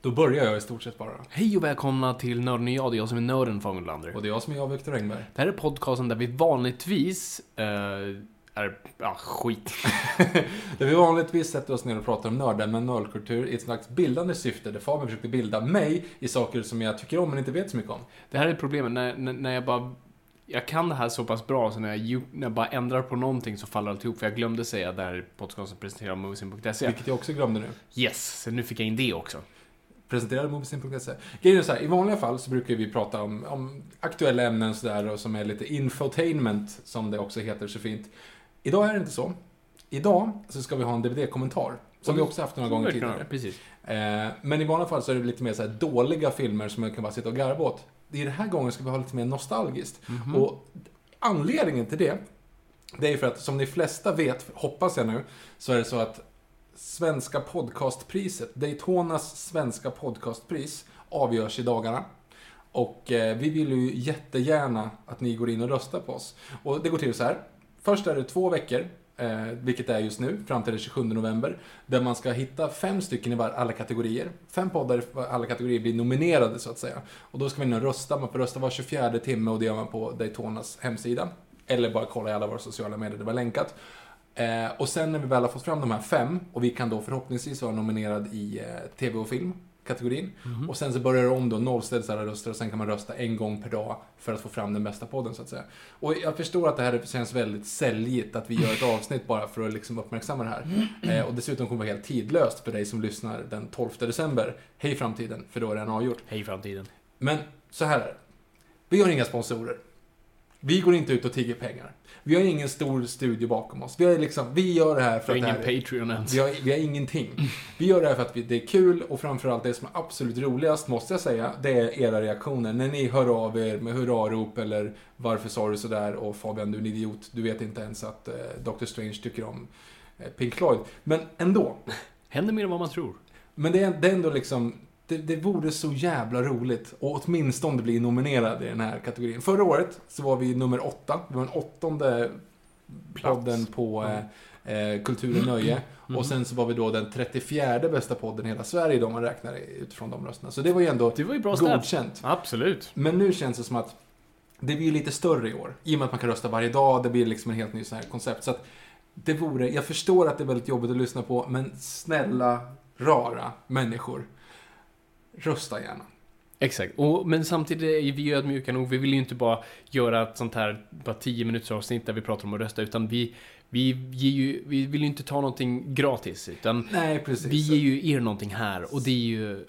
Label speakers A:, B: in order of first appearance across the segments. A: Då börjar jag i stort sett bara.
B: Hej och välkomna till Nörden och jag, det är jag som är nörden Fångelander.
A: Och det är jag som är jag, Viktor Engberg.
B: Det här är podcasten där vi vanligtvis eh, är... Ja, skit.
A: Där vi vanligtvis sätter oss ner och pratar om nördar med nördkultur i ett slags bildande syfte där Fabian försökte bilda mig i saker som jag tycker om men inte vet så mycket om.
B: Det här är problemet, när, när, när jag bara... Jag kan det här så pass bra så när jag, ju- när jag bara ändrar på någonting så faller alltihop. För jag glömde säga att det här är podcasten presenterad av Moviesin.se.
A: Vilket jag också glömde nu.
B: Yes, så nu fick jag in det också.
A: Presenterade Movisin.se. Grejen är så här, i vanliga fall så brukar vi prata om, om aktuella ämnen sådär och som är lite infotainment som det också heter så fint. Idag är det inte så. Idag så ska vi ha en DVD-kommentar. Som vi också haft några gånger
B: Verkligen,
A: tidigare.
B: Precis.
A: Eh, men i vanliga fall så är det lite mer så här dåliga filmer som man kan bara sitta och garva åt. I den här gången ska vi ha lite mer nostalgiskt. Och anledningen till det, det är ju för att som de flesta vet, hoppas jag nu, så är det så att svenska podcastpriset, Daytonas svenska podcastpris, avgörs i dagarna. Och eh, vi vill ju jättegärna att ni går in och röstar på oss. Och det går till så här. Först är det två veckor, eh, vilket det är just nu, fram till den 27 november, där man ska hitta fem stycken i var- alla kategorier. Fem poddar i var- alla kategorier blir nominerade så att säga. Och då ska man in och rösta. Man får rösta var 24 timme och det gör man på Daytonas hemsida. Eller bara kolla i alla våra sociala medier, det var länkat. Eh, och sen när vi väl har fått fram de här fem, och vi kan då förhoppningsvis vara nominerad i eh, TV och film kategorin. Och sen så börjar det om då, nollställs alla röster och sen kan man rösta en gång per dag för att få fram den bästa podden så att säga. Och jag förstår att det här känns väldigt säljigt, att vi gör ett avsnitt bara för att liksom uppmärksamma det här. Eh, och dessutom kommer det vara helt tidlöst för dig som lyssnar den 12 december. Hej framtiden, för då är det redan avgjort.
B: Hej framtiden.
A: Men så här är det. Vi har inga sponsorer. Vi går inte ut och tigger pengar. Vi har ingen stor studio bakom oss. Vi, är liksom, vi gör det här för
B: Jag
A: att
B: har
A: det
B: ingen
A: här är-
B: Patreon ens.
A: vi har, vi har ingenting. Vi gör det här för att vi, det är kul och framförallt det som är absolut roligast, måste jag säga, det är era reaktioner. När ni hör av er med hurrarop eller varför sa du sådär och Fabian du är en idiot, du vet inte ens att eh, Doctor Strange tycker om eh, Pink Floyd. Men ändå.
B: Händer mer än vad man tror.
A: Men det är, det är ändå liksom, det, det vore så jävla roligt och åtminstone bli nominerad i den här kategorin. Förra året så var vi nummer åtta, vi var den åttonde
B: Plats. Mm.
A: podden på eh, eh, Kultur och Nöje. Och sen så var vi då den 34 bästa podden i hela Sverige då man räknar utifrån de rösterna. Så det var ju ändå
B: Det var ju bra stats.
A: godkänt.
B: Absolut.
A: Men nu känns det som att det blir lite större i år. I och med att man kan rösta varje dag, det blir liksom en helt ny sån här koncept. Så att det vore, jag förstår att det är väldigt jobbigt att lyssna på, men snälla, rara människor. Rösta gärna.
B: Exakt, och, men samtidigt är vi ju ödmjuka nog. Vi vill ju inte bara göra ett sånt här bara 10 minuters avsnitt där vi pratar om att rösta, utan vi, vi, ger ju, vi vill ju inte ta någonting gratis, utan
A: Nej, precis.
B: vi ger ju er någonting här och det är ju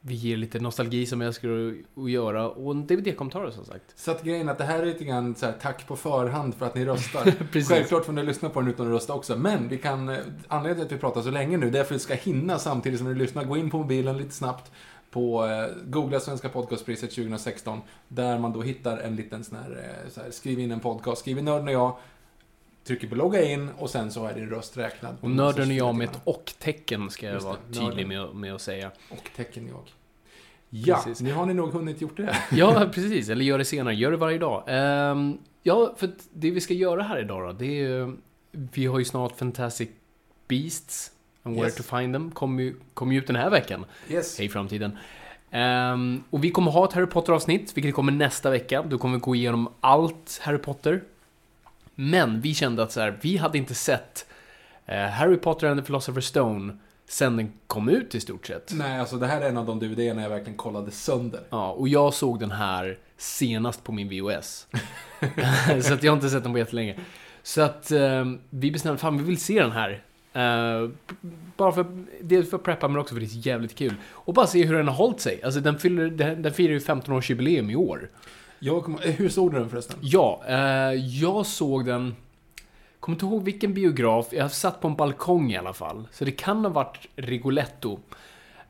B: vi ger lite nostalgi som jag älskar att- att göra och en DVD-kommentarer som sagt.
A: Så att grejen är att det här är lite grann så här, tack på förhand för att ni röstar.
B: Precis.
A: Självklart får ni lyssna på den utan att rösta också, men vi kan, eh, anledningen till att vi pratar så länge nu, det är för att vi ska hinna samtidigt som ni lyssnar. Gå in på mobilen lite snabbt på eh, googla Svenska Podcastpriset 2016, där man då hittar en liten sån här, eh, så här skriv in en podcast, skriv in Nörden och jag, trycker på logga in och sen så är din röst räknad.
B: Och nörden och jag med ett och-tecken ska jag
A: Just det,
B: vara tydlig med, med att säga.
A: Och tecken jag. Ja,
B: Precis.
A: nu har ni nog hunnit gjort det.
B: Ja, precis. Eller gör det senare. Gör det varje dag. Ehm, ja, för att det vi ska göra här idag då, det är ju vi har ju snart Fantastic Beasts and Where
A: Yes.
B: to Find Them kom ju, kom ju ut den här veckan.
A: Yes.
B: Hej framtiden. Ehm, och vi kommer ha ett Harry Potter-avsnitt, vilket kommer nästa vecka. Då kommer vi gå igenom allt Harry Potter. Men vi kände att så här, vi hade inte sett eh, Harry Potter and the Philosopher's Stone sen den kom ut i stort sett.
A: Nej, alltså det här är en av de DVD-erna jag verkligen kollade sönder.
B: Ja, och jag såg den här senast på min VOS. så att jag har inte sett den på jättelänge. Så att eh, vi bestämde, fan vi vill se den här. Eh, b- bara för, dels för att preppa men också för det är jävligt kul. Och bara se hur den har hållit sig. Alltså den, fyller, den, den firar ju 15-årsjubileum i år.
A: Jag kommer, eh, hur såg du den förresten?
B: Ja, eh, jag såg den... Kommer inte ihåg vilken biograf. Jag satt på en balkong i alla fall. Så det kan ha varit Rigoletto.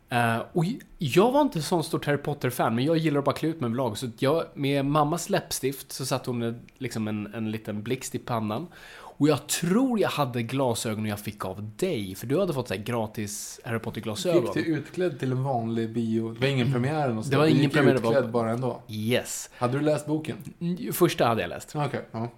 B: Eh, och j- jag var inte sån stort Harry Potter-fan, men jag gillar att bara klä ut mig överlag. Så att jag, med mammas läppstift så satte hon en- liksom en, en liten blixt i pannan. Och jag tror jag hade glasögon jag fick av dig, för du hade fått så här gratis Harry Potter-glasögon.
A: Gick du utklädd till en vanlig bio? Det var ingen premiär eller något sånt
B: Mm. Det var
A: där. Du
B: ingen
A: gick
B: premiär, det var- Mm.
A: utklädd bara ändå.
B: Yes.
A: Hade du läst boken?
B: Första hade jag läst.
A: Okej. ja.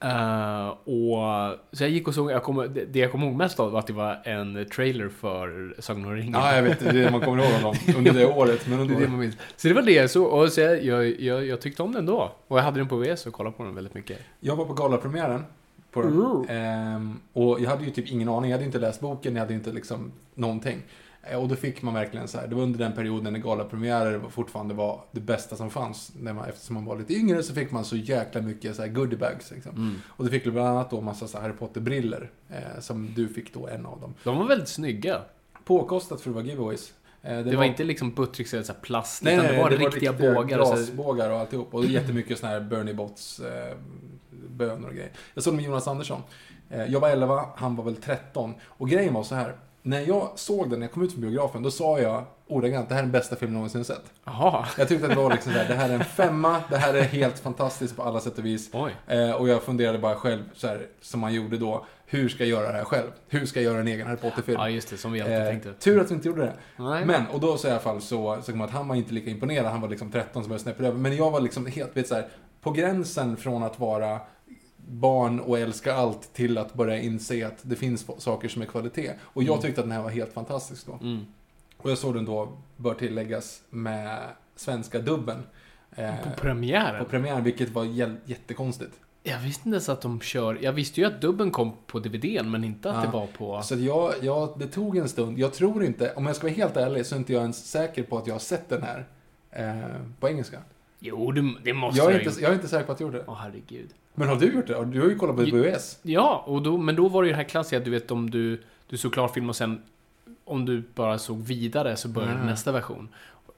B: Eh, och, så jag gick och såg, jag kommer- det det jag kommer ihåg mest av var att det var en trailer för Sagan om ringen.
A: Ja, jag vet. Det är det man kommer ihåg om dem under det året. Men
B: det
A: under
B: är det man minns. Så det var det jag såg, och så jag, jag, jag, jag tyckte om den då. Och jag hade den på VS och kollade på den väldigt mycket.
A: Jag var på galapremiären. På den.
B: Ooh.
A: Ehm, och jag hade ju typ ingen aning. Jag hade inte läst boken. Jag hade inte liksom någonting. Eh, Och då fick man verkligen så här. Det var under den perioden när galapremiärer var- fortfarande var det bästa som fanns. När man, eftersom man var lite yngre så fick man så jäkla mycket så här goodiebags. Liksom.
B: Mm.
A: Och då fick du bland annat då massa så här Harry Potter-briller. Eh, som du fick då en av dem.
B: De var väldigt snygga.
A: Påkostat för att vara giveaways. Eh,
B: Det, var, inte liksom buttricks eller så här plast,
A: Nej,
B: utan
A: nej,
B: det var riktiga bågar. och så här-
A: Glasbågar och alltihop. Och jättemycket såna här Bernie Bots eh, bönor och grejer. Jag såg det med Jonas Andersson. Eh, jag var 11, han var väl 13. Och grejen var så här. När jag såg den, när jag kom ut från biografen, då sa jag ordagrant det här är den bästa filmen jag någonsin sett.
B: Jaha.
A: Jag tyckte att det var liksom så här, det här är en femma, det här är helt fantastiskt på alla sätt och vis.
B: Oj.
A: Eh, och jag funderade bara själv, så här, som man gjorde då, hur ska jag göra det här själv? Hur ska jag göra en egen Harry Potter-film?
B: Ja, just det, som vi alltid
A: Eh,
B: tänkte.
A: Tur att vi inte gjorde det.
B: Nej.
A: Men, och då så i alla fall så, så kom att han var inte lika imponerad. Han var liksom 13 som var snäppet över. Men jag var liksom helt, vet så här, på gränsen från att vara barn och älska allt till att börja inse att det finns saker som är kvalitet. Och jag tyckte att den här var helt fantastisk då. Och jag såg den då, bör tilläggas, med svenska dubben. Eh,
B: På
A: på
B: premiären?
A: premiären, vilket var jä- jättekonstigt.
B: Jag visste inte ens att de kör... Jag visste ju att dubben kom på DVDn, men inte att
A: Ja.
B: det var på...
A: Så att jag, jag, det tog en stund. Jag tror inte, om jag ska vara helt ärlig, så är inte jag ens säker på att jag har sett den här eh, på engelska.
B: Jo, det, det måste
A: Jag
B: du
A: är,
B: ha
A: inte,
B: gjort.
A: jag är inte säker på att jag gjorde det.
B: Åh, herregud.
A: Men har du gjort det? Du har ju kollat på
B: Jo.
A: VHS.
B: Ja, och då, men då var det ju det här klassiska, du vet om du, du såg klart film och sen om du bara såg vidare så började
A: Mm.
B: nästa version.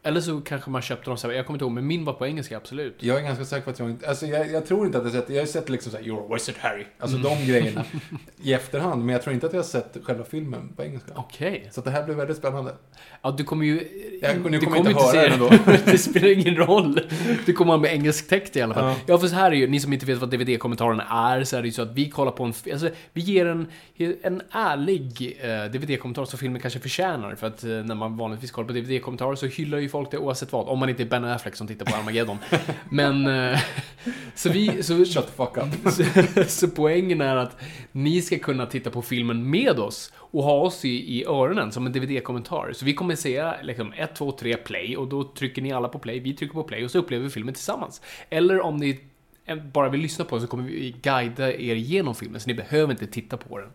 B: Eller så kanske man köpte dem så här, jag kommer inte ihåg, men min var på engelska, absolut.
A: Jag är ganska säker på att jag inte... Alltså jag, jag tror inte att jag sett... Jag har sett liksom såhär “You're a wizard Harry”. Alltså
B: Mm.
A: de grejerna. I efterhand. Men jag tror inte att jag har sett själva filmen på engelska.
B: Okej.
A: Så att det här blir väldigt spännande.
B: Ja, du kommer ju...
A: Jag- nu kommer
B: du
A: jag inte höra
B: se
A: den då.
B: det. det spelar ingen roll. Du kommer ha med engelsk text i alla fall.
A: Ja.
B: Ja. för så här är ju, ni som inte vet vad DVD-kommentaren är, så är det ju så att vi kollar på en... f- Alltså, vi ger en, en ärlig eh, DVD-kommentar som filmen kanske förtjänar. För att eh, när man vanligtvis kollar på DVD-kommentarer så hyllar ju folk det oavsett vad. Om man inte är Ben Affleck som tittar på Armageddon. Men... Eh, så vi... Så,
A: Shut the fuck up.
B: så, så poängen är att ni ska kunna titta på filmen med oss och ha oss i, i öronen som en DVD-kommentar. Så vi kommer säga liksom 1, 2, 3 play och då trycker ni alla på play, vi trycker på play och så upplever vi filmen tillsammans. Eller om ni eh, bara vill lyssna på den så kommer vi guida er genom filmen så ni behöver inte titta på den.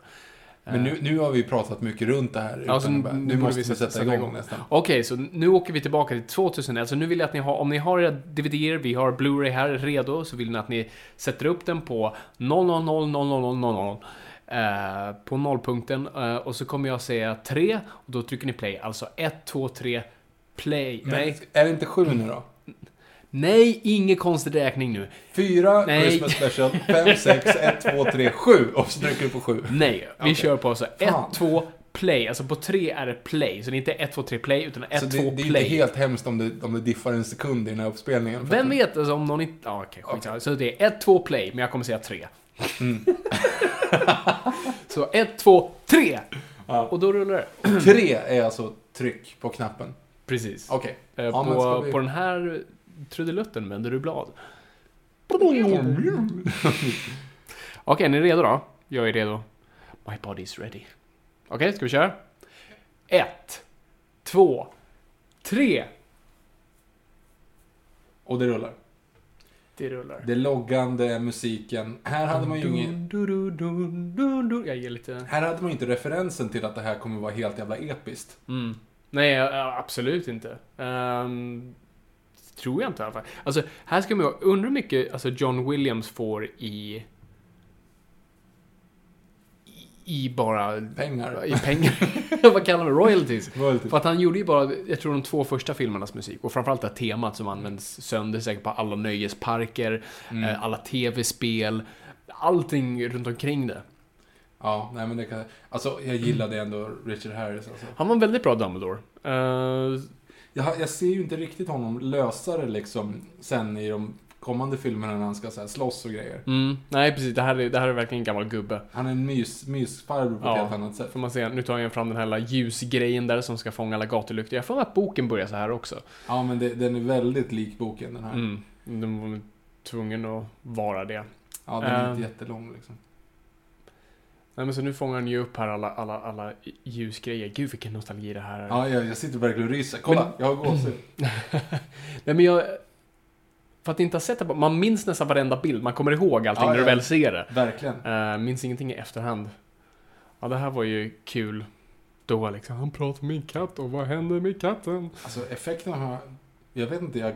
A: Men
B: Eh.
A: nu, nu har vi pratat mycket runt det här. Utan
B: Alltså,
A: bara, nu
B: borde
A: måste vi sätta, igång, nästan.
B: Okej, så nu åker vi tillbaka till 2011. Så nu vill jag att ni har, om ni har era DVDer, vi har Blu-ray här redo, så vill ni att ni sätter upp den på 00000000. Eh, på nollpunkten. Eh, och så kommer jag säga 3 och då trycker ni play. Alltså 1, 2, 3, play. Nej,
A: Är det inte sju nu då?
B: nej, ingen konstig räkning nu.
A: Fyra,
B: Nej.
A: Christmas special, fem, sex, ett, två, tre, sju. Och så trycker du på sju.
B: Nej, vi
A: Okej.
B: kör på alltså 1,
A: Fan.
B: 2, play. Alltså på 3 är det play. Så det är inte 1, 2, 3, play, utan 1,
A: Så
B: 2,
A: det, det är
B: play.
A: inte helt hemskt om det, om det diffar en sekund i den här uppspelningen. För
B: Vem
A: att-
B: vet alltså, om någon inte... Ja, okej, skitsamma. Så det är 1, 2, play, men jag kommer säga 3. så 1, 2, 3! Och då rullar det.
A: Tre är alltså tryck på knappen.
B: Precis.
A: Okej.
B: Eh,
A: Ja, men ska
B: på,
A: vi-
B: på den här trudelutten vänder du blad. Okej, är ni redo då? jag är redo. My body is ready. Okej, ska vi köra? Ett, två, tre.
A: Och det rullar.
B: Det rullar.
A: Det loggande, musiken. Här hade man ju ingen...
B: Dun, dun, dun, dun, dun. Jag ger lite...
A: Här hade man ju inte referensen till att det här kommer vara helt jävla episkt.
B: Mm. Nej, ä- ä- absolut inte. Ehm, tror jag inte i alla fall. Alltså, här ska man ju... Undrar hur mycket alltså, John Williams får i... i- I bara...
A: Pengar.
B: I pengar. Vad kallar man det? Royalties.
A: Royalty.
B: För att han gjorde ju bara, jag tror de två första filmernas musik och framförallt det här temat som används sönder säkert på alla nöjesparker, eh, alla tv-spel, allting runt omkring det.
A: Ja, nej men det kan... Alltså, jag gillade ändå Richard Harris alltså.
B: Han var en väldigt bra Dumbledore. Eh,
A: Jag, jag ser ju inte riktigt honom lösare liksom sen i de kommande filmerna när han ska så här, slåss och grejer.
B: mm, nej, precis. Det här, är, det här är verkligen en gammal gubbe.
A: Han är en mys, mysfarbror på ett
B: Ja.
A: helt annat sätt.
B: Får man se, nu tar jag fram den här lilla ljusgrejen där som ska fånga alla gatulyktor. Jag får mig att boken börjar så här också.
A: Ja, men det, den är väldigt lik boken den här.
B: Mm, de var tvungen att vara det.
A: Ja, den är
B: Ehm.
A: inte jättelång liksom.
B: Nej, men så nu fångar han ju upp här alla, alla, alla ljusgrejer. Gud, vilken nostalgi det här är.
A: Ja, jag, jag sitter verkligen och ryser. Kolla,
B: Men-
A: jag har gåshud.
B: Nej men jag... För att inte ha sett det, man minns nästan varenda bild, man kommer ihåg allting
A: Ja,
B: när du
A: ja.
B: väl ser det.
A: Verkligen.
B: Eh, minns ingenting i efterhand. Ja, det här var ju kul då liksom. Han pratar med min katt och vad händer med katten?
A: Alltså effekterna har... Jag vet inte, jag...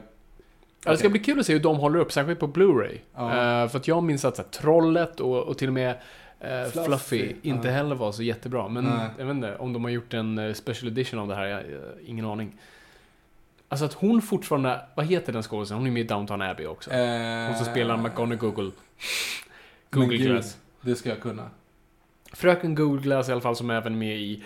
B: Ja, det ska bli kul att se hur de håller upp, särskilt på Blu-ray.
A: Ja.
B: Eh, för att jag minns att så här, Trollet och, och till och med eh,
A: Fluffy,
B: Fluffy, inte
A: ja.
B: heller var så jättebra. Men
A: Nej.
B: jag vet inte om de har gjort en eh, special edition av det här, jag, jag, ingen aning. Alltså att hon fortfarande, vad heter den skådisen? Hon är med i Downton Abbey också.
A: Eh,
B: Och så spelar McGonagall.
A: men
B: Google
A: gud,
B: Glass.
A: Det ska jag kunna.
B: Fröken Google Glass i alla fall som är även med i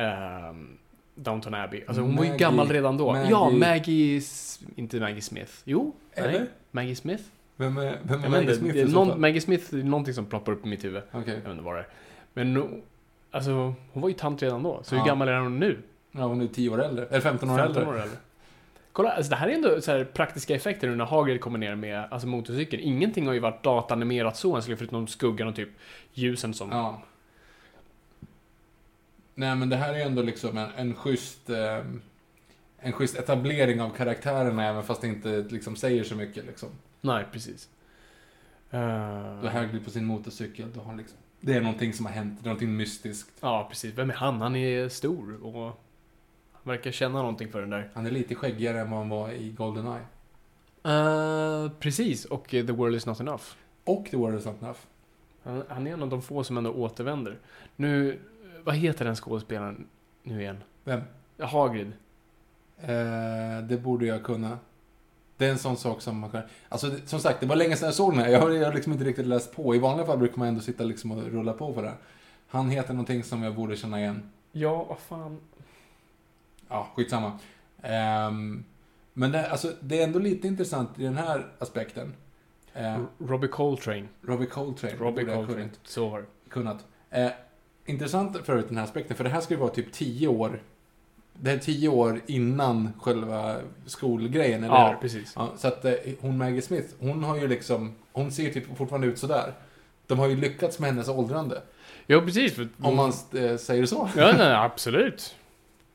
B: ehm, Downton Abbey. Alltså hon var ju
A: Maggie-
B: gammal redan då.
A: Maggie-
B: Ja, Maggie... S- Inte Maggie Smith. Jo,
A: Eller?
B: nej. Maggie Smith?
A: Vem är, vem är
B: Jag vet
A: Maggie
B: inte.
A: Smith
B: Det
A: i
B: är
A: så
B: någon,
A: fall?
B: Maggie Smith är någonting som ploppar upp i mitt huvud.
A: Okej.
B: Jag vet inte vad det är. Men no- alltså, hon var ju tant redan då. Så
A: Ja.
B: hur gammal är hon nu?
A: Ja, hon är 10 år äldre. Eller 15 år
B: 15
A: äldre.
B: år äldre. Kolla, alltså det här är ändå så här praktiska effekter nu när Hagrid kommer ner med alltså motorcykeln. Ingenting har ju varit datanimerat så än, så förutom skuggan och typ ljusen som...
A: Ja. Nej, men det här är ändå liksom en, en schysst... Eh, en schysst etablering av karaktärerna även fast det inte liksom säger så mycket liksom.
B: Nej, precis. Eh,
A: Då Hagrid på sin motorcykel, då har han liksom... Det är någonting som har hänt, det är någonting mystiskt.
B: Ja, precis. Vem är han? Han är stor och han verkar känna någonting för den där.
A: Han är lite skäggigare än vad han var i Goldeneye.
B: Eh, precis, och eh, The World Is Not Enough.
A: Och The World Is Not Enough.
B: Han, han är en av de få som ändå återvänder. Nu, vad heter den skådespelaren nu igen?
A: Vem?
B: Hagrid.
A: Eh, det borde jag kunna. Det är en sån sak som man kan... Alltså, det- som sagt, det var länge sedan jag såg den här. Jag har, jag har liksom inte riktigt läst på. I vanliga fall brukar man ändå sitta liksom och rulla på för det här. Han heter någonting som jag borde känna igen.
B: Ja, vad fan.
A: Ja, skitsamma. Ehm, men det, alltså, det är ändå lite intressant i den här aspekten. Eh,
B: Robbie Coltrane.
A: Robbie Coltrane. det
B: Mm. Robbie
A: borde jag
B: Coltrane.
A: kunnat.
B: Så var det.
A: kunnat. Eh, intressant för övrigt den här aspekten, för det här ska ju vara typ 10 år. Det här är 10 år innan själva skolgrejen, eller hur?
B: Ja, precis.
A: Ja, så att eh, hon Maggie Smith, hon har ju liksom, hon ser typ fortfarande ut sådär. De har ju lyckats med hennes åldrande.
B: Ja, precis. För,
A: Om man eh, säger så.
B: Ja, nej, absolut.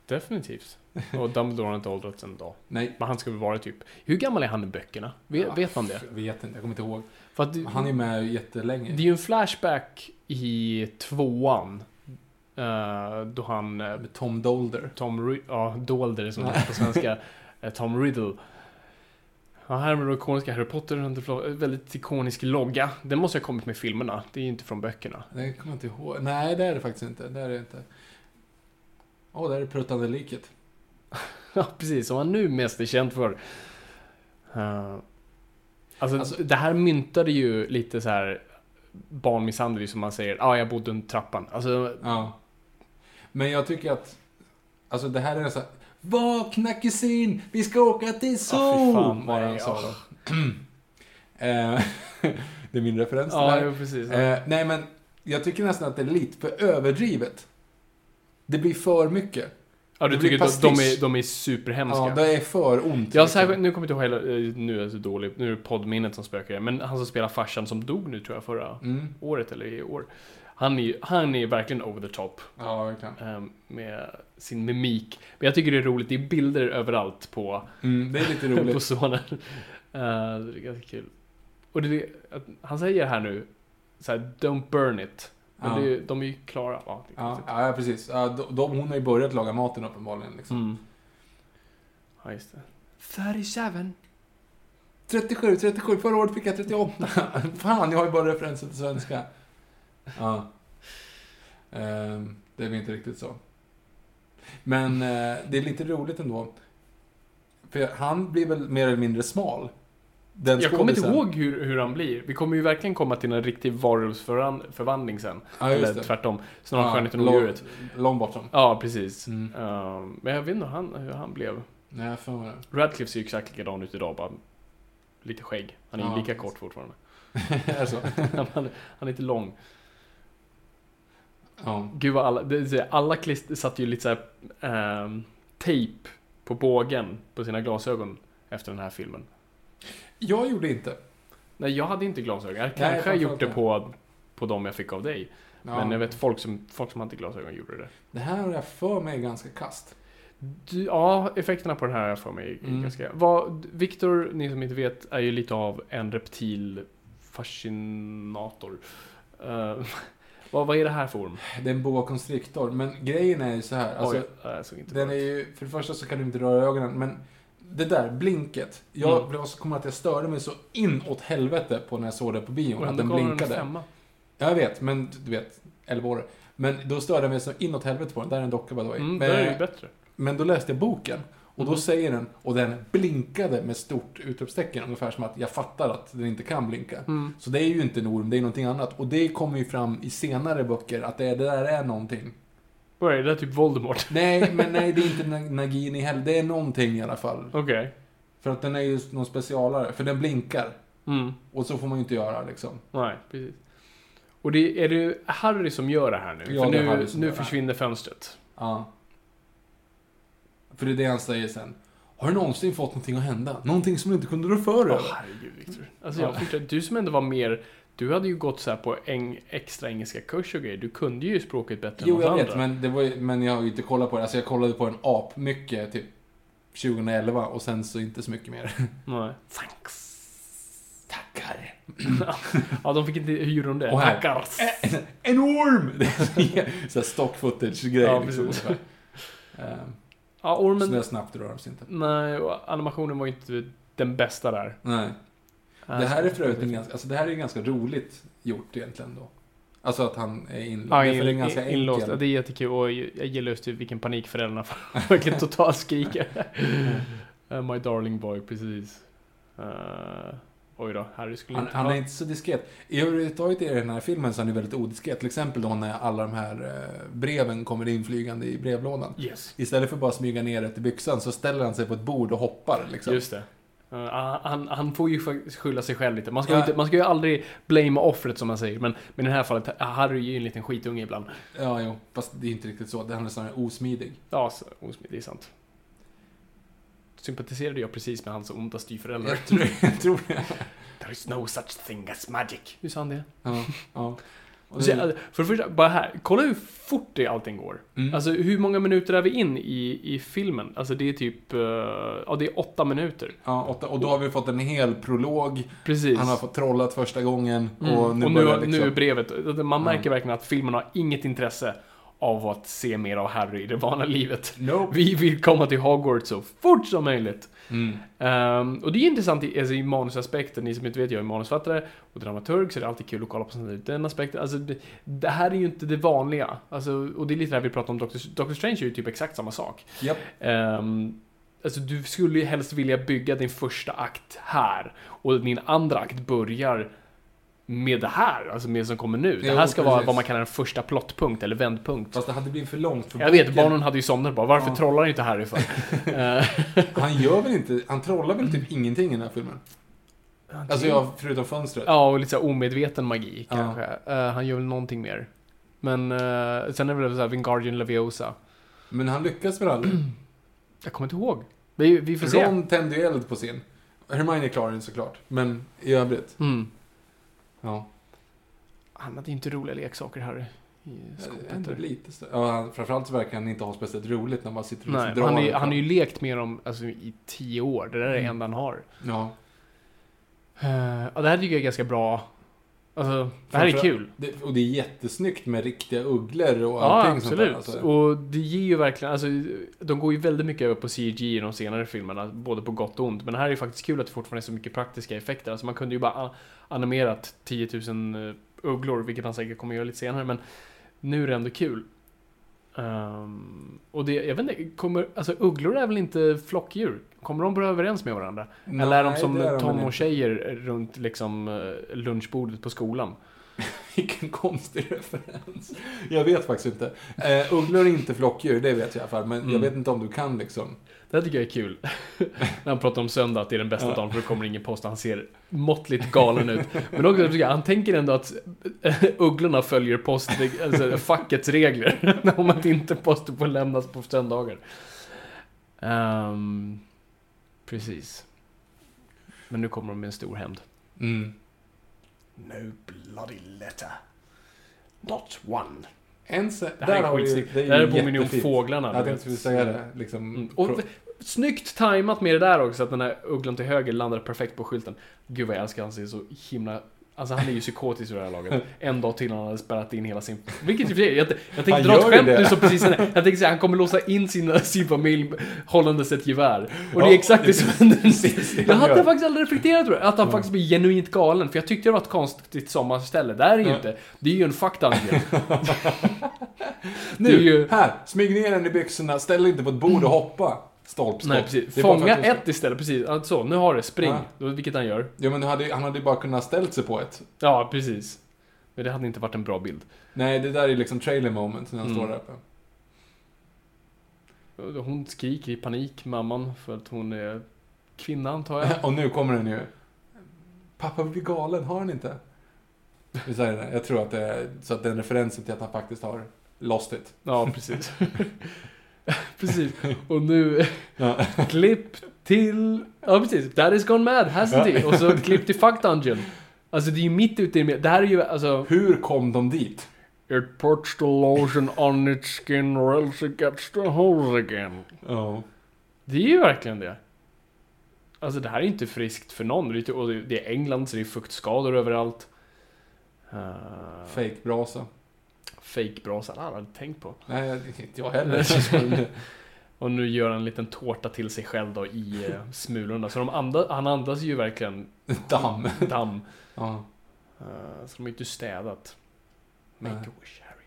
B: Definitivt. Och Dumbledore har inte åldrats en dag.
A: Nej.
B: Men han ska väl vara typ... Hur gammal är han i böckerna? Vet, vet man det?
A: Jag vet inte, jag kommer inte ihåg.
B: För att,
A: Han är ju med
B: Det är
A: jättelänge.
B: ju en flashback i tvåan. eh, då han... eh,
A: Med Tom Dolder.
B: Tom Ri- ja, Dolder som det heter på svenska. Eh, Tom Riddle. Ja, här med den ikoniska Harry Potter, en fla- väldigt ikonisk logga. Den måste ha kommit med filmerna, det är ju inte från böckerna.
A: Det kommer jag inte ihåg. Nej, det är det faktiskt inte. Det är det inte. Åh, där är det pruttande liket.
B: Ja, precis, som han nu mest är känd för. Eh, alltså,
A: Alltså-
B: det här myntade ju lite så här barnmisshandel, som man säger. Ja, ah, jag bodde under trappan. Alltså,
A: Ja. Men jag tycker att, alltså det här är en sån här, Vakna kusin, vi ska åka till Zoo!
B: Ja, fy fan,
A: var det han
B: nej,
A: sa då. Eh, det är min referens till det
B: ja,
A: här.
B: jo, precis.
A: Eh, nej, men jag tycker nästan att det är lite för överdrivet. Det blir för mycket.
B: ja,
A: det
B: du
A: blir
B: tycker att de
A: pastisch.
B: är, de är superhemska.
A: Ja, det är för ont.
B: Ja,
A: liksom.
B: särskilt, nu kommer jag inte ihåg hela, eh, nu är jag så dålig, nu är det poddminnet som spökar igen, men han som spelar farsan som dog nu tror jag förra
A: Mm.
B: året eller i år. Han är ju han är verkligen over the top
A: Ja, verkligen.
B: eh, med sin mimik. Men jag tycker det är roligt, det är bilder överallt på,
A: Mm, det är lite
B: på
A: roligt.
B: sonen. Eh, det är ganska kul. Och det, är- att han säger här nu, så här, don't burn it. Men
A: Ja.
B: det, är- de är ju klara. Ja, det är
A: Ja,
B: konstigt.
A: ja, precis. Ja, de, de, hon har ju börjat laga maten uppenbarligen. Liksom.
B: Mm. Ja, just det. 37.
A: 37, 37. Förra året fick jag 38. Fan, jag har ju bara referenser till svenska. Ja. Ehm, det är väl inte riktigt så. Men eh, det är lite roligt ändå. För han blir väl mer eller mindre smal? Den
B: Jag kommer inte
A: skådisen.
B: ihåg hur, hur han blir. Vi kommer ju verkligen komma till en riktig varulvsförvandling sen.
A: Ja, just
B: Eller
A: det.
B: tvärtom. Snarare skönheten och
A: Lon-
B: odjuret.
A: Lombardsson.
B: Ja, precis.
A: Mm.
B: Ehm, men jag vet inte hur han, hur han blev.
A: Nej, jag har för mig det.
B: Radcliffe ser ju exakt likadan ut idag, bara lite skägg. Han är ju
A: Ja,
B: lika
A: precis.
B: kort fortfarande.
A: Är det så?
B: han, han är inte lång.
A: Ja.
B: Gud vad alla, det, vill säga, alla klister satt ju lite såhär um, tejp på bågen på sina glasögon efter den här filmen.
A: Jag gjorde inte.
B: Nej, jag hade inte glasögon. Jag
A: Nej,
B: kanske har gjort det
A: framförallt
B: på, på de jag fick av dig.
A: Ja.
B: Men jag vet folk som, folk som hade glasögon gjorde det.
A: Det här har jag för mig är ganska kast.
B: Du, ja, effekterna på den här har jag för mig är
A: Mm.
B: ganska... Vad, Victor, ni som inte vet, är ju lite av en reptilfascinator. Eh, vad, vad är det här för orm?
A: Det är en boa constrictor, men grejen är ju så här. Alltså,
B: Oj, nej, jag såg inte
A: Den är
B: bra ut.
A: ju, för det första så kan du inte röra ögonen, men det där blinket. Jag
B: Mm.
A: blev så kommer att jag störde mig så inåt helvete på när jag såg det på bion,
B: Och
A: att
B: ändå
A: den
B: gav
A: blinkade.
B: En femma.
A: Jag vet, men du vet, 11 år. Men då störde jag mig så inåt helvete på den. Där är en docka by the way.
B: Mm, det är ju
A: men,
B: bättre.
A: men då läste jag boken. Och då
B: Mhm.
A: säger den, och den blinkade med stort utropstecken, ungefär som att jag fattar att den inte kan blinka.
B: Mm.
A: Så det är ju inte en orm, det är någonting annat. Och det kommer ju fram i senare böcker, att det, det där är någonting.
B: Vad är det? Det är typ Voldemort.
A: Nej, men nej, det är inte Nag- Nagini heller. Det är någonting i alla fall.
B: Okej.
A: För att den är ju någon specialare, för den blinkar.
B: Mm.
A: Och så får man ju inte göra liksom.
B: Nej, precis. Och det, är det Harry som gör det här nu?
A: Ja,
B: För
A: det är
B: nu,
A: Harry som
B: nu
A: gör det här.
B: försvinner fönstret.
A: Ja. För det är det han säger sen. Har du någonsin fått någonting att hända? Någonting som du inte kunde rå för
B: Åh
A: över?
B: herregud Victor. Alltså
A: Ja.
B: jag fortsätter, du som ändå var mer, du hade ju gått så här på en extra engelska kurs och grejer. Du kunde ju språket bättre
A: Jo,
B: än
A: jag
B: någon
A: vet,
B: andra.
A: men, det var ju, men jag har ju inte kollat på det. Alltså jag kollade på en ap mycket typ 2011 och sen så inte så mycket mer.
B: Nej. Thanks.
A: Tackar!
B: Ja, de fick inte, hur gjorde de det?
A: Och här.
B: Tackar.
A: En orm! Det är så här stock footage-grej
B: Ja,
A: liksom.
B: precis.
A: ungefär. Ehm,
B: Ja,
A: Så
B: ormen,
A: det snabbt rör de sig inte.
B: nej, och animationen var ju inte den bästa där.
A: Nej. Det här är för övrigt en ganska, alltså det här är ganska roligt gjort egentligen då. Alltså att han är inlåst.
B: Ja,
A: det är för
B: in,
A: det är ganska
B: in, inlåst. Ja,
A: enkel.
B: det är jättekul och jag gillar just typ vilken panik föräldrarna får. Verkligen totalt skriker. Eh, My darling boy, precis. Eh, oj då, Harry skulle
A: Han,
B: inte
A: han
B: ha-
A: är inte så diskret. I övrigt i den här filmen så är han ju väldigt odiskret. Till exempel då när alla de här eh, breven kommer inflygande i brevlådan.
B: Yes.
A: Istället för att bara smyga ner det i byxan så ställer han sig på ett bord och hoppar liksom.
B: Just det. Eh, han, han får ju faktiskt skylla sig själv lite. Man ska,
A: Ja.
B: ju inte, man ska ju aldrig blamea offret som man säger. Men, men i det här fallet, Harry är ju en liten skitunge ibland.
A: Ja, jo. Fast det är inte riktigt så. Det handlar snarare om osmidig.
B: Ja, så, osmidigt, det är sant. Sympatiserade jag precis med hans onda styvföräldrar?
A: Jag tror, jag tror det.
B: There is no such thing as magic. Hur sa han det?
A: Ja, ja. Och
B: Så, alltså, för det första, bara här. Kolla hur fort det allting går.
A: Mm.
B: Alltså hur många minuter är vi in i, i filmen? Alltså det är typ, eh, ja det är åtta minuter.
A: ja, åtta. Och då har vi fått en hel prolog.
B: Precis.
A: Han har fått trollat första gången.
B: Mm.
A: Och nu,
B: och nu,
A: börjar liksom...
B: nu är brevet, man märker verkligen att filmen har inget intresse av att se mer av Harry i det vana livet.
A: Nope.
B: Vi vill komma till Hogwarts så fort som möjligt.
A: Mm.
B: Ehm, och det är intressant i, alltså, i manusaspekten, ni som inte vet, jag är manusfattare och dramaturg så det är alltid kul att kolla på sånt här, den aspekten. Alltså, det, det här är ju inte det vanliga. Alltså, och det är lite det här vi pratade om, Doctor, Doctor Strange är ju typ exakt samma sak.
A: Japp.
B: Ehm, alltså du skulle ju helst vilja bygga din första akt här och din andra akt börjar med det här, alltså med det som kommer nu. det
A: Jo,
B: här ska vara
A: precis.
B: vad man kallar en första plottpunkt eller vändpunkt.
A: Fast det hade blivit för långt för
B: Jag vet,
A: boken.
B: barnen hade ju somnat bara, varför
A: Ja.
B: trollar inte Harry för? Eh,
A: Han gör väl inte, han trollar väl typ ingenting i den här filmen? Alltså jag, förutom fönstret.
B: Ja, och lite så här omedveten magi
A: Ja.
B: kanske. Eh, han gör väl någonting mer. Men eh, sen är det väl såhär Vingardium Leviosa.
A: Men han lyckas väl aldrig?
B: Jag kommer inte ihåg. Vi, vi får se.
A: Ron tände ju eld på sin. Hermione klarar den såklart, men i övrigt.
B: Mm.
A: Ja.
B: Han hade ju inte roliga leksaker, Harry. I skåpet
A: Eh, Ändå
B: där.
A: lite större. Ja, han- framförallt så verkar han inte ha speciellt roligt när man sitter och
B: Nej,
A: drar
B: han, är,
A: honom.
B: han är ju lekt med dem alltså, i tio år. Det där är det
A: Mm.
B: enda han har.
A: Ja.
B: Eh, ja, det här tycker jag är ganska bra. Alltså, det här är
A: Framförallt-
B: kul.
A: Det, och det är jättesnyggt med riktiga ugglor och
B: Ja,
A: allting sånt
B: absolut.
A: där. Alltså.
B: Och det ger ju verkligen, alltså, de går ju väldigt mycket över på CG i de senare filmerna, både på gott och ont. Men här är det faktiskt kul att det fortfarande är så mycket praktiska effekter. Alltså man kunde ju bara a- animerat 10 000 ugglor, vilket man säkert kommer göra lite senare, men nu är det ändå kul. Ehm, och det, jag vet inte, kommer, alltså ugglor är väl inte flockdjur? Kommer de bra överens med varandra? Eller är de
A: Nej,
B: som
A: det är de väl inte.
B: tonårstjejer runt liksom eh, lunchbordet på skolan?
A: Vilken konstig referens. Jag vet faktiskt inte. Eh, ugglor är inte flockdjur, det vet jag i alla fall. Men jag
B: Mm.
A: vet inte om du kan liksom.
B: Det här tycker jag är kul. När han pratar om söndag, att det är den bästa dagen för då kommer det ingen post. Han ser måttligt galen ut. Men också, tycker jag, han tänker ändå att ugglorna följer post, alltså, fackets regler. om att inte poster får lämnas på söndagar. Ehm, precis. Men nu kommer de med en stor hämnd. Mm. No bloody letter. Not one.
A: En se-
B: Det här
A: där
B: är
A: har vi ju-
B: skitsnyggt.
A: ju
B: Det här påminner ju om
A: jättefint.
B: fåglarna.
A: Jag
B: du
A: tänkte
B: vet.
A: säga det. Liksom,
B: Mm. Och v- snyggt tajmat med det där också, att den här ugglan till höger landade perfekt på skylten. Gud vad jag älskar han ser så himla... Alltså han är ju psykotisk i det här laget. En dag till han hade spärrat in hela sin... Vilket i och för sig, jag, jag tänkte
A: Han
B: dra ett
A: gör ju
B: skämt
A: det.
B: nu så precis innan- Jag tänkte säga han kommer låsa in sin, sin familj hållandes ett gevär. Och det är
A: Ja,
B: exakt det som händer. Jag
A: han
B: hade
A: gör.
B: faktiskt aldrig reflekterat över det, att han faktiskt blir genuint galen. För jag tyckte det var ett konstigt sommarställe. Det här är ju inte. Det är ju en fuck dungeon. Det är
A: Nu,
B: ju- Mm.
A: här! Smyg ner den i byxorna, ställ dig inte på ett bord och hoppa. Stolp, stolp.
B: Nej, precis.
A: Det är bara
B: Fånga
A: för att du ska-
B: ett istället, precis. Ja, Så, nu har det. Spring.
A: Ja.
B: Då- Vilket han gör.
A: Ja, men du hade, han hade ju bara kunnat ställt sig på ett.
B: Ja, precis. Men det hade inte varit en bra bild.
A: Nej, det där är liksom trailer moment när
B: Mm.
A: han står där uppe.
B: Hon skriker i panik, mamman, för att hon är kvinna antar jag.
A: Och nu kommer den ju. Pappa blir galen, har han inte? Vi säger det, jag tror att det är så att den referensen till att han faktiskt har lost it.
B: Ja, precis. precis. Och nu,
A: Ja.
B: klipp till... Ja, precis. That is gone mad, hasn't he? Och så klipp till Fuck Dungeon. Alltså det är ju mitt ute i... Det här är ju alltså...
A: Hur kom de dit?
B: It puts the lotion on its skin or else it gets the hose again.
A: Ja.
B: Det är ju verkligen det. Alltså det här är ju inte friskt för någon. Det är, ju- typ- och det- det är England så det är fuktskador överallt. Uh,
A: Fake-brasa.
B: Fejkbrasan, det har jag aldrig tänkt på.
A: Nej, jag- inte jag heller.
B: Och nu gör han en liten tårta till sig själv då i eh, smulorna. Så de andas, han andas ju verkligen
A: Damm.
B: damm.
A: Ja.
B: Eh, så de har ju inte städat. Make
A: Nej.
B: a wish Harry.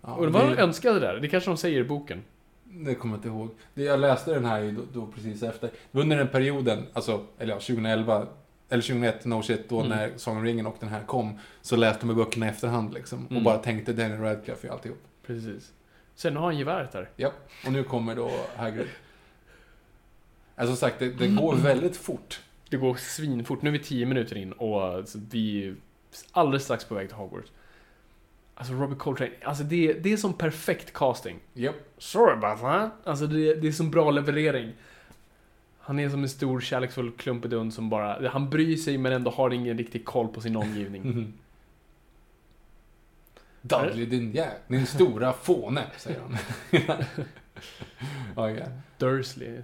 A: Ja,
B: och det var
A: det-
B: de önskade där. Det kanske de säger i boken.
A: Det kommer jag inte ihåg. Det- Jag läste den här ju då, då precis efter. Det var Under den perioden, alltså, eller ja, 2011, eller 2001, No Shit, då
B: Mm.
A: när Song om ringen och den här kom, så läste man böckerna i efterhand liksom. Och
B: Mm.
A: bara tänkte Daniel Radcliffe i alltihop.
B: Precis. Sen har han geväret där.
A: Ja, och nu kommer då Hagrid. Alltså som sagt, det, det går väldigt fort.
B: Det går svinfort. Nu är vi 10 minuter in och alltså, vi är alldeles strax på väg till Hogwarts. Alltså Robert Coltrane, alltså det, det är som perfekt casting.
A: Japp.
B: Sorry about that. Alltså det, det är som bra leverering. Han är som en stor kärleksfull klumpedund som bara, han bryr sig men ändå har ingen riktig koll på sin omgivning.
A: Dudley din jävel, din stora fåne, säger han. ja, ja.
B: Dursley. eh,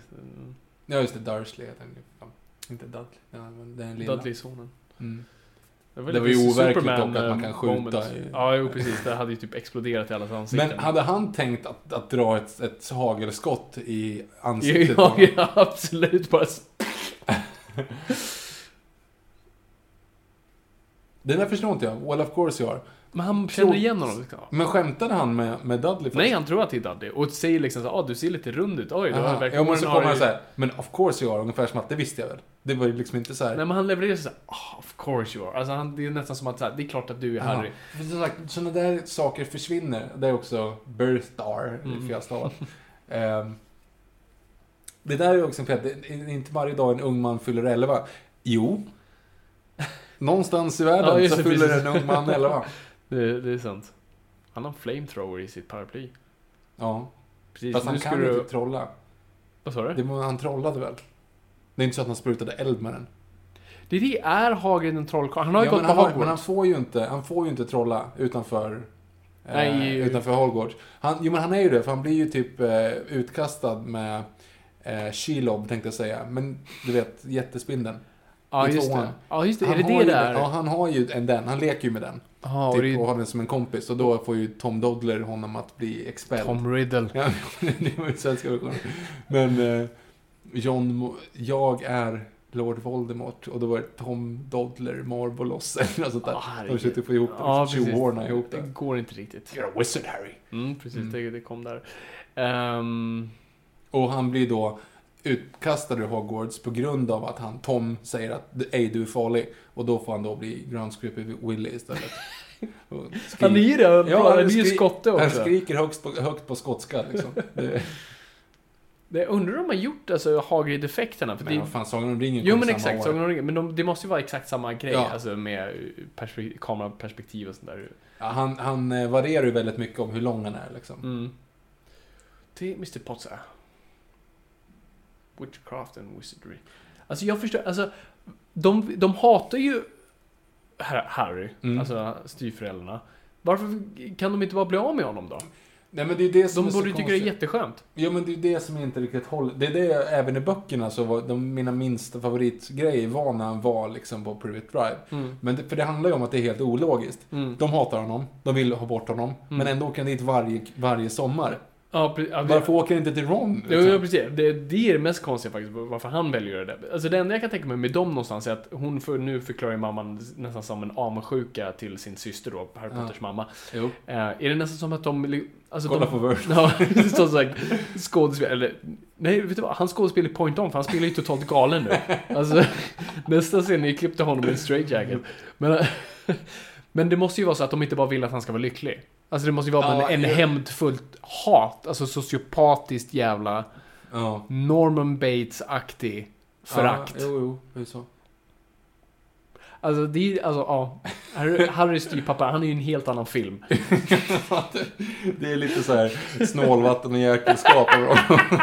A: ja, just det, Dursley heter han ju. Ja, Inte Dudley. Ja, men den lilla.
B: Dudley-sonen.
A: Mm.
B: var
A: Det var
B: lite
A: ju overkligt
B: Superman,
A: dock att man
B: eh,
A: kan skjuta
B: moment.
A: i-
B: Ja, jo precis. Det hade ju typ exploderat i allas ansikten.
A: Men hade han tänkt att, att dra ett, ett hagelskott i ansiktet? på
B: Ja,
A: honom?
B: ja, absolut. Bara
A: Det där förstår inte jag. Well, of course jag har.
B: Men han känner igen honom.
A: Men skämtade han med, med Dudley? först?
B: Nej, han tror att det är Dudley. Och säger liksom så ah, du ser lite rund ut. Oj, du har
A: Liksom. Aha.
B: verkligen...
A: Ja, men så
B: har
A: kommer han
B: du-
A: såhär, men of course you are, ungefär som att det visste jag väl. Det var ju liksom inte såhär...
B: Nej, men han levererar såhär, ah, of course you are. Alltså, han, det är nästan som att så här, det är klart att du är Harry.
A: Ja. För som sagt, sådana där saker försvinner. Det är också birthstar, mm. för jag stavat. Ehm, det där är också en fel. Det är inte varje dag en ung man fyller 11. Jo. Någonstans i
B: Ja,
A: världen
B: just
A: så
B: det,
A: fyller
B: precis.
A: en ung man 11.
B: Det, det är sant. Han har en flamethrower i sitt paraply.
A: Ja.
B: Precis,
A: Fast han
B: nu ska
A: kan
B: du...
A: inte trolla.
B: Vad sa du?
A: Det, var- han trollade väl? Det är inte så att han sprutade eld med den.
B: Det är det, är Hagrid en trollkarl? Han har ju
A: Ja,
B: gått
A: men,
B: på
A: han, har-
B: Hogwarts.
A: men han, får ju inte, han får ju inte trolla utanför, eh,
B: Nej.
A: utanför Hogwarts. Han, jo, men han är ju det, för han blir ju typ eh, utkastad med eh, Shelob, tänkte jag säga. Men du vet, jättespindeln.
B: ja,
A: i
B: just
A: tvåan.
B: det. ja, just det.
A: Han
B: Är det
A: har
B: det
A: ju,
B: där?
A: Ja, han har ju en den. Han leker ju med den.
B: Ja, och
A: typ,
B: det
A: och
B: är
A: har den som en kompis. Och då får ju Tom Dodler honom att bli expelled.
B: Tom Riddle.
A: Ja, det var ju svenska versionen. Men eh, John, Mo- jag är Lord Voldemort och då var det Tom Dodler Marbolos eller något sånt där.
B: Ah,
A: De
B: herregud.
A: försökte få ihop det,
B: Ja,
A: liksom,
B: precis.
A: tjohorna ihop
B: Det
A: det.
B: går inte riktigt.
A: You're a wizard Harry.
B: Mm, precis, det, det kom där. Ehm,
A: Och han blir då utkastad ur Hogwarts på grund av att han, Tom, säger att ej du är farlig. Och då får han då bli grönskrypig Willy istället. Och skri-
B: han är ju det, han
A: Ja,
B: han är ju
A: skri-
B: skotte
A: Han
B: också.
A: skriker högst på, högt på skotska liksom. Det,
B: Jag undrar om de har gjort alltså, Hagrid-effekterna. För
A: men
B: det,
A: vad fan, Sagan om ringen
B: jo
A: kom
B: men
A: samma
B: exakt,
A: år.
B: Sagan om ringen. Men de, det måste ju vara exakt samma grej.
A: Ja.
B: Alltså med perspe- kameraperspektiv och sånt där.
A: Ja, han, han eh, varierar ju väldigt mycket om hur lång han är liksom.
B: Mm. Det är Mr Potter. Witchcraft and wizardry. Alltså jag förstår, alltså de, de hatar ju Har- Harry,
A: Mm.
B: alltså styvföräldrarna. Varför kan de inte bara bli av med honom då?
A: Nej men det är det som
B: De
A: är så
B: borde ju tycka det är
A: konstigt.
B: jätteskönt.
A: Ja men det är det som inte riktigt håller. Det är det, jag- även i böckerna så var de, mina minsta favoritgrejer var när han var liksom på Private Drive.
B: Mm.
A: Men det, för det handlar ju om att det är helt ologiskt.
B: Mm.
A: De hatar honom, de vill ha bort honom, men ändå åker han dit varje, varje sommar.
B: Ja, pre- ja, det-
A: Varför åker han inte till Ron?
B: Jo,
A: liksom?
B: ja, precis. Det, det är det mest konstiga faktiskt, varför han väljer det. där. Alltså det enda jag kan tänka mig med dem någonstans är att hon, för, nu förklarar ju mamman nästan som en avundsjuka till sin syster då, Harry
A: Ja.
B: Potters mamma.
A: Jo.
B: Eh, är det nästan som att de... li- Alltså
A: Kolla
B: de,
A: på Word.
B: Ja, som sagt. Skådespel, eller... Nej, vet du vad? Han skådespelar i Point On, för han spelar ju totalt galen nu. Alltså, nästa scen är ju klippte honom i en straight jacket. Men, men det måste ju vara så att de inte bara vill att han ska vara lycklig. Alltså det måste ju vara
A: Ja,
B: en, en
A: ja.
B: hämndfullt hat, alltså sociopatiskt jävla
A: Ja.
B: Norman Bates-aktig förakt.
A: Ja, jo, jo, det är så.
B: Alltså det är, alltså ja. Harry, Harrys styvpappa, han är ju en helt annan film.
A: det är lite så här snålvatten och jäkelskap över honom.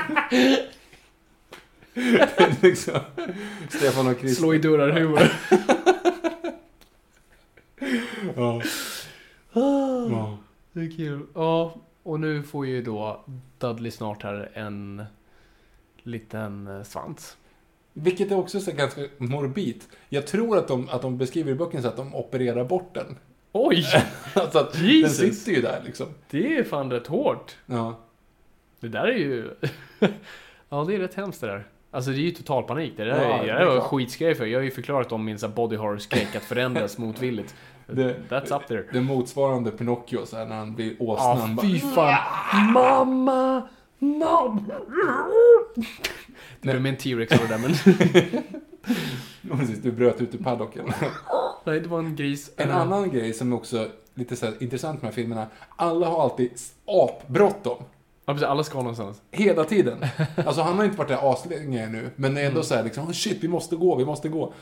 A: Det är liksom, Stefan och Chris.
B: Slå i dörrar huvud.
A: Ja.
B: Ah.
A: Ja.
B: Det är kul. Ja, och nu får ju då Dudley snart här en liten eh, svans.
A: Vilket är också så här ganska morbid. Jag tror att de, att de beskriver i boken så att de opererar bort den.
B: Oj!
A: Alltså att
B: Jesus.
A: den sitter ju där liksom.
B: Det är fan rätt hårt.
A: Ja.
B: Det där är ju... ja, det är rätt hemskt det där. Alltså det är ju total panik. Det där
A: Ja,
B: är,
A: det
B: det
A: är
B: där var en
A: klart.
B: skitgrej för. Jag har ju förklarat om min så här body horror-skräck att förändras motvilligt.
A: Det-
B: That's up there.
A: Det motsvarande Pinocchio så här när han blir
B: Ja,
A: åsnan. bara-
B: Ah, fy fan. Mamma! Mamma! Det blev med en T-Rex av det där, men...
A: Ja, Precis, du bröt ut ur paddocken.
B: Nej, det var en gris.
A: En annan grej som är också lite så här intressant med de här filmerna. Alla har alltid apbråttom.
B: Ja, precis. Alla ska någonstans.
A: Hela tiden. Alltså han har inte varit där aslänge nu, men det är
B: Mm.
A: ändå så här liksom, oh shit, vi måste gå, vi måste gå.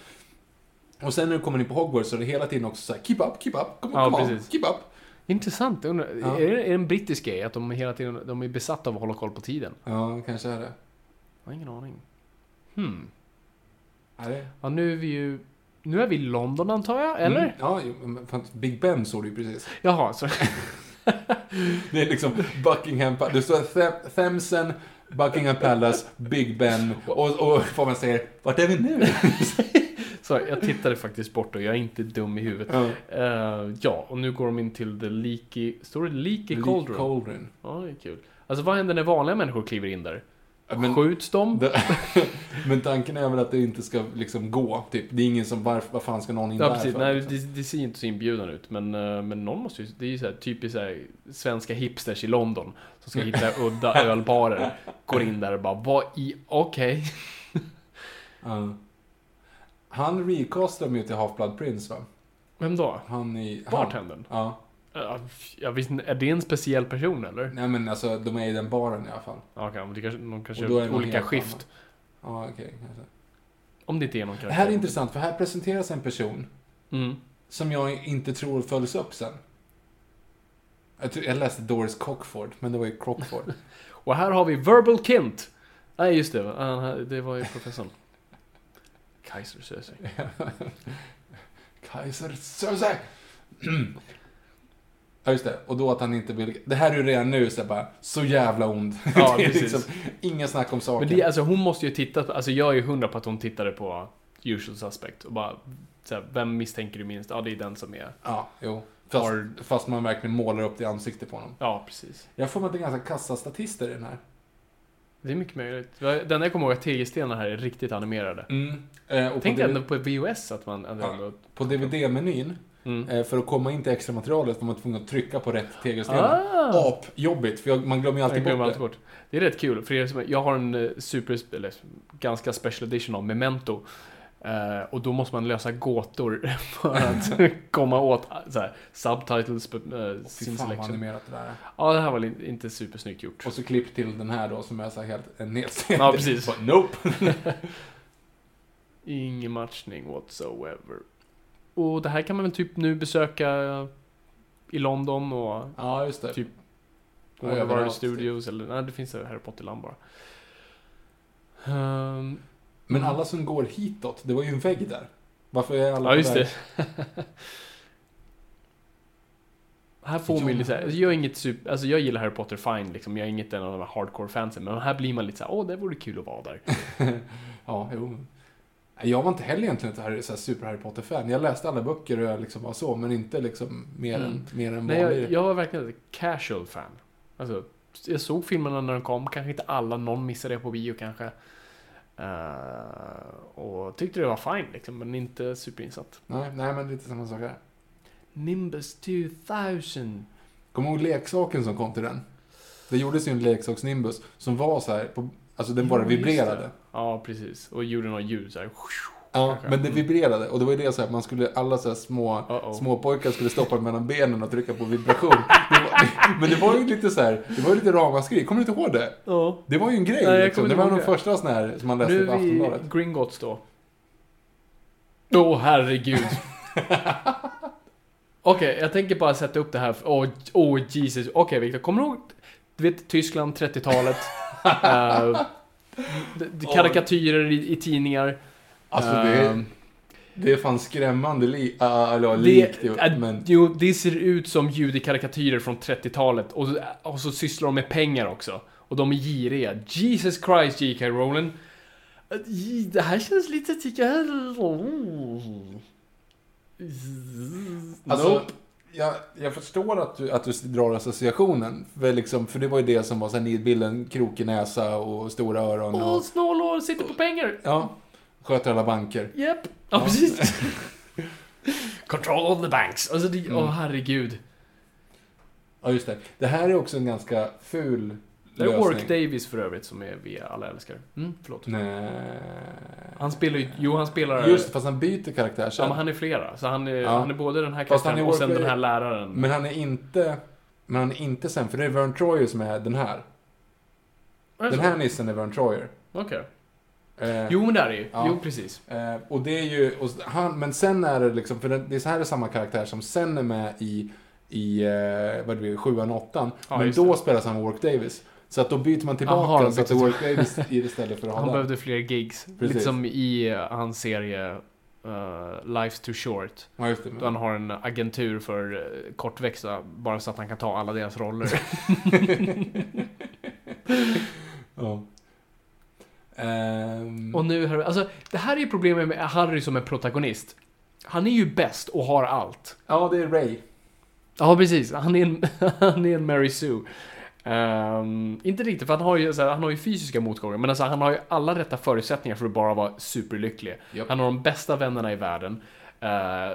A: Och sen när du kommer in på Hogwarts så är det hela tiden också så här, keep up, keep up, come on,
B: Ja,
A: come on
B: precis.
A: keep up.
B: Intressant. Jag Undrar,
A: Ja.
B: är, det, är det en brittisk grej att de hela tiden de är besatta av att hålla koll på tiden?
A: Ja, kanske är det.
B: Jag har ingen aning. Hmm.
A: Är det?
B: Ja, nu är vi ju... Nu är vi i London antar jag, eller?
A: Mm. Ja, jo, men fan, Big Ben såg du ju precis.
B: Jaha, så...
A: Det är liksom Buckingham Palace. Det står Them- Themsen, Buckingham Palace, Big Ben och, och får man säger, vart är vi nu?
B: så jag tittade faktiskt bort och jag är inte dum i huvudet.
A: Ja.
B: Eh, ja, och nu går de in till the leaky... Står det leaky cauldron?
A: Cauldron.
B: ja, det är kul. Alltså vad händer när vanliga människor kliver in där?
A: Ja, men-
B: Skjuts de?
A: Det- Men tanken är väl att det inte ska liksom gå, typ. Det är ingen som, varför, vad fan ska någon in
B: Ja
A: där
B: precis,
A: för,
B: nej
A: liksom?
B: det, det ser inte så inbjudande ut men, eh, men någon måste ju, det är ju så här, typiskt så här, svenska hipsters i London som ska hitta udda ölbarer, går in där och bara vad i, okej.
A: Ja. Han recastar dem ju till Half-Blood Prince, va?
B: Vem då?
A: Han i... han-
B: Bartendern?
A: Ja.
B: Ja, Jag visste inte, är det en speciell person eller?
A: Nej men alltså, de är i den baren i alla fall.
B: Ja, Okej, men det kanske, de kanske
A: Och då är
B: har
A: det någon
B: olika
A: helt
B: skift.
A: annan. Ja, okej. kanske.
B: Om det inte är någon
A: Det
B: karaktär.
A: här är intressant, för här presenteras en person
B: Mm.
A: som jag inte tror följs upp sen. Jag, tror, jag läste Doris Cockford, men det var ju Crockford.
B: Och här har vi Verbal Kint! Nej just det, va? Ah, det var ju professorn. Kaiser Söze.
A: Kaiser Söze! Ja just det, och då att han inte vill... Det här är ju redan nu så jag bara, så jävla ond.
B: Ja,
A: det är
B: precis.
A: liksom, ingen snack om saken.
B: Men det, alltså hon måste ju titta på, alltså jag är hundra på att hon tittade på usual suspect och bara så här, vem misstänker du minst? Ja, det är den som är.
A: Ja, jo. Fast,
B: Har-
A: fast man verkligen målar upp det i ansiktet på honom.
B: Ja, precis.
A: Jag får mig att det är ganska kassa statister i den här.
B: Det är mycket möjligt. Det enda jag kommer ihåg är att tegelstenar här är riktigt animerade.
A: Eh, och på,
B: Mm. Tänk
A: divi-
B: ändå på VOS att man ändå...
A: Ja.
B: ändå
A: på DVD-menyn,
B: Mm.
A: eh, för att komma in till extra materialet var man tvungen att trycka på rätt tegelstenar.
B: ah!
A: Apjobbigt, för jag, man glömmer ju
B: Jag
A: alltid
B: glömmer
A: bort
B: alltid
A: det.
B: bort. Det är rätt kul, för er som, jag har en eh, super, eller ganska special edition av Memento. Eh, och då måste man lösa gåtor för att komma åt eh, så här, subtitles, uh,
A: Fy
B: sin
A: fan vad
B: selection.
A: animerat det där är.
B: Ja, det här var li- inte supersnyggt gjort.
A: Och så klipp till den här då som är så här helt en nedstängd.
B: Ja, precis.
A: Bara, Nope!
B: Ingen matchning whatsoever. Och det här kan man väl typ nu besöka i London och
A: Ja, just det.
B: Typ-
A: Ja,
B: Warner
A: överallt,
B: Brothers Studios eller... Nej, det finns ett Harry Potter-land bara. Ehm,
A: Men alla som går hitåt, det var ju en vägg där. Varför är alla
B: Ja,
A: på
B: just
A: väg?
B: det. här får man ju lite såhär, alltså jag är inget super, alltså jag gillar Harry Potter fine liksom, jag är inget en av de här hardcore fansen, men här blir man lite såhär, åh det vore kul att vara där.
A: Ja, jo. Nej, Jag var inte heller egentligen ett Harry- så här super Harry Potter-fan. Jag läste alla böcker och jag liksom var så, men inte liksom mer
B: Mm.
A: än, mer än
B: Nej, jag,
A: vanlig.
B: jag var verkligen ett casual fan. Alltså, jag såg filmerna när de kom, kanske inte alla, någon missade det på bio kanske. Eh, och tyckte det var fine liksom, men inte superinsatt.
A: Nej, nej, men lite samma sak här.
B: Nimbus 2000.
A: Kommer du ihåg leksaken som kom till den? Det gjordes ju en leksaksnimbus som var så här, på, alltså den bara
B: Jo, just
A: vibrerade.
B: det. Ja, precis. Och gjorde något ljud såhär.
A: Ja,
B: Kanske. Mm.
A: men det vibrerade och det var ju det så här, man skulle, alla så här små,
B: Uh-oh.
A: små pojkar skulle stoppa den mellan benen och trycka på vibration. Det var, men det var ju lite så här, det var ju lite ramaskri, kommer du inte ihåg det?
B: Ja.
A: Det var ju en grej
B: Nej, jag
A: liksom. Det
B: kommer
A: var en av
B: inte
A: de
B: ihåg det.
A: första sån här som man läste
B: Nu
A: på
B: är vi
A: Aftonbladet.
B: Gringotts då. Åh herregud. Okej, jag tänker bara sätta upp det här. för- Åh åh, Jesus. Okej Viktor, kommer du ihåg? Du vet Tyskland, 30-talet. Eh, d- d- karikatyrer i, i tidningar.
A: Alltså det,
B: Ehm,
A: det är fan skrämmande li, ah, eller, ja, likt ju,
B: det, äh,
A: men
B: jo, det ser ut som judekarikatyrer från 30-talet och, och så sysslar de med pengar också. Och de är giriga. Jesus Christ, J.K. Rowling. Äh, j- Det här känns lite... tycker jag-
A: alltså,
B: Nope.
A: jag, jag förstår att du, att du drar associationen. För, liksom, för det var ju det som var så här nidbilden, krokig näsa och stora öron. Och,
B: Åh, snålhår, sitter på pengar.
A: ja, sköter alla banker.
B: Japp. Ja, precis. Control of the banks. Alltså, det, åh herregud.
A: Ja, just det. Det här är också en ganska ful
B: Det är Ork
A: lösning.
B: Davis för övrigt som är vi alla älskar. Mm, förlåt.
A: Nej.
B: Han spelar ju... Jo, han spelar...
A: Just det, fast han byter karaktär sen.
B: Ja, men han är flera. Så han är,
A: Ja.
B: han är både den här
A: Fast han är
B: karaktären och sen
A: Warcraft-
B: den här läraren.
A: Men han är inte... Men han är inte sen, för det är Vern Troyer som är den här.
B: Är det
A: Den
B: så?
A: här nissen är Vern Troyer.
B: Okej.
A: Eh,
B: Jo, men där är ju.
A: Ja.
B: Jo, precis.
A: Eh, och det är ju, och han, men sen är det liksom, för det, det är så här är samma karaktär som sen är med i, i eh, vad det blir, sjuan och åttan.
B: Ja,
A: men
B: just
A: då
B: det.
A: spelas han Work Davis. Så att då byter man
B: Aha,
A: tillbaka
B: de
A: så att det är
B: byter
A: Work Davis i- istället för att
B: Han
A: ha den.
B: behövde fler gigs. Lite
A: Precis.
B: som i eh, hans serie eh, Life's Too Short.
A: Ja, just det.
B: Då han har en agentur för eh, kortväxta, bara så att han kan ta alla deras roller.
A: Ja. Ehm,
B: Och nu, har- alltså, det här är ju problemet med Harry som är protagonist. Han är ju bäst och har allt.
A: ja, det är Ray.
B: Ja, precis. Han är en, han är en Mary Sue. Ehm, inte riktigt, för han har, ju, så här, han har ju fysiska motgångar, men alltså, han har ju alla rätta förutsättningar för att bara vara superlycklig.
A: Japp.
B: Han har de bästa vännerna i världen. Eh,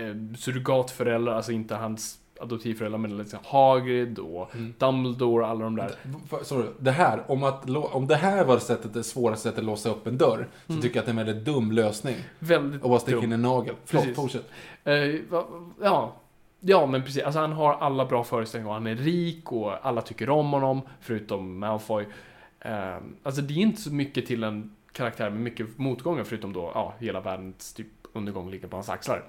B: eh, surrogatföräldrar, alltså inte hans adoptivföräldrar, men liksom Hagrid och Dumbledore och alla de där.
A: För- Sorry, det här, om, att, lå- om det här var sättet, det svåraste sättet att låsa upp en dörr, så tycker jag att det är en väldigt dum lösning.
B: Väldigt
A: Att bara sticka
B: Mm. dum.
A: in en nagel. Förlåt,
B: Precis.
A: fortsätt.
B: Eh, va- ja. ja, men precis. Alltså, han har alla bra föreställningar. Han är rik och alla tycker om honom, förutom Malfoy. Eh, alltså, det är inte så mycket till en karaktär med mycket motgångar, förutom då ja, hela världens typ undergång ligger på hans axlar.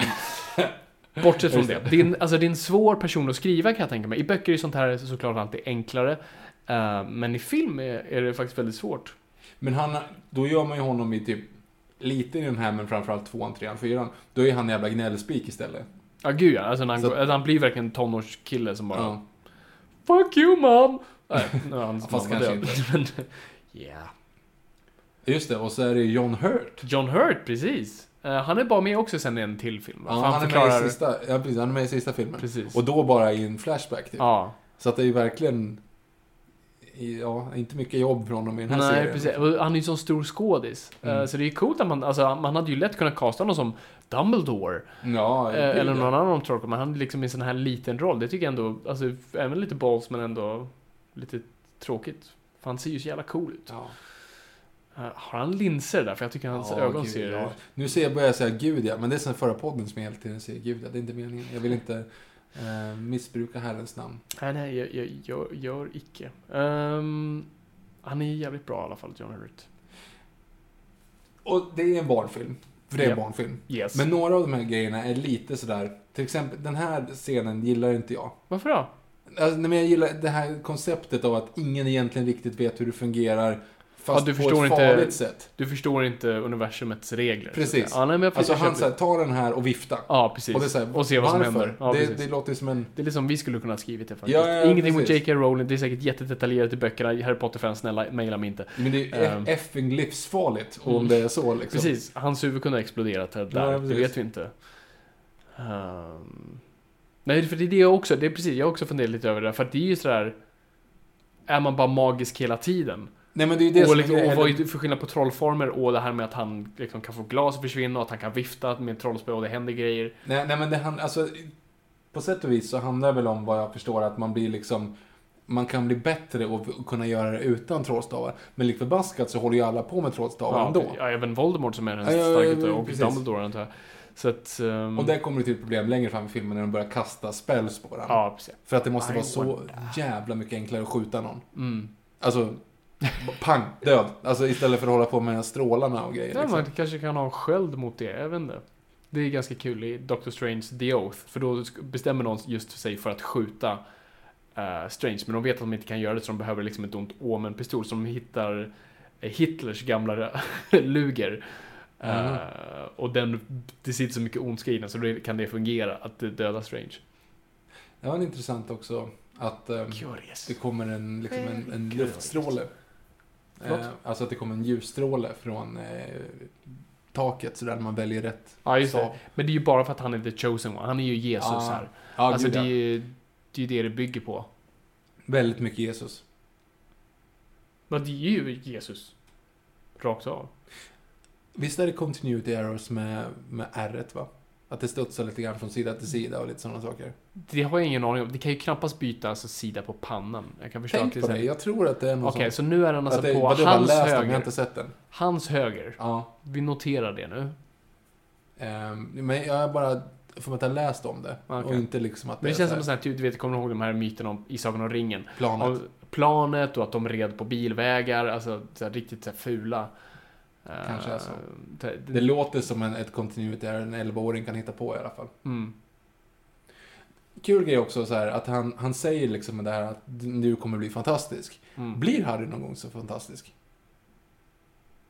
B: Bortsett från det. Det är, en, alltså, det är en svår person att skriva kan jag tänka mig. I böcker är sånt här såklart alltid enklare. Ehm, Eh, men i film är, är det faktiskt väldigt svårt.
A: Men han, då gör man ju honom i typ lite i den här, men framförallt tvåan, trean, fyran, då är han en jävla gnällspik istället.
B: Ja, gud ja. Alltså, när han,
A: Så-
B: går, alltså, han blir verkligen en tonårskille som bara
A: Ja.
B: Fuck you mom! Nej, nu är hans
A: Fast
B: mamma
A: kanske
B: död. Men, yeah.
A: Just det, och så är det John Hurt.
B: John Hurt, precis. Eh, han är bara med också sen i en till film. va?
A: Ja,
B: För
A: han, är med i sista, ja, precis, han är med i sista filmen.
B: Precis.
A: Och då bara i en flashback typ.
B: Ja,
A: Så att det är ju verkligen... i- Ja, inte mycket jobb från honom i den här
B: nej
A: serien. Mm.
B: precis. Och Han är ju en sån stor skådis. Eh, Så det är ju coolt att man, alltså man hade ju lätt kunnat casta någon som Dumbledore.
A: Ja,
B: eh,
A: det-
B: eller någon annan Trollkarl, men han är liksom i en sån här liten roll. Det tycker jag ändå, alltså även lite balls men ändå lite tråkigt. För han ser ju så jävla cool ut.
A: Ja.
B: Eh, Har han linser där? För jag tycker hans
A: Ja,
B: ögon
A: gud,
B: ser...
A: ja. Nu ser jag, börjar jag säga gud ja, men det är sen förra podden som jag hela tiden säger gud ja. Det är inte meningen. Jag vill inte eh, missbruka Herrens namn.
B: Nej, nej, jag, jag, jag gör icke. Ehm, han är jävligt bra i alla fall, John Hurt.
A: Och det är en barnfilm. För det är en
B: Ja.
A: barnfilm.
B: Yes.
A: Men några av de här grejerna är lite sådär, till exempel den här scenen gillar inte jag.
B: Varför då?
A: Alltså, nej, men jag gillar det här konceptet av att ingen egentligen riktigt vet hur det fungerar. Fast
B: Ja, du
A: på
B: förstår
A: ett
B: inte-
A: farligt sätt.
B: Du förstår inte universumets regler. så att
A: Precis.
B: säga. Ja, nej, men jag
A: Alltså
B: jag
A: han
B: köper-
A: såhär, ta den här och vifta.
B: Ja, precis.
A: Och, det är så här,
B: se vad som
A: varför?
B: händer. Ja,
A: det,
B: precis.
A: det låter som en...
B: Det är liksom vi skulle kunna ha skrivit det faktiskt.
A: Ja, ja, ja,
B: Ingenting mot
A: precis.
B: J.K. Rowling, det är säkert jättedetaljerat i böckerna. Harry Potter-fans, snälla mejla mig inte.
A: Men det är
B: Ehm. Mm.
A: um, effing livsfarligt om det är så liksom.
B: Precis, hans huvud kunde ha exploderat där.
A: Ja, ja,
B: det
A: precis.
B: vet vi inte. Ehm, nej, för det är det jag också, det är precis, jag har också funderat lite över det där, för att det är ju sådär... Är man bara magisk hela tiden?
A: Nej men det är ju det
B: och
A: som
B: liksom,
A: är
B: och vad är
A: grejen.
B: det för skillnad på trollformer och det här med att han liksom kan få glas att försvinna och att han kan vifta med trollspö och det händer grejer.
A: Nej, nej men det handlar, alltså. På sätt och vis så handlar det väl om vad jag förstår att man blir liksom. Man kan bli bättre och och kunna göra det utan trollstavar. Men lik förbaskat så håller ju alla på med trollstavar ändå.
B: ja, även Voldemort som är den
A: Ja, ja, ja,
B: starkaste
A: ja,
B: och
A: precis.
B: Dumbledore antar jag. Så att... ehm,
A: Och där kommer det till ett problem längre fram i filmen när de börjar kasta spells på varandra.
B: Ja, precis.
A: För att det måste
B: I Mm.
A: vara så jävla mycket enklare att skjuta någon. Alltså, pang, död. Alltså istället för att hålla på med strålarna och grejer.
B: Ja,
A: Liksom.
B: man kanske kan ha en sköld mot det, jag vet inte. Det är ganska kul i Doctor Strange The Oath, för då sk- bestämmer någon just sig för att skjuta eh, Strange, men de vet att de inte kan göra det så de behöver liksom ett ont Omen-pistol, så de hittar eh, Hitlers gamla luger. Eh,
A: Mm.
B: och den, det sitter så mycket ondska i den, så då kan det fungera att döda Strange.
A: Det var intressant också att ehm,
B: Curious.
A: det kommer en, liksom en, en
B: Curious.
A: luftstråle.
B: Förlåt?
A: Eh, alltså att det kommer en ljusstråle från eh, taket sådär när man väljer rätt.
B: Ja, just det.
A: stav.
B: Men det är ju bara för att han är the chosen one, han är ju Jesus
A: Ah. Ja.
B: här.
A: Ja,
B: alltså
A: gud,
B: det är
A: ja.
B: ju det, är ju det det bygger på.
A: Väldigt mycket Jesus.
B: Men det är ju Jesus. Rakt av.
A: Visst är det continuity errors med, med r va? Att det studsar lite grann från sida till sida och lite sådana saker.
B: Det har jag ingen aning om. Det kan ju knappast byta alltså, sida på pannan. Jag kan förstå att
A: Tänk
B: det
A: på
B: är så
A: det,
B: här-
A: jag tror att det är någon
B: Okej,
A: sån...
B: så nu är den alltså
A: att det,
B: på
A: vadå, jag har
B: hans
A: läst den, men jag har
B: höger.
A: inte sett den.
B: Hans höger.
A: Ja.
B: Vi noterar det nu.
A: Ehm, men jag har bara för att jag har läst om det.
B: Ah, Okej.
A: Och inte liksom att
B: Men det
A: är
B: känns som
A: så
B: en
A: här
B: sån här, typ, du vet, kommer du ihåg de här myterna om, i Sagan om ringen?
A: planet.
B: Av planet och att de red på bilvägar, alltså så här, riktigt så här, fula. eh,
A: Kanske är så.
B: det-
A: Det låter som en, ett continuity error en 11-åring kan hitta på i alla fall.
B: Mm.
A: Kul grej också så här att han, han säger liksom det här att du kommer bli fantastisk.
B: Mm.
A: Blir Harry någon gång så fantastisk?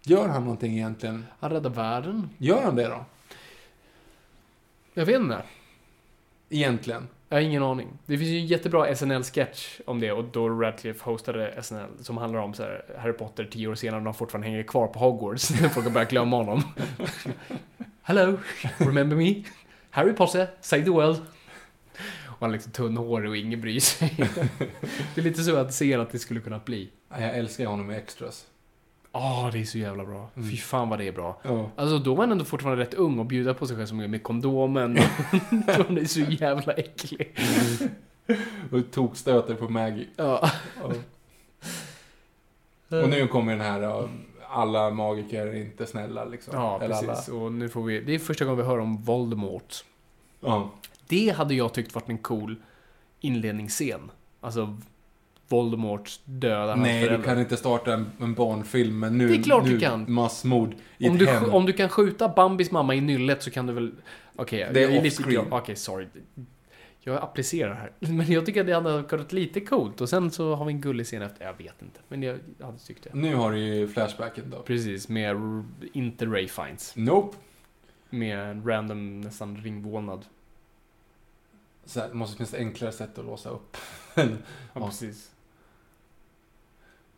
A: Gör han någonting egentligen?
B: Han räddar världen.
A: Gör han det då?
B: Jag vet inte.
A: Egentligen?
B: Jag har ingen aning. Det finns ju en jättebra SNL-sketch om det och då Radcliffe hostade SNL som handlar om så här, Harry Potter tio år senare och de fortfarande hänger kvar på Hogwarts när folk har börjat glömma honom. Hello, remember me? Harry Potter, save the world. Och han är liksom tunnhårig och ingen bryr sig. det är lite så att ser att det skulle kunna bli.
A: Ja, Jag älskar honom i Extras.
B: Ah, det är så jävla bra.
A: Mm.
B: Fy fan vad det är bra.
A: Ja.
B: Alltså då var han ändå fortfarande rätt ung och bjuda på sig själv så mycket med kondomen. Hon är så jävla äcklig.
A: Och tokstöter på Maggie.
B: Ja.
A: Och nu kommer den här ja, alla magiker är inte snälla liksom.
B: Ja,
A: Eller alla-
B: precis. Och nu får vi, det är första gången vi hör om Voldemort.
A: Ja.
B: Det hade jag tyckt varit en cool inledningsscen. Alltså, Voldemort dödar hans
A: Nej, du
B: föräldrar.
A: kan inte starta en, en barnfilm med nu,
B: Det är klart
A: nu
B: du kan.
A: massmord i
B: om
A: ett
B: du,
A: hem.
B: om du kan skjuta Bambis mamma i nyllet så kan du väl... Okej,
A: Det är
B: jag lite-
A: off-screen.
B: Okej, sorry. Jag applicerar här. Men jag tycker att det hade varit lite coolt. Och sen så har vi en gullig scen efter. Jag vet inte. Men jag hade tyckt det.
A: Nu har du ju flashbacken då.
B: Precis, med r- inte Ray Fiennes.
A: Nope.
B: Med en random, nästan ringvålnad.
A: Så här, det måste finnas ett enklare sätt att låsa upp.
B: Ja,
A: Ja.
B: precis.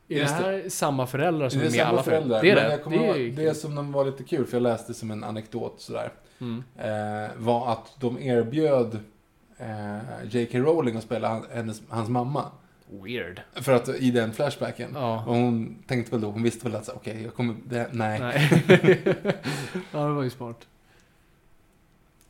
B: Är det
A: Just
B: här samma föräldrar som är,
A: det är
B: med i alla
A: samma föräldrar.
B: föräldrar? Det är
A: men
B: det.
A: Jag kommer
B: det, är
A: ihåg,
B: ju
A: det som de var lite kul, för jag läste som en anekdot sådär.
B: kul. mm.
A: eh, var att de erbjöd eh, J.K. Rowling att spela han, hennes, hans mamma.
B: Weird.
A: För att i den flashbacken.
B: Ja.
A: Och hon tänkte väl då, hon visste väl att så, okej, jag kommer, det, nej.
B: Nej. ja, det var ju smart.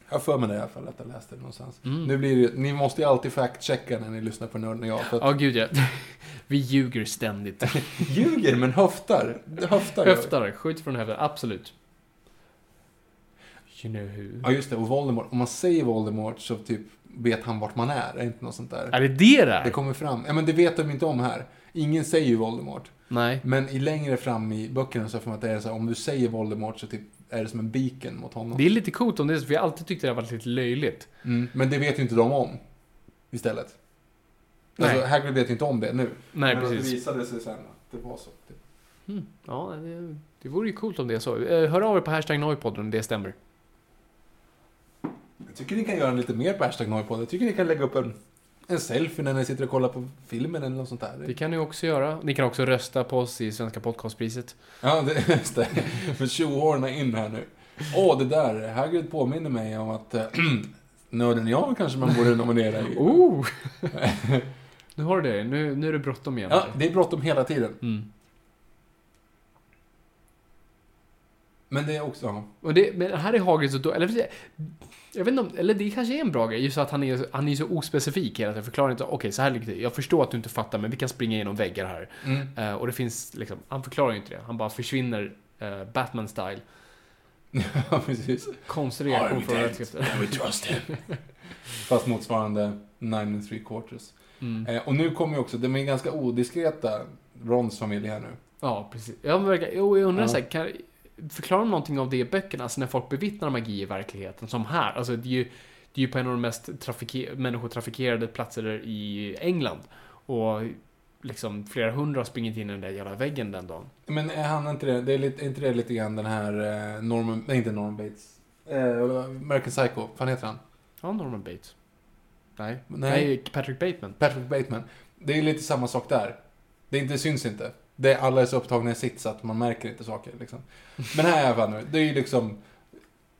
A: Jag har för mig det i alla fall att jag läste det någonstans.
B: Mm.
A: Nu blir det, ju- ni måste ju alltid fact-checka när ni lyssnar på Nörden och jag. För att
B: Ja, gud ja. Vi ljuger ständigt.
A: ljuger, men höftar. Höftar. gör vi.
B: Höftar, skjut från höften. Absolut. You know who.
A: Ja, just det. Och Voldemort. Om man säger Voldemort så typ vet han vart man är. Är inte något sånt där?
B: Är det det
A: Det
B: där?
A: kommer fram. Ja, men det vet de inte om här. Ingen säger ju Voldemort.
B: Nej.
A: Men i längre fram i böckerna så får man att det är så här, om du säger Voldemort så typ är det som en beacon mot honom.
B: Det är lite coolt om det, är så, för jag har alltid tyckt det har varit lite löjligt.
A: Mm. Men det vet ju inte de om. Istället.
B: Nej.
A: Alltså, Hagrid vet ju inte om det nu.
B: Nej,
A: men att det
B: precis.
A: visade sig sen att det var så. Typ.
B: Mm. Ja, det, det vore ju coolt om det är så. Eh, Hör av er på hashtag Noipodden om det stämmer.
A: Jag tycker ni kan göra lite mer på hashtag Noipod. Jag tycker ni kan lägga upp en, en selfie när ni sitter och kollar på filmen eller något sånt där.
B: Det kan ni också göra. Ni kan också rösta på oss i Svenska Podcastpriset.
A: Ja, det, just det. För tjohorna in här nu. Åh, det där. Hagrid påminner mig om att äh, Nörden och jag kanske man borde nominera i.
B: Oh! nu har du det. Nu, nu är det bråttom igen.
A: Ja, det är bråttom hela tiden.
B: Mm.
A: Men det är också... Ja.
B: Och det, men här är Hagrid så då, eller, jag vet inte om, eller det kanske är en bra grej, just att han är, han är så ospecifik hela tiden. Förklarar inte, okej så här ligger det Jag förstår att du inte fattar, men vi kan springa igenom väggar här.
A: Mm.
B: Eh, och det finns liksom, han förklarar ju inte det. Han bara försvinner eh, Batman-style.
A: ja, precis.
B: Konstig reaktion från rättskriften.
A: we trust him. Fast motsvarande 9 and 3 quarters.
B: Mm.
A: Eh, och nu kommer ju också, de är ganska odiskreta, Rons familj här nu.
B: Ja, precis. Jag, verkar, jo, jag undrar
A: Ja.
B: så här, kan, förklarar de någonting av det i böckerna? Alltså när folk bevittnar magi i verkligheten, som här. Alltså det är ju, det är ju på en av de mest trafike- människotrafikerade platser i England. Och liksom flera hundra har springit in i den där jävla väggen den dagen.
A: Men är han inte det, det är, lite, är inte det lite grann den här eh, Norman, nej inte Norman Bates. Eh, American Psycho, vad fan heter han?
B: Ja, Norman Bates. Nej.
A: Nej.
B: Nej. Patrick Bateman.
A: Patrick Bateman. Det är lite samma sak där. Det, är inte, det syns inte. Det är, alla är så upptagna i sitt så att man märker inte saker. Liksom. Men här är jag fan nu. Det är ju liksom...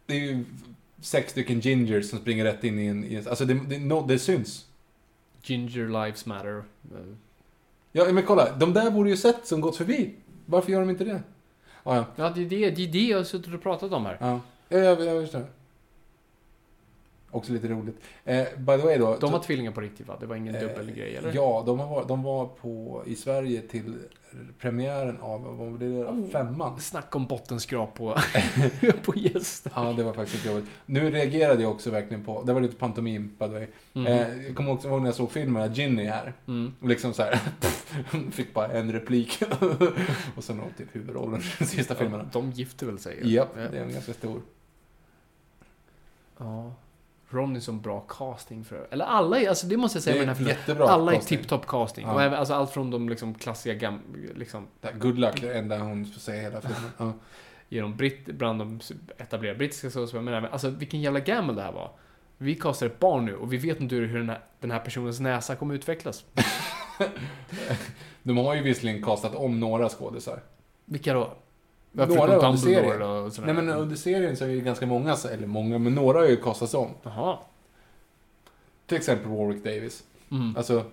A: Det är ju sex stycken gingers som springer rätt in i en... I en alltså det, det, no, det syns.
B: Ginger Lives Matter. Eh,
A: Ja, men kolla. De där borde ju sett som gått förbi. Varför gör de inte det? Ja, ja.
B: Ja, det är det, det, är det jag har suttit och pratat om här.
A: ja. ja jag, jag förstår. Också lite roligt. Eh, by the way då.
B: De var tvillingar på riktigt va? Det var ingen
A: Eh,
B: dubbelgrej eller?
A: Ja, de, har varit, de var på, i Sverige till premiären av, vad var det,
B: Oh.
A: femman?
B: Snack om bottenskrap på, på gäster.
A: Ja, det var faktiskt jobbigt. Nu reagerade jag också verkligen på, det var lite pantomim by the way.
B: Mhm.
A: Eh, jag kommer också ihåg när jag såg filmen, att Ginny är här.
B: Mm.
A: Och liksom så här, fick bara en replik. och sen har hon typ huvudrollen i de sista filmerna.
B: De gifter väl sig?
A: Japp,
B: Ja.
A: det är en ganska stor.
B: Ja. Ron är som bra casting för Eller alla är, alltså det måste jag säga
A: Det
B: med
A: är
B: den här filmen.
A: jättebra
B: Alla är
A: casting.
B: tipptopp casting.
A: Ja.
B: Och även, alltså allt från de liksom klassiga gam, liksom,
A: Där, Good luck, det enda hon får säga i hela filmen. Ja.
B: genom britt, bland de etablerade brittiska skådespelarna. Men även, alltså vilken jävla gammal det här var. Vi castar ett barn nu och vi vet inte hur den här, den här personens näsa kommer utvecklas.
A: De har ju visserligen kastat om några skådisar.
B: Vilka då?
A: Några
B: Förutom
A: under
B: Dumbledore
A: serien.
B: och sådär.
A: Nej men under serien så är det ju ganska många, så- eller många, men några har ju kastats om.
B: Jaha.
A: Till exempel Warwick Davis.
B: Mm.
A: Alltså,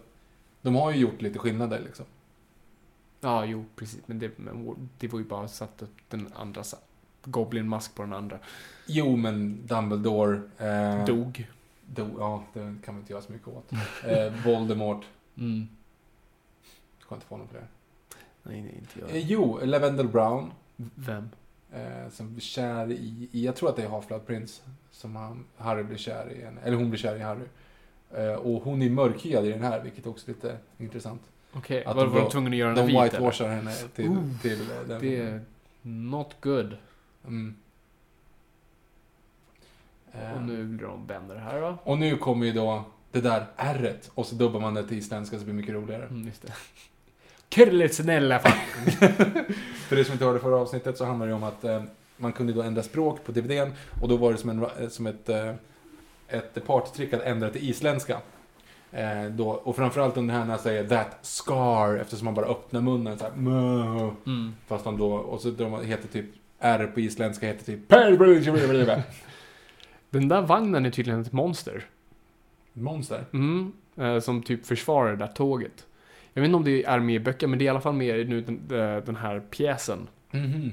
A: de har ju gjort lite skillnader liksom.
B: Ja, jo, precis. Men det, men det var ju bara satt upp den andra sa- Goblin-mask på den andra.
A: Jo, men Dumbledore... Eh,
B: Dog.
A: Do, ja, det kan vi inte göra så mycket åt. Eh, Voldemort.
B: Mm.
A: Jag kan inte få någon fler.
B: Nej, nej, inte
A: Eh, jo, Lavendel Brown.
B: Vem?
A: Eh, som blir kär i, i... Jag tror att det är Half-Blood Prince. Som han, Harry blir kär i. henne. Eller hon blir kär i Harry. Eh, och hon är mörkhyad i den här, vilket också är lite intressant.
B: Okej,
A: Att
B: var,
A: de
B: var de
A: var-
B: tvungna att göra
A: De
B: den vit? eller?
A: whitewashar henne till,
B: Ooh,
A: till eh, den.
B: Det är not good.
A: Mm. Eh,
B: Och nu blir de vänner här då.
A: Och nu kommer ju då det där ärret och så dubbar man det till isländska så det blir mycket roligare.
B: Mm, just det. Krullet snälla fan.
A: För det som inte hörde förra avsnittet så handlar det om att eh, man kunde då ändra språk på DVDn och då var det som, en, eh, som ett, eh, ett partytrick att ändra till isländska. Eh, då, och framförallt under här när jag säger that scar eftersom man bara öppnar munnen så här, "Mö",
B: Mm.
A: Fast de då, och så de heter typ R på isländska heter typ "Per-"
B: Den där vagnen är tydligen ett monster.
A: Monster.
B: Mm. Eh, som typ försvarar det där tåget. Jag vet inte om det är med i böcker, men det är i alla fall med i nu den, eh, den här pjäsen.
A: Mhm.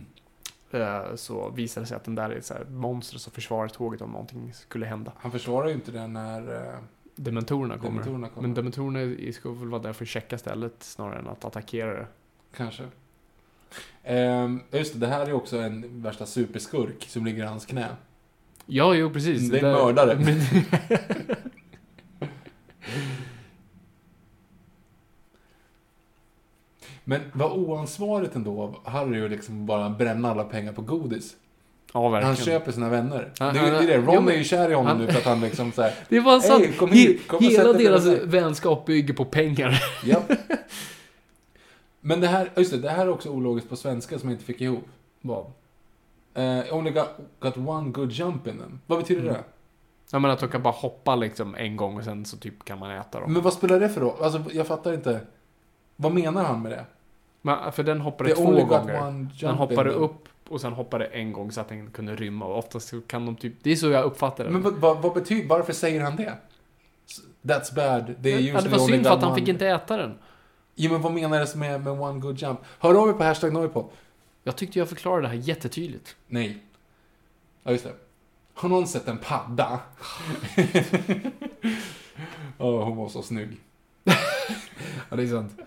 B: Eh, så visar det sig att den där är ett så här monster som försvarar tåget om någonting skulle hända.
A: Han försvarar ju inte den när eh,
B: Dementorerna kommer.
A: dementorerna kommer.
B: Men dementorerna i- ska väl vara där för att checka stället snarare än att attackera det.
A: Kanske. Ehm, just det, det här är också en värsta superskurk som ligger i hans knä.
B: Ja, jo precis.
A: Det är en mördare.
B: Men-
A: Men vad oansvarigt ändå av Harry att liksom bara bränna alla pengar på godis.
B: ja,
A: Han
B: verkligen.
A: köper sina vänner.
B: Han-
A: det är ju
B: han-
A: det, Ron
B: jo, men-
A: är ju kär i honom
B: han-
A: nu för att han liksom såhär,
B: Det var sant.
A: Hej, kom
B: He-
A: hit, kom och sätt
B: Hela
A: dig
B: deras
A: med mig.
B: vänskap bygger på pengar.
A: ja. Men det här, just det, det här är också ologiskt på svenska som jag inte fick ihop.
B: Vad?
A: Eh, only got, got one good jump in them. Vad betyder
B: Mm.
A: det?
B: Jag menar att de kan bara hoppa liksom en gång och sen så typ kan man äta dem.
A: Men vad spelar det för roll? Alltså, jag fattar inte. Vad menar han med det?
B: Men, för den hoppade
A: Det
B: två
A: only got
B: gånger.
A: one jump
B: Den
A: in
B: hoppade
A: them.
B: upp och sen hoppade en gång så att den kunde rymma. Och oftast så kan de typ... Det är så jag uppfattar det.
A: Men vad, vad, vad betyder, varför säger han det? S- That's bad. Det är
B: ja, det
A: usually
B: var
A: only
B: synd för
A: got
B: att han
A: one.
B: fick inte äta den.
A: Jo, men vad menades med, med one good jump? Hör av er på hashtag Noipod.
B: Jag tyckte jag förklarade det här jättetydligt.
A: Nej. Ja, just det. Har någon sett en padda? Åh, oh, hon var så snygg.
B: Ja, det är sant.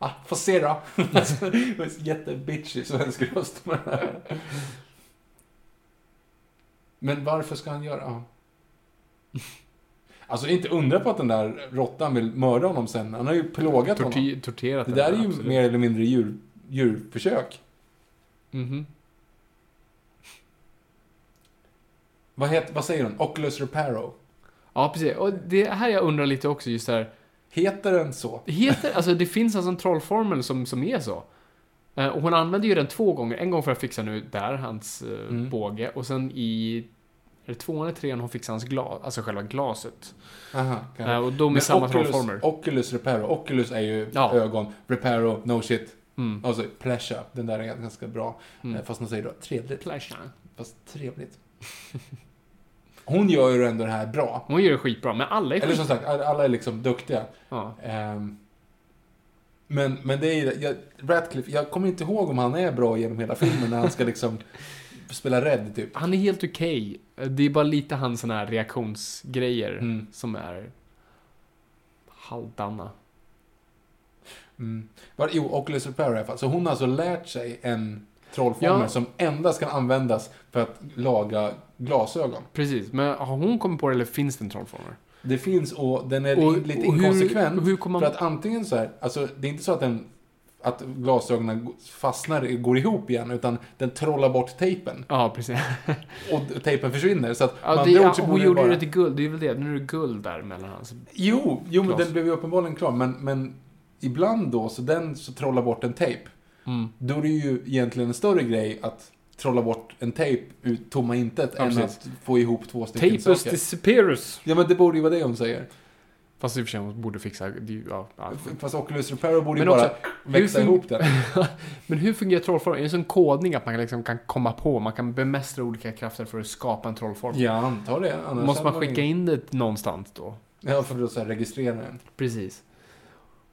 A: Ah, får se då. Alltså, det var en jättebitchig svensk röst med den här. Men varför ska han göra... Ja. Alltså, inte undra på att den där råttan vill mörda honom sen. Han har ju plågat honom.
B: Torti- torterat
A: Det
B: den
A: där är ju
B: absolut.
A: mer eller mindre djur, djurförsök.
B: Mhm.
A: Vad, heter, vad säger hon? Oculus Reparo.
B: Ja, precis. Och det är här jag undrar lite också just där.
A: Heter den så?
B: Heter, alltså det finns alltså en trollformel som, som är så. Eh, Och hon använde ju den två gånger. En gång för att fixa nu där, hans eh,
A: Mm.
B: båge. Och sen i... Är det tvåan eller trean hon fixar hans glas, alltså själva glaset?
A: Aha, kan
B: Eh, och de är samma trollformer.
A: Oculus Reparo. Oculus är ju
B: Ja.
A: ögon. Reparo, no shit.
B: Mm.
A: Alltså pleasure. Den där är ganska bra.
B: Mm.
A: Eh, Fast man säger då trevligt.
B: Pleasure.
A: Fast trevligt. Hon gör ju ändå det här bra.
B: Hon gör det skitbra, men alla är
A: Eller
B: skit...
A: som sagt, alla alla är liksom duktiga.
B: Ja.
A: Ehm, Men, men det är ju- jag, Ratcliffe, jag kommer inte ihåg om han är bra genom hela filmen när han ska liksom spela rädd typ.
B: Han är helt okej. Eh, Det är bara lite hans såna här reaktionsgrejer
A: Mm.
B: som är halvdana.
A: Mm. Var, jo, Oculus Repair i alla fall. Så hon har alltså lärt sig en trollformel
B: Ja.
A: som endast kan användas för att laga glasögon.
B: Precis, men har hon kommit på det eller finns det en trollformel?
A: Det finns och den är
B: Och-
A: lite
B: och hur-
A: inkonsekvent.
B: och hur kommer man-
A: För att antingen så här, alltså det är inte så att den att glasögonen go- fastnar, går ihop igen, utan den trollar bort tejpen.
B: Ja, precis.
A: Och d- tejpen försvinner. Så att
B: Ja, det,
A: andra
B: ja,
A: ord så
B: hon
A: borde
B: gjorde ju
A: typ bara-
B: det till guld, det är väl det. Nu är det guld där mellan hans...
A: Jo, jo men
B: Glas.
A: den blev ju uppenbarligen klar. Men, men ibland då, så den så trollar bort en tejp.
B: Mm.
A: Då är det ju egentligen en större grej att trolla bort en tejp ur tomma intet
B: Ja,
A: än
B: precis.
A: att få ihop två stycken
B: Tapus
A: saker.
B: disappearus.
A: Ja, men det borde ju vara det hon säger.
B: Fast i och för sig, hon borde fixa... det är ju- Ja, ja.
A: F- Fast Oculus Reparo borde ju
B: Men
A: bara
B: också,
A: växa
B: fun-
A: ihop det.
B: Men hur fungerar trollformen? Är det som kodning att man liksom kan komma på, man kan bemästra olika krafter för att skapa en trollform?
A: Ja, antar det. Annars
B: Måste man
A: hade
B: skicka in det någonstans då?
A: Ja, för att så här registrera den.
B: Precis.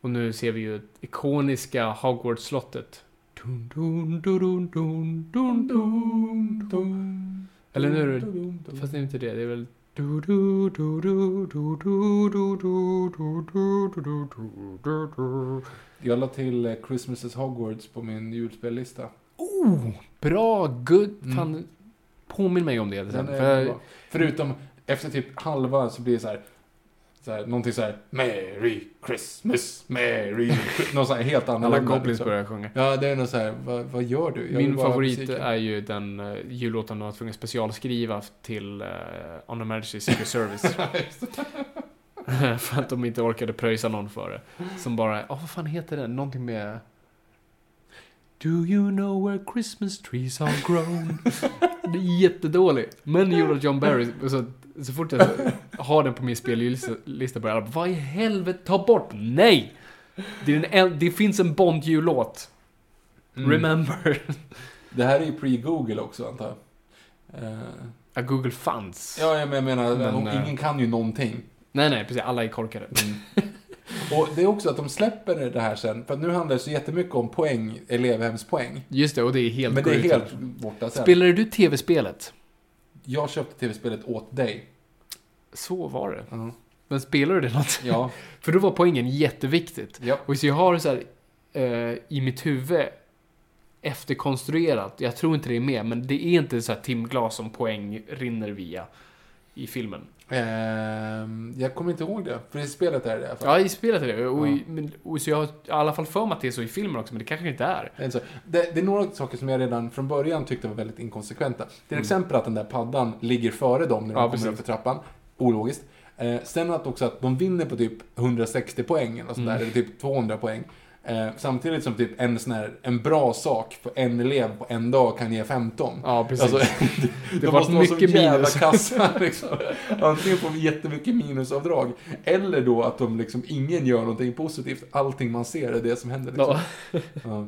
B: Och nu ser vi ju det ikoniska Hogwarts-slottet. Dun, dun, dun, dun, dun, dun, dun, dun. Eller nu är det...
A: Mm.
B: Fast det är inte det, det är väl... Du, du, du, du, du, du, du, du, du, du, du, du, du, du, du.
A: Jag la till eh, Christmas is Hogwarts på min julspellista.
B: Oh, bra, good,
A: Mm.
B: fan. Påminn mig om det sen.
A: Den är
B: För
A: bra. eh, Förutom, efter typ halva så blir det så här, så här någonting så här Merry Christmas, Merry Christmas. Någon så här helt annorlunda.
B: alla goblins
A: liksom.
B: börjar sjunga.
A: Ja, det är nog så här, vad, vad gör du? Jag vill
B: Min
A: bara ha
B: favorit
A: musiken.
B: är ju den uh, eh, jullåten de var tvungen att specialskriva till uh, On a Majesty's Secret Service. för att de inte orkade pröjsa någon för det. Som bara, ja vad fan heter den? Någonting med... Do you know where Christmas trees are grown? det är jättedåligt. Men gjorde John Barry, så, så fort jag har den på min spellista börjar alla, vad i helvete, ta bort, nej! Det, är en, en- det finns en Bond-jullåt.
A: Mm.
B: Remember.
A: Det här är ju pre-Google också antar jag. Eh,
B: Att Google fanns.
A: Ja, jag men- jag menar,
B: Men, eh,
A: ingen kan ju någonting.
B: Nej, nej, precis. Alla är korkade.
A: Och det är också att de släpper det här sen, för att nu handlar det så jättemycket om poäng, elevhemspoäng.
B: Just det, och det är helt
A: Men det är
B: korrekt.
A: helt borta sen.
B: Spelade du tv-spelet?
A: Jag köpte tv-spelet åt dig.
B: Så var det. Men spelade du det något?
A: Ja.
B: För då var poängen jätteviktigt.
A: Ja.
B: Och så jag har så här eh, i mitt huvud efterkonstruerat, jag tror inte det är med, men det är inte så här timglas som poäng rinner via i filmen.
A: Ehm, jag kommer inte ihåg det, för i spelet är det i alla fall.
B: Ja, i spelet är det. Och, i, men, och så jag har i alla fall för mig att det är så i filmen också, men det kanske inte är.
A: Det är inte så. Det, det är några saker som jag redan från början tyckte var väldigt inkonsekventa. Till exempel att den där paddan ligger före dem när de
B: Mm. Ja,
A: kommer
B: precis.
A: upp för trappan. Ologiskt. Eh, sen att också att de vinner på typ 160 poäng eller,
B: Mm.
A: sådär, eller typ 200 poäng. Eh, samtidigt som typ en, sån här, en bra sak för en elev på en dag kan ge 15.
B: Ja, precis.
A: Alltså,
B: Det
A: de
B: var
A: måste vara så
B: mycket
A: jävla
B: minus.
A: kassa liksom. Antingen får vi jättemycket minusavdrag eller då att de liksom ingen gör någonting positivt. Allting man ser är det som händer. Liksom.
B: Ja.
A: Ja.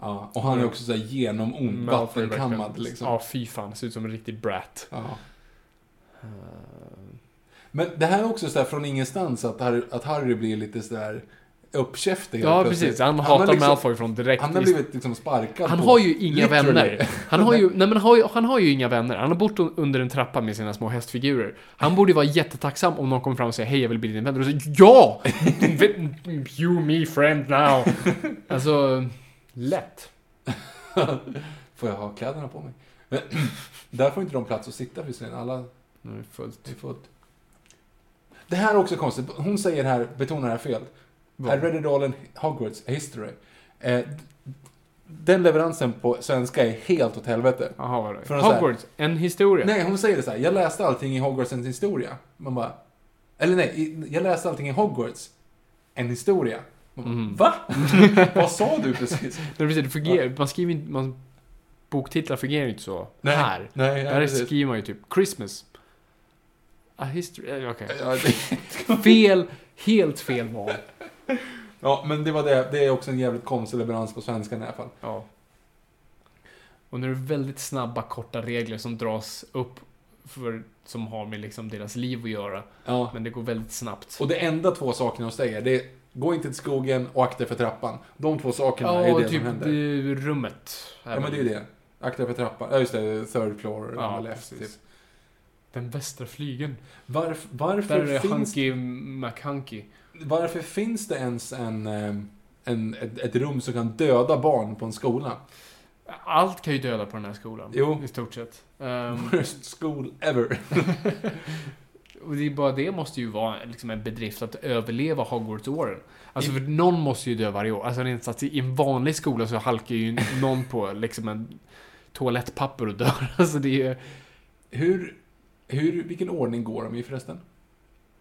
A: Ja, och han är också så här genomond, Mm. vattenkammad liksom.
B: Ja, fy fan. Ser ut som en riktig brat.
A: Ja. Eh, Men det här är också så här från ingenstans att Harry, att Harry blir lite så där uppkäftig helt
B: Ja,
A: plötsligt.
B: precis. Han
A: har
B: hatar
A: liksom-
B: Malfoy från direkt
A: Han har blivit liksom sparkad
B: Han
A: på-
B: har ju inga
A: literally.
B: vänner. Han har ju, nej men har ju, han har ju inga vänner. Han har bott un- under en trappa med sina små hästfigurer. Han borde ju vara jättetacksam om någon kommer fram och säger hej jag vill bli din vän. Och då säger ja! You me friend now. Alltså, lätt.
A: Får jag ha kläderna på mig? Men, där får inte de plats att sitta visserligen. Alla
B: Nu är det fullt.
A: är fullt. Det här är också konstigt. Hon säger här, betonar det här fel. I read it all in Hogwarts history. Eh, den leveransen på svenska är helt åt helvete.
B: Jaha, vad
A: För
B: det?
A: att så här-
B: Hogwarts, en historia.
A: Nej, hon säger det så här. Jag läste allting i Hogwartsens historia. Man bara... Eller nej, i- jag läste allting i Hogwarts. En historia. Man bara, Va? Vad sa du precis?
B: Nej, precis, Mm. det fungerar, man skriver inte, man, boktitlar fungerar ju inte så.
A: Nej,
B: här.
A: nej, nej,
B: Där
A: precis.
B: skriver man ju typ Christmas. A history, eh, okej.
A: Ja, det-
B: Fel, helt fel val.
A: Ja, men det var det. Det är också en jävligt konstig leverans på svenskan i alla fall.
B: Ja. Och nu är det väldigt snabba, korta regler som dras upp för, som har med liksom deras liv att göra.
A: Ja.
B: Men det går väldigt snabbt.
A: Och det enda två sakerna hon säger, det är gå inte till skogen och akta för trappan. De två sakerna
B: ja,
A: är det
B: typ
A: som händer.
B: det, rummet.
A: Ja, men det är ju det. Akta för trappan. Ja, just det. Third floor.
B: Ja,
A: Ja, left,
B: precis.
A: typ.
B: Den västra flygeln.
A: Varf,
B: Där
A: varför,
B: är det
A: finns,
B: Hunky McHunky.
A: varför finns det ens en, eh, en, ett, ett rum som kan döda barn på en skola?
B: Allt kan ju döda på den här skolan.
A: Jo.
B: I stort sett. Ehm,
A: Worst school ever.
B: och det är bara det måste ju vara liksom en bedrift att överleva Hogwarts-åren. Alltså för någon måste ju dö varje år. Alltså rent att i en vanlig skola så halkar ju någon på liksom en toalettpapper och dör. Alltså det är ju...
A: Hur, hur, vilken ordning går de i förresten?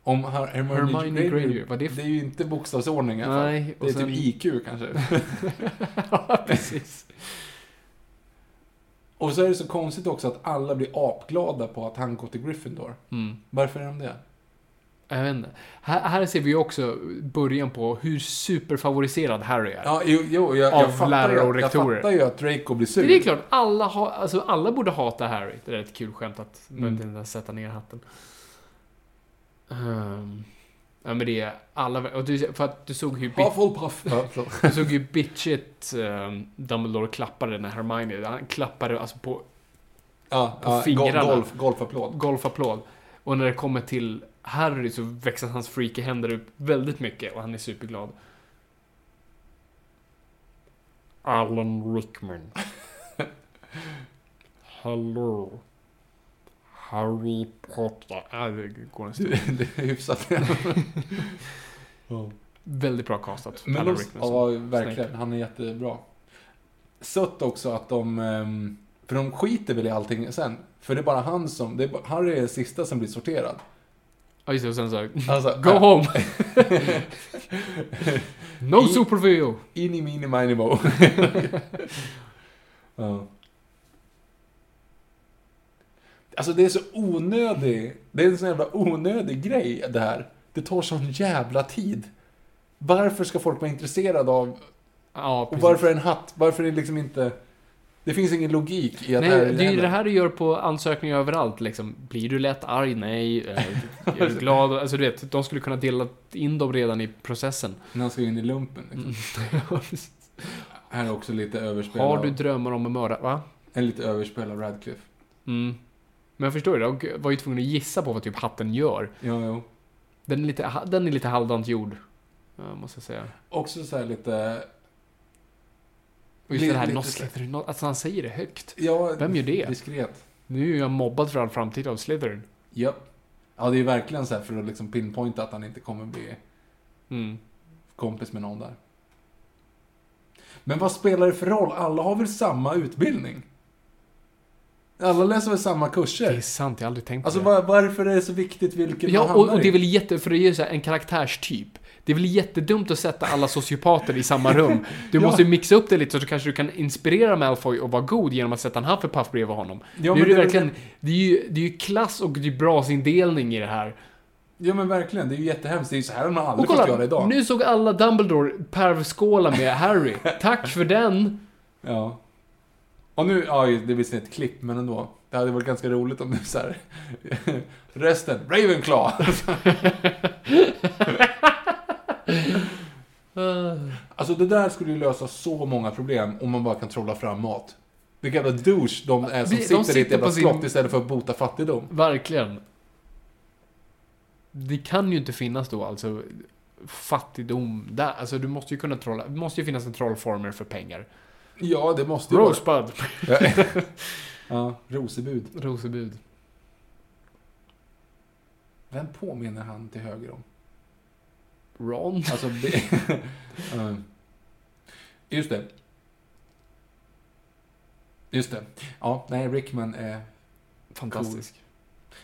A: Om Her- Hermione,
B: Hermione
A: Granger,
B: Granger, vad är det för-
A: det är ju inte bokstavsordning i alla fall.
B: Nej,
A: det
B: och
A: är
B: sen-
A: typ IQ kanske.
B: ja, precis.
A: Och så är det så konstigt också att alla blir apglada på att han går till Gryffindor. Varför är de det?
B: Mm. Jag vet inte. Här, här ser vi ju också början på hur superfavoriserad Harry är.
A: Ja, jo, jo jag,
B: Av
A: jag, fattar ju,
B: lärare och
A: jag
B: rektorer.
A: fattar ju att Draco blir sur.
B: Det är klart, alla, ha, alltså, alla borde hata Harry. Det är ett kul skämt att men inte ens sätta ner hatten. Ehm, ja men det är alla, och du, för att du såg hur bit,
A: Hufflepuff. Ja, förlåt.
B: du såg hur bitchigt ehm, Dumbledore klappade när Hermione, han klappade alltså på
A: Ja,
B: På
A: ja,
B: fingrarna.
A: go- Golf, golfapplåd.
B: golfapplåd. Och när det kommer till Harry så växer hans freaky händer upp väldigt mycket och han är superglad. Alan Rickman. Hello. Harry Potter. Ah, det går en stund.
A: Det är hyfsat.
B: Väldigt bra castat.
A: Men
B: Alan
A: de, ja,
B: Rickman. som
A: verkligen.
B: Snape.
A: Han är jättebra. Sött också att de... ehm, För de skiter väl i allting sen. För det är bara han som... Det är bara, Harry är den sista som blir sorterad.
B: Ja just det, och sen så här,
A: Alltså,
B: Go
A: äh,
B: home! no superveo!
A: Ini mini mini mo. ja. Alltså det är så onödig, det är en sån jävla onödig grej det här. Det tar sån jävla tid. Varför ska folk vara intresserade av,
B: Ja, precis.
A: och varför är en hatt, varför är det liksom inte, det finns ingen logik i att
B: Nej,
A: här
B: det är ju
A: händer.
B: det här du gör på ansökningar överallt liksom. Blir du lätt arg? Nej. Eh, Är du glad? Alltså du vet, de skulle kunna dela in dem redan i processen.
A: När han ska in i lumpen. Liksom. Här är också lite överspel
B: Mm. Har du
A: av,
B: drömmar om att mörda? Va?
A: en lite överspel av Radcliffe.
B: Mm. Men jag förstår ju det. Jag var ju tvungen att gissa på vad typ hatten gör.
A: Jo, jo.
B: Den är lite, den är lite halvdant gjord. eh, Måste jag säga.
A: Också så här lite,
B: Och just
A: Lite-
B: det här
A: lite
B: "Nå
A: så här.
B: Slytherin, nå-" Alltså han säger det högt.
A: ja,
B: Vem gör det?
A: diskret.
B: Nu är jag mobbad för all framtid av Slytherin.
A: Ja. Ja, det är verkligen så här för att liksom pinpointa att han inte kommer bli
B: Mm.
A: kompis med någon där. Men vad spelar det för roll? Alla har väl samma utbildning? Alla läser väl samma
B: Det är
A: kurser?
B: sant, jag har aldrig tänkt på
A: Alltså
B: det.
A: var, varför är det så viktigt vilken man
B: Ja, och,
A: hamnar
B: och det
A: i?
B: är väl jätte... För det är ju så här en karaktärstyp. Det är väl jättedumt att sätta alla sociopater i samma rum. Du
A: Ja.
B: måste ju mixa upp det lite så att du kanske du kan inspirera Malfoy och vara god genom att sätta en Hufflepuff bredvid honom.
A: Ja,
B: det, är
A: men
B: ju
A: det är
B: verkligen, det, är ju, det är ju klass och det är brasindelning i det här.
A: Ja men verkligen, det är ju jättehemskt. Det är ju så här man
B: Och
A: aldrig fått göra
B: kolla,
A: idag.
B: nu såg alla Dumbledore pervskåla med Harry. Tack för den!
A: Ja. Och nu, ja det är visserligen ett klipp, men ändå. Det hade varit ganska roligt om det så här. Resten, Ravenclaw! Alltså det där skulle ju lösa så många problem om man bara kan trolla fram mat. Vilka jävla douche de är som
B: De
A: sitter, i ett
B: sitter
A: jävla
B: på sin-
A: slott istället för att bota fattigdom.
B: Verkligen. Det kan ju inte finnas då alltså fattigdom där. Alltså du måste ju kunna trolla. Det måste ju finnas en trollformer för pengar.
A: Ja, det måste ju
B: Rosebud.
A: vara... ja, Rosebud.
B: Rosebud.
A: Vem påminner han till höger om?
B: Ron.
A: Alltså... Be... Mm. Just det. Just det. Ja, nej, Rickman är...
B: Fantastisk.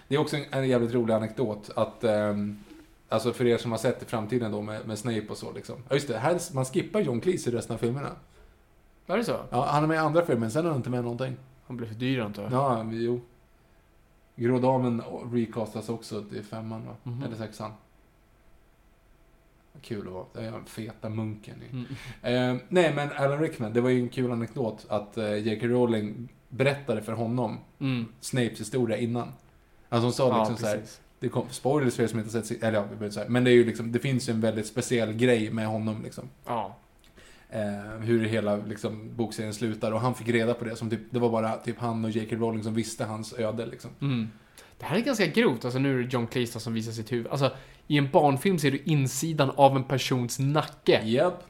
A: Det är också en, en jävligt rolig anekdot att... ehm, alltså för er som har sett i framtiden då med, med Snape och så liksom. Ja, just det. Här, man skippar John Cleese i resten av filmerna.
B: Var det så?
A: Ja, han är med i andra filmen, sen är han inte med i någonting.
B: Han blev för dyr antar jag.
A: Ja, jo. Grå Damen recastas också till femman, va?
B: Mhm.
A: Eller sexan. Kul att vara. Det är den feta munken i.
B: Mm.
A: Eh, nej, men Alan Rickman, det var ju en kul anekdot att eh, J.K. Rowling berättade för honom
B: Mm.
A: Snapes historia innan. Alltså hon sa
B: Ja,
A: liksom så här,
B: precis.
A: det kom, spoilers för er som inte har sett, si- eller ja, vi behöver inte säga, men det är ju liksom, det finns ju en väldigt speciell grej med honom liksom.
B: Ja.
A: Eh, hur hela liksom, bokserien slutar och han fick reda på det som typ, det var bara typ han och J.K. Rowling som visste hans öde liksom.
B: Mm. Det här är ganska grovt. Alltså nu är det John Cleese då som visar sitt huvud. Alltså i en barnfilm ser du insidan av en persons nacke.
A: Japp.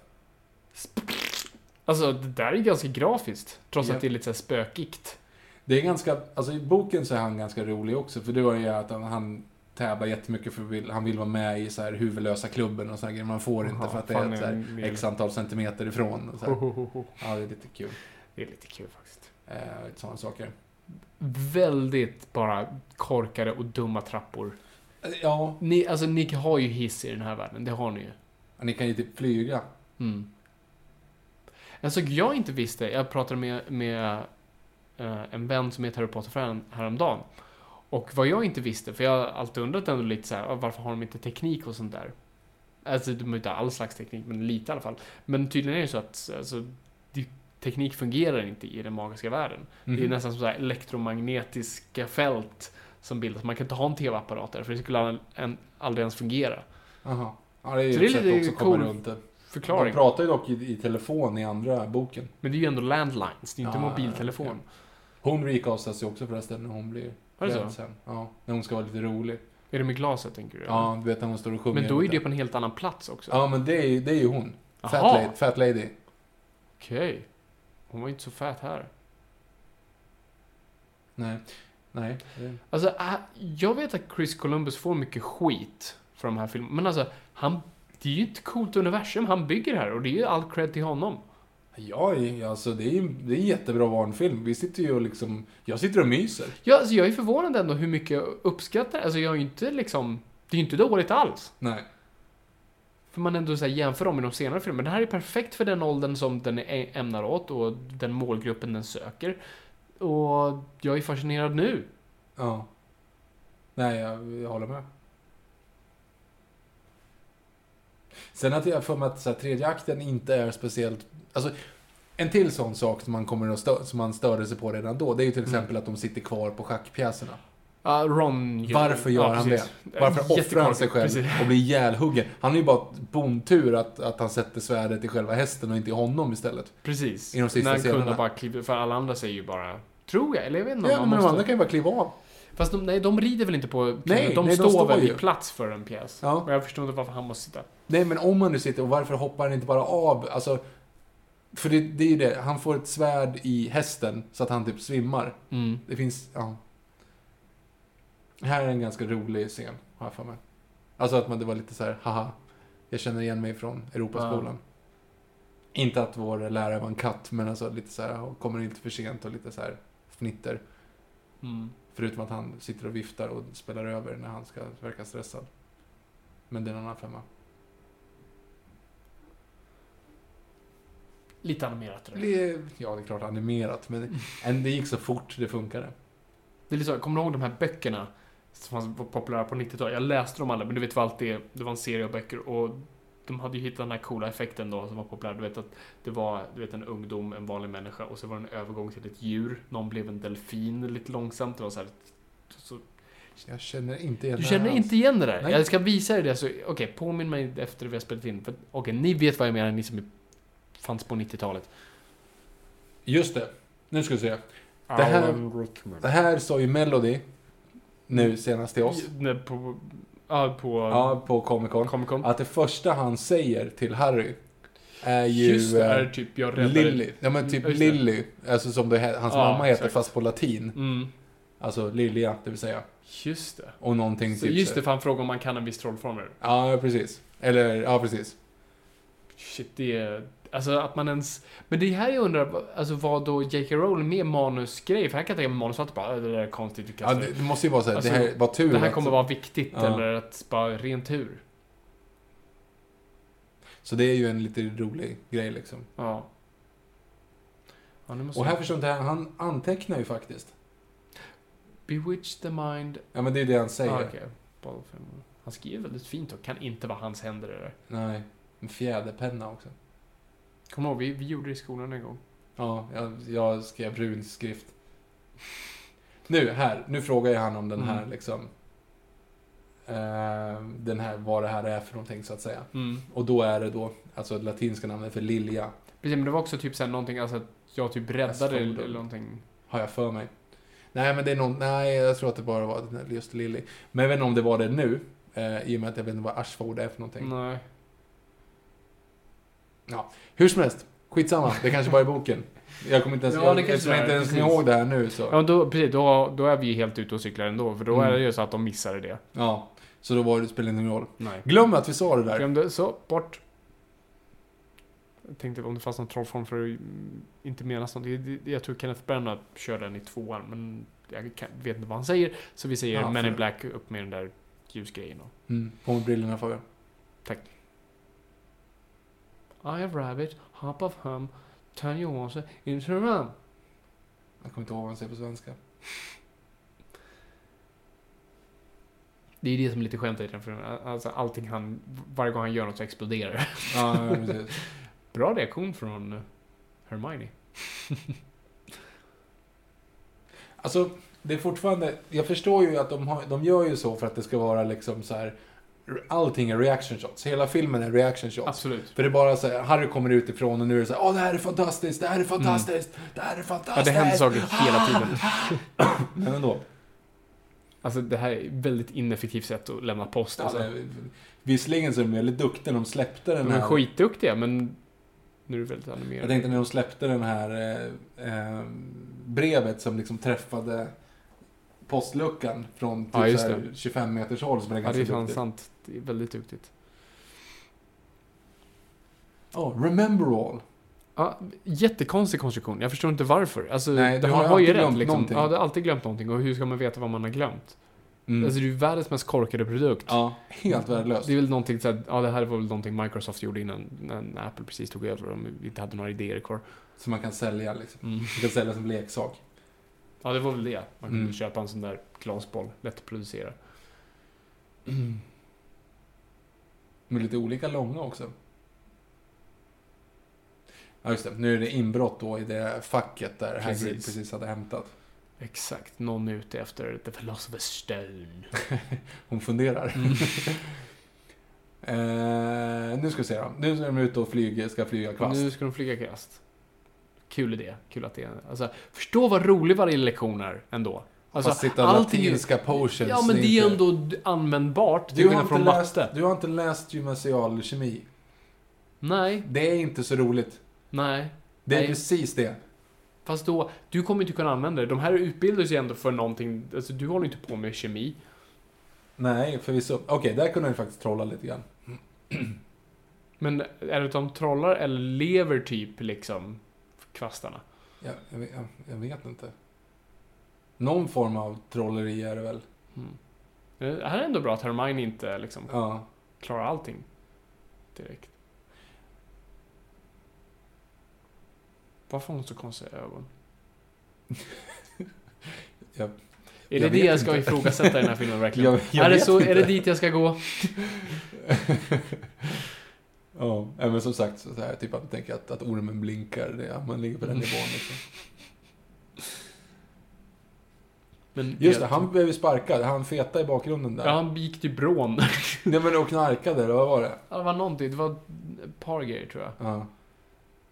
B: Alltså det där är ganska grafiskt. Trots
A: Ja.
B: att det är lite så här spökigt.
A: Det är ganska, alltså i boken så är han ganska rolig också för det var ju att han, han tävlar jättemycket för vill, han vill vara med i så här huvudlösa klubben och sådana grejer. Man får inte
B: Jaha,
A: för att det
B: fan,
A: är ett, så
B: jag
A: här,
B: vill-
A: x antal centimeter ifrån. Och så här. Ja, det är lite kul.
B: Det är lite kul faktiskt.
A: Eh, lite sådana saker.
B: Väldigt bara korkade och dumma trappor.
A: Eh, Ja,
B: Ni, alltså, ni har ju hiss i den här världen, det har ni ju.
A: och ni kan ju typ flyga.
B: Mm. En sak jag inte visste, jag pratade med, med eh, en vän som är ett Harry Potter-fan häromdagen. Och vad jag inte visste, för jag har alltid undrat ändå lite så här, "Ah, varför har de inte teknik och sånt där? Alltså de har inte all slags teknik, men lite i alla fall. Men tydligen är det så att alltså, det- teknik fungerar inte i den magiska världen.
A: Mhm.
B: Det är nästan som så här elektromagnetiska fält som bildas. Man kan inte ha en TV-apparat där, för det skulle all- en, aldrig ens fungera.
A: Aha. Ja, det är ju
B: Så det är
A: ett sätt
B: lite
A: också att komma
B: cool
A: runt det. De
B: Förklaring.
A: pratar ju dock i, i telefon i andra boken.
B: Men det är ju ändå landlines, det är ju inte
A: Ja,
B: mobiltelefon.
A: Hon recastas ju också förresten när hon blir
B: Var det
A: rädd
B: så?
A: sen. Ja, när hon ska vara lite rolig.
B: Är det med glaset, tänker du?
A: Ja, du vet när hon står och sjunger.
B: Men då är ju
A: lite.
B: det på en helt annan plats också.
A: Ja, men det är ju, det är ju hon. Fat
B: Aha.
A: lady, fat lady.
B: Okej. Hon var ju inte så fät här.
A: Nej. Nej. det-
B: Alltså, äh, jag vet att Chris Columbus får mycket skit för de här filmerna. Men alltså, han... Det är ju ett coolt universum han bygger här och det är ju all cred till honom.
A: Ja, i- alltså det är ju det är en jättebra barnfilm. Vi sitter ju och liksom... Jag sitter och myser.
B: Ja, alltså, jag är förvånad ändå hur mycket jag uppskattar Alltså jag är ju inte liksom... Det är ju inte dåligt alls.
A: Nej.
B: För man ändå så här jämför dem med de senare filmerna. Det här är perfekt för den åldern som den är ämnar åt och den målgruppen den söker. Och jag är fascinerad nu.
A: Ja. Nej, jag, jag håller med. Sen att jag får med att så här, tredje akten inte är speciellt... Alltså, en till sån sak som man, kommer att stö- som man störde sig på redan då, det är ju till exempel att de sitter kvar på schackpjäserna.
B: Ja, Ron
A: Varför gör
B: ja,
A: han
B: precis.
A: det? Varför offrar han sig
B: Jättekonstigt,
A: själv
B: precis.
A: och blir ihjälhuggen? Han är ju bara bontur att, att han sätter svärdet i själva hästen och inte i honom istället.
B: Precis.
A: I de sista
B: När
A: scenerna.
B: kunde bara kliva, för alla andra säger ju bara Tror jag, eller jag vet inte om
A: Ja,
B: man
A: men de
B: måste-
A: andra kan ju bara kliva av.
B: Fast de, nej, de rider väl inte på
A: Nej,
B: de,
A: nej, de
B: står
A: står
B: väl
A: ju.
B: i plats för en pjäs.
A: Ja.
B: Och jag förstår inte varför han måste sitta.
A: Nej, men om han nu sitter, och varför hoppar han inte bara av? Alltså, för det, det är ju det, han får ett svärd i hästen så att han typ svimmar.
B: Mm.
A: Det finns, ja. Här är en ganska rolig scen, har jag för mig. Alltså att man, det var lite så här, haha, jag känner igen mig från Europaskolan. Inte att vår lärare var en katt, men alltså lite så här, "Åh, kommer inte för sent och lite så här fnitter.
B: Mm.
A: Förutom att han sitter och viftar och spelar över när han ska verka stressad. Men det är en annan femma.
B: Lite animerat. Det, där.
A: blev, ja det är klart animerat, men en- det gick så fort det funkade.
B: det är lite så, kommer du ihåg de här böckerna? Som var populära på 90-talet. Jag läste dem alla, men du vet vad allt det Det var en serie av böcker och de hade ju hittat den här coola effekten då som var populär. Du vet att det var du vet, en ungdom, en vanlig människa och så var det en övergång till ett djur. Någon blev en delfin lite långsamt. Det var så här, så
A: Jag känner inte igen
B: Du
A: det
B: känner
A: här
B: inte igen det där?
A: Nej.
B: Jag ska visa dig det. så- Okej, påminn mig efter vi har spelat in. för- Okej, ni vet vad jag menar, ni som är- fanns på 90-talet.
A: alls. Just det, nu ska vi se. Det här-
B: Alan Rickman.
A: Det här sa ju Melody nu senast till oss.
B: Nej, På, ja, på
A: Ja, Alltså, på Comic Con.
B: Comic Con.
A: Att det första han säger till Harry är ju
B: Just det,
A: eh,
B: är typ jag räddade...
A: Lilly. Ja men typ
B: Just det.
A: Lilly. Alltså som det, he- hans
B: Ja,
A: mamma heter
B: säkert.
A: fast på latin.
B: Mm,
A: Alltså Lilja, det vill säga.
B: just det.
A: Och någonting
B: Så
A: typ
B: just
A: så-
B: det, för han frågar om man kan en viss trollformel.
A: Ja, precis. Eller, ja precis.
B: Shit, det är... Alltså att man ens... Men det här jag undrar, vad- alltså vad då J.K. Rowling med manusgrej? För här kan jag tänka mig manusförfattare bara, "Äh, det där är konstigt, vi
A: Ja,
B: kastar
A: det,
B: det.
A: det måste ju vara så här,
B: Alltså,
A: det här var tur
B: Det här
A: att-
B: kommer vara viktigt,
A: Ja.
B: eller att bara ren tur.
A: Så det är ju en lite rolig grej liksom.
B: Ja. ja nu måste
A: Och här
B: jag-
A: förstår inte, han- han antecknar ju faktiskt.
B: Bewitch the mind...
A: Ja men det är det han säger.
B: Ah, okej. Ballfilm. Han skriver väldigt fint och kan inte vara hans händer det där.
A: Nej. En fjäderpenna också.
B: Kommer ihåg, vi, vi gjorde det i skolan en gång.
A: Ja, jag, jag skrev runskrift. Nu, här. Nu frågar jag han om den här
B: Mm.
A: liksom. Eh, den här, vad det här är för någonting så att säga.
B: Mm.
A: Och då är det då, alltså det latinska namnet för lilja,
B: Precis, men det var också typ såhär någonting, alltså att jag typ räddade
A: Jag
B: eller,
A: stod-
B: eller någonting.
A: har jag för mig. Nej, men det är någon, nej, jag tror att det bara var den här just lilly. Men jag vet inte om det var det nu, eh, i och med att jag vet inte vad arsvord är för någonting.
B: Nej.
A: Hur som helst, skitsamma. Det kanske bara är boken. Jag kommer inte ens,
B: Ja,
A: jag,
B: det kanske
A: eftersom jag
B: är,
A: inte ens kommer
B: precis.
A: ihåg det här nu så.
B: Ja,
A: Ja.
B: men då, precis, då, då är vi ju helt ute och cyklar ändå, för då
A: Mm.
B: är det ju så att de missade det.
A: så då var det, spelar det ingen roll.
B: Nej.
A: Glöm att vi sa det där.
B: Glömde, så, bort. Jag tänkte om det fanns någon trollform för att mm, inte menas någonting. Det- det- Jag tror Kenneth Branagh kör den i tvåan, men jag kan, vet inte vad han säger. Så vi säger
A: Ja,
B: Men in
A: för-
B: Black upp med den där ljusgrejen. och-
A: Mm, på med brillorna Fabian.
B: I have rabbit, hop of hum, turn your horse into a rum.
A: Jag kommer inte ihåg vad han säger på svenska.
B: Det är det som är lite skämt i den filmen. Alltså allting han, varje gång han gör något så exploderar det.
A: Ja, ja, precis.
B: Bra reaktion från eh, Hermione.
A: Alltså, det är fortfarande... Jag förstår ju att de, har, de gör ju så för att det ska vara liksom så här... Allting är reaction shots. Hela filmen är reaction shots.
B: Absolut.
A: För det är bara så här, Harry kommer utifrån och nu är det så här, åh det här är fantastiskt, det här är fantastiskt, det här är fantastiskt.
B: Mm. Ja, det händer saker
A: Alltså, ah.
B: hela tiden.
A: Men ändå.
B: Alltså det här är ett väldigt ineffektivt sätt att lämna post.
A: Alltså,
B: Alltså.
A: visserligen så är de väldigt duktiga när de släppte den
B: De är
A: här.
B: skitduktiga, men nu är det väldigt
A: Jag
B: animerat.
A: tänkte när de släppte den här eh, eh, brevet som liksom träffade postluckan från typ
B: Ja, just
A: så här
B: det.
A: 25 meters håll som är
B: Ja, det är
A: ganska
B: fan
A: duktigt.
B: sant. Det är väldigt duktigt.
A: Ja, Oh, remember all.
B: Ja, jättekonstig konstruktion. Jag förstår inte varför. Alltså,
A: Nej,
B: det-
A: du har
B: han
A: ju
B: har ju
A: alltid
B: rätt
A: glömt
B: liksom.
A: någonting.
B: Ja, du har alltid glömt någonting. Och hur ska man veta vad man har glömt? Alltså det är ju världens mest korkade produkt.
A: Mm. Ja. Helt värdelöst.
B: Mm. Det är väl någonting så här, ja det här var väl någonting Microsoft gjorde innan när Apple precis tog över och de inte hade några idéer kvar.
A: Som man kan sälja liksom.
B: Mm.
A: Man kan sälja som leksak.
B: Ja, det var väl det. Man kunde
A: Mm.
B: köpa en sån där glasboll, lätt att producera.
A: De är lite olika långa också. Ja, just det. Nu är det inbrott då i det facket där
B: Precis.
A: Hagrid precis hade hämtat.
B: Exakt, någon är ute efter The Philosopher's Stone.
A: Hon funderar.
B: Mm.
A: eh, nu ska vi se då. Nu är de ute och flyger, ska flyga kvast.
B: Nu ska de flyga kast. Kul idé. Kul att det är... Alltså, förstå vad rolig varje lektion är ändå. Alltså,
A: Fast sitta och
B: allt är ju-
A: latinska potions.
B: Ja, men det är
A: inte-
B: ändå d- användbart. till
A: Du har,
B: skillnad
A: inte
B: från
A: läst,
B: matte.
A: du har inte läst gymnasial kemi.
B: Nej,
A: Det är inte så roligt.
B: nej.
A: Det är
B: Nej.
A: precis det.
B: Fast då, du kommer inte kunna använda det. De här utbildar sig ändå för någonting. Alltså, du håller inte på med kemi.
A: Nej, förvisso. Okej, där kunde jag faktiskt trolla lite grann.
B: Men är det att de trollar eller lever typ liksom kvastarna?
A: Jag, jag, vet- jag, jag vet inte. Någon form av trolleri är det väl?
B: Eh, Det här är ändå bra att Hermione inte liksom
A: Ja.
B: klarar allting direkt. Varför har hon så konstiga ögon?
A: Jag-
B: är det
A: jag
B: det
A: vet
B: jag ska
A: inte.
B: ifrågasätta i den här filmen verkligen?
A: Jag- jag
B: är, det
A: vet
B: så, är det
A: inte.
B: dit jag ska gå?
A: Ja, nej, men som sagt, så här, typ att tänka att, att ormen blinkar. Det, ja, man ligger på
B: Mm.
A: den nivån. Liksom.
B: Men typ-
A: Just det, han blev ju sparkad. Han feta i bakgrunden där.
B: Ja, han gick till brån.
A: Nej, men och knarkade, eller vad var det?
B: Ja, det var någonting. Det var ett par grejer tror jag.
A: Ja,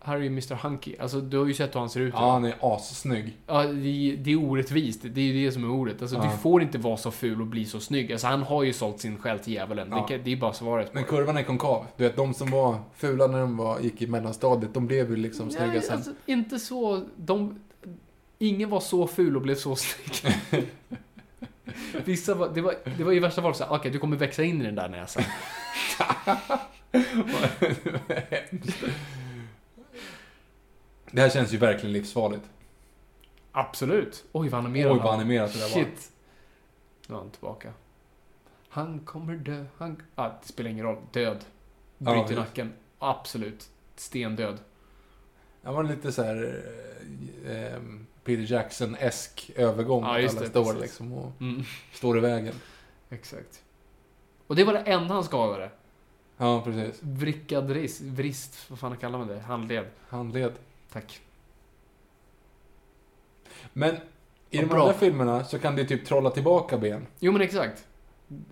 B: Harry är Mr. Hunky. Alltså, du har ju sett hur han ser ut.
A: ja han är assnygg.
B: Ja, det, det är orättvist. Det är ju det som är ordet. Alltså,
A: Ja.
B: Du får inte vara så ful och bli så snygg. Alltså, han har ju sålt sin själ till djävulen.
A: Ja.
B: Det, kan- det är bara svaret. på
A: Men
B: det.
A: kurvan är konkav. Du vet, de som var fula när de var, gick i mellanstadiet, de blev ju liksom snygga
B: Nej,
A: sen.
B: alltså, inte så... De, ingen var så ful och blev så snygg. Vissa var, det, var, det var i värsta fall så här, okej, du kommer växa in i den där näsan.
A: Det här känns ju verkligen livsfarligt.
B: Absolut. Oj, vad
A: Oj,
B: animerad
A: vad animerat det där var.
B: Shit. Nu är han tillbaka. Han kommer dö. Han... Ah, det spelar ingen roll. Död.
A: Ja,
B: Bryter
A: visst.
B: nacken. Absolut. Stendöd.
A: Det var lite så här eh, ehm, Peter Jackson-esk övergång.
B: Ja,
A: att
B: just
A: alla
B: det,
A: står
B: precis.
A: liksom och
B: Mm.
A: står i vägen.
B: Exakt. Och det var det enda han skadade.
A: Ja, precis.
B: Vrickad rist, vrist, vad fan kallar man det? Handled.
A: Handled.
B: Tack.
A: Men i
B: Vad
A: de
B: bra.
A: andra filmerna så kan det typ trolla tillbaka ben.
B: Jo men exakt.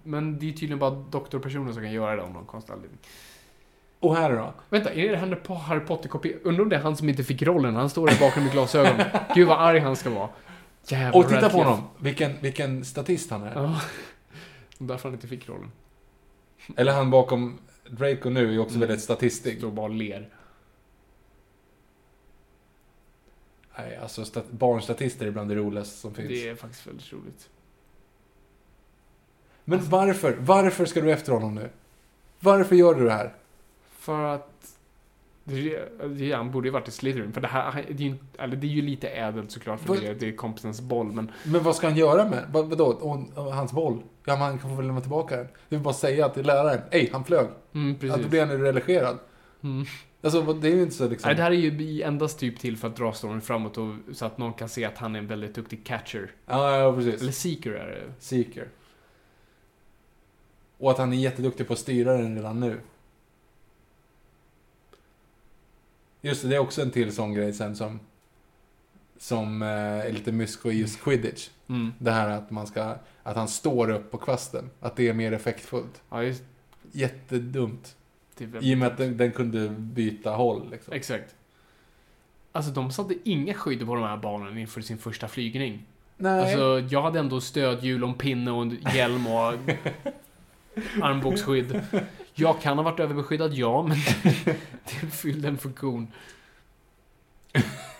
B: Men det är tydligen bara doktorpersoner som kan göra det om någon konstig anledning.
A: Och här då?
B: Vänta, är det han på Harry Potter-kopian? Undrar om det är han som inte fick rollen? Han står där bakom med glasögon. Gud vad arg han ska vara. Jävlar
A: Och titta på
B: Radcliffe.
A: honom! Vilken, vilken statist han är.
B: Ja. Därför han inte fick rollen.
A: Eller han bakom Draco nu är ju också
B: Mm.
A: väldigt statistisk.
B: Står och bara och ler.
A: Nej, alltså stat- barnstatister är bland det roligaste som finns.
B: Det är faktiskt väldigt roligt.
A: Men varför? Varför ska du efter honom nu? Varför gör du det här?
B: För att... Det, är- det, är- han borde ju varit i Slytherin. För det här, han- det är ju, inte- eller det är ju lite ädelt såklart för
A: Vad-
B: det, är- det är kompisens boll, men...
A: Men vad ska han göra med vad, vadå? Och, och hans boll? Ja, men han kan få väl lämna tillbaka den. Du vill bara säga till läraren, ej, han flög.
B: Mm,
A: Ja,
B: precis.
A: då blir han ju religerad.
B: Mm.
A: Alltså, vad- det är ju inte så liksom...
B: Nej, det här är ju endast typ till för att dra storyn framåt och, så att någon kan se att han är en väldigt duktig catcher.
A: Ja, ja,
B: Eller
A: precis.
B: seeker är det.
A: Seeker. Och att han är jätteduktig på att styra den redan nu. Just det, det är också en till sån grej sen som... Som eh, är lite mysko i just quidditch.
B: Mm.
A: Det här att man ska, att han står upp på kvasten. Att det är mer effektfullt.
B: Ja, just
A: Jättedumt.
B: det. är väldigt-
A: I och med att den, den kunde byta håll liksom.
B: Exakt. Alltså, de satte inga skydd på de här barnen inför sin första flygning.
A: Nej.
B: Alltså, jag hade ändå stödhjul och en pinne och en hjälm och armbågsskydd. Jag kan ha varit överbeskyddad, ja, men det fyllde en funktion.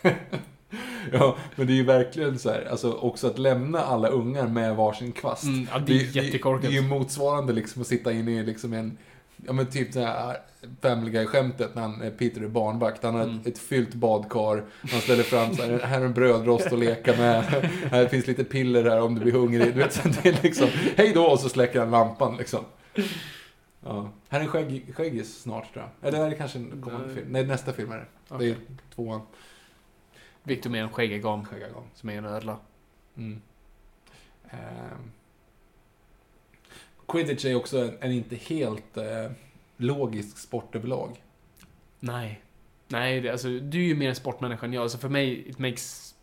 A: ja, men det är ju verkligen så här, alltså också att lämna alla ungar med varsin kvast.
B: Mm, ja, det är
A: det,
B: jättekorkat.
A: det är ju motsvarande liksom att sitta inne i liksom en Ja men typ det här Family Guy-skämtet när han, eh, Peter är barnvakt. Han har
B: Mm.
A: ett, ett fyllt badkar. Han ställer fram så här, här är en brödrost att leka med. Här finns lite piller här om du blir hungrig. Du vet, så det är liksom, hej då och så släcker han lampan liksom. Ja. Här är en skägg, skäggis snart tror jag. Eller är det kanske en kommande
B: Nej.
A: film? Nej, nästa film är det. Det är tvåan.
B: Victor med en skäggagam
A: Skäggagam.
B: som är en ödla.
A: Mm. Ehm. Quidditch är också en, en inte helt eh, logisk sport överlag.
B: Nej. Nej, det, alltså, du är ju mer en sportmänniska än jag. Alltså för mig, it makes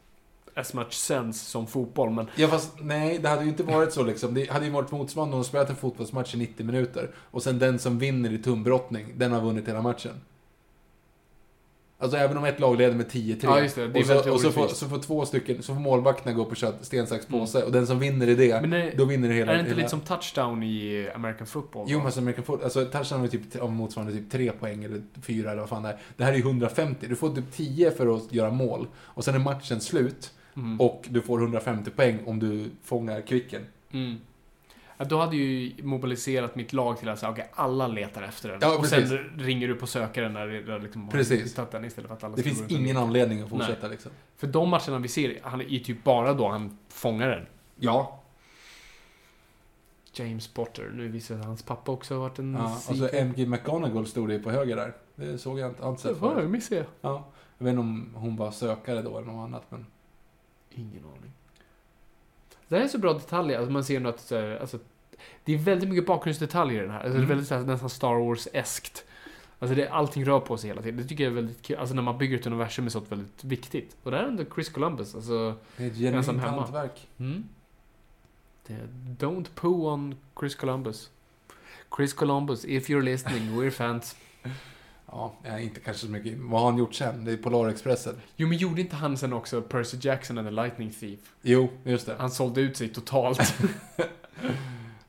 B: as much sense som fotboll. Men
A: Ja, fast nej, det hade ju inte varit så liksom. Det hade ju varit motsvarande om de spelat en fotbollsmatch i 90 minuter och sen den som vinner i tumbrottning, den har vunnit hela matchen. Alltså även om ett lag leder med 10-3
B: Ja, just det. Det är
A: och, så,
B: väldigt
A: och så, får,
B: orättvist.
A: så får två stycken, så får målvakterna gå på kött, sten, sax, påse och den som vinner i Mm. det,
B: Men är-
A: då vinner det hela.
B: är det inte
A: hela...
B: lite som touchdown i American football?
A: Jo,
B: då?
A: men som American Football, alltså Touchdown är typ om motsvarande typ 3 poäng eller 4 eller vad fan det är. Det här är ju 150, du får typ 10 för att göra mål. Och sen är matchen slut
B: Mm.
A: och du får 150 poäng om du fångar kvicken.
B: Mm. Ja, Då hade ju mobiliserat mitt lag till att säga, okej, alla letar efter den.
A: Ja,
B: och
A: precis.
B: sen ringer du på sökaren när det- när liksom har
A: Precis.
B: hittat den istället för att alla
A: Det
B: ska
A: finns
B: gå runt och
A: ingen
B: leta.
A: anledning att fortsätta liksom.
B: För de matcherna vi ser, han är ju typ bara då han fångar den.
A: Ja,
B: James Potter, nu visar det att hans pappa också har varit en...
A: ja. och så MG McGonagall stod det ju på höger där. Det såg jag inte alls
B: Det var
A: förut.
B: jag, missade jag.
A: Ja. Jag vet inte om hon var sökare då eller något annat, men...
B: Ingen aning. Det här är så bra detaljer, alltså man ser nog att så här, alltså, det är väldigt mycket bakgrundsdetaljer i den här. Alltså, Det
A: Mm.
B: är väldigt, så här, nästan Star Wars-eskt. Alltså det, allting rör på sig hela tiden. Det tycker jag är väldigt kul. Alltså när man bygger ett universum är sånt väldigt viktigt. Och det här är ändå Chris Columbus. Alltså,
A: Det är ett
B: Ensam
A: genuint
B: hemma.
A: hantverk.
B: Mm. det är, don't poo on Chris Columbus. Chris Columbus, if you're listening, we're fans.
A: Ja, eh, inte kanske så mycket. Vad har han gjort sen? Det är Polarexpressen.
B: Jo men gjorde inte han sen också Percy Jackson and the Lightning Thief?
A: Jo, just det.
B: Han sålde ut sig totalt.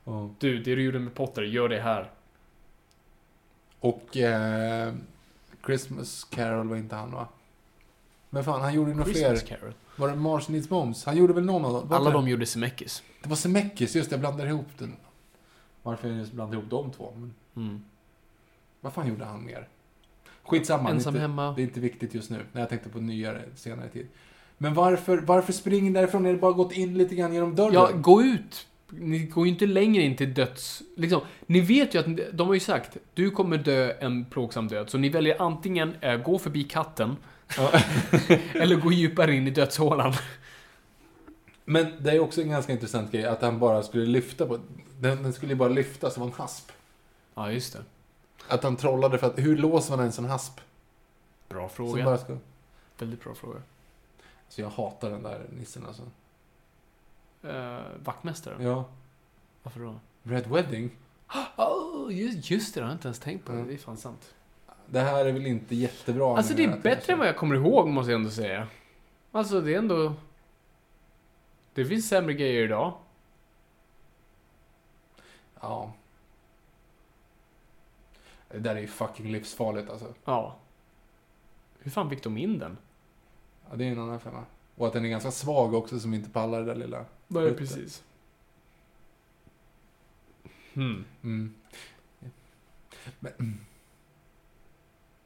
A: Ja.
B: Du, det du gjorde med Potter, gör det här.
A: Och eh, Christmas Carol var inte han va? Men fan, han gjorde ju några fler.
B: Christmas Carol.
A: Var det Mars Needs Moms? Han gjorde väl någon av dem? Var
B: Alla
A: det?
B: de gjorde Semekis.
A: Det var Semeckis, just det. Jag blandar ihop den. Varför jag just blandar ihop de två? Men
B: Mm.
A: vad fan gjorde han mer? Skitsamma.
B: Ensam
A: det, är inte,
B: hemma.
A: det är inte viktigt just nu. Nej, jag tänkte på nyare, senare tid. Men varför, varför springer ni därifrån? Ni har bara gått in lite grann genom dörren.
B: Ja, gå ut. Ni går ju inte längre in till döds... Liksom, ni vet ju att ni- de har ju sagt du kommer dö en plågsam död. Så ni väljer antingen eh, gå förbi katten
A: Ja.
B: eller gå djupare in i dödshålan.
A: Men det är också en ganska intressant grej att han bara skulle lyfta på... Den, den skulle ju bara lyftas, det var en hasp.
B: Ja, just det.
A: Att han trollade för att, hur låser man en sån hasp?
B: Bra
A: Som
B: fråga.
A: bara ska...
B: Väldigt bra fråga.
A: Så jag hatar den där nissen alltså.
B: Eh, vaktmästaren?
A: Ja.
B: Varför då?
A: Red Wedding.
B: Oh, just, just det, det har jag inte ens tänkt på. Det,
A: Mm.
B: det är fan sant. Det
A: Det här är väl inte jättebra.
B: alltså, det
A: menar
B: är
A: jag,
B: bättre
A: kanske.
B: än vad jag kommer ihåg, måste jag ändå säga. Alltså, det är ändå... Det finns sämre grejer idag.
A: Ja. Det där är ju fucking livsfarligt alltså.
B: Ja. Hur fan fick de in den?
A: Ja, det är en annan femma. Och att den är ganska svag också som inte pallar det där lilla.
B: Nej,
A: Ute.
B: precis. Hmm.
A: Mm.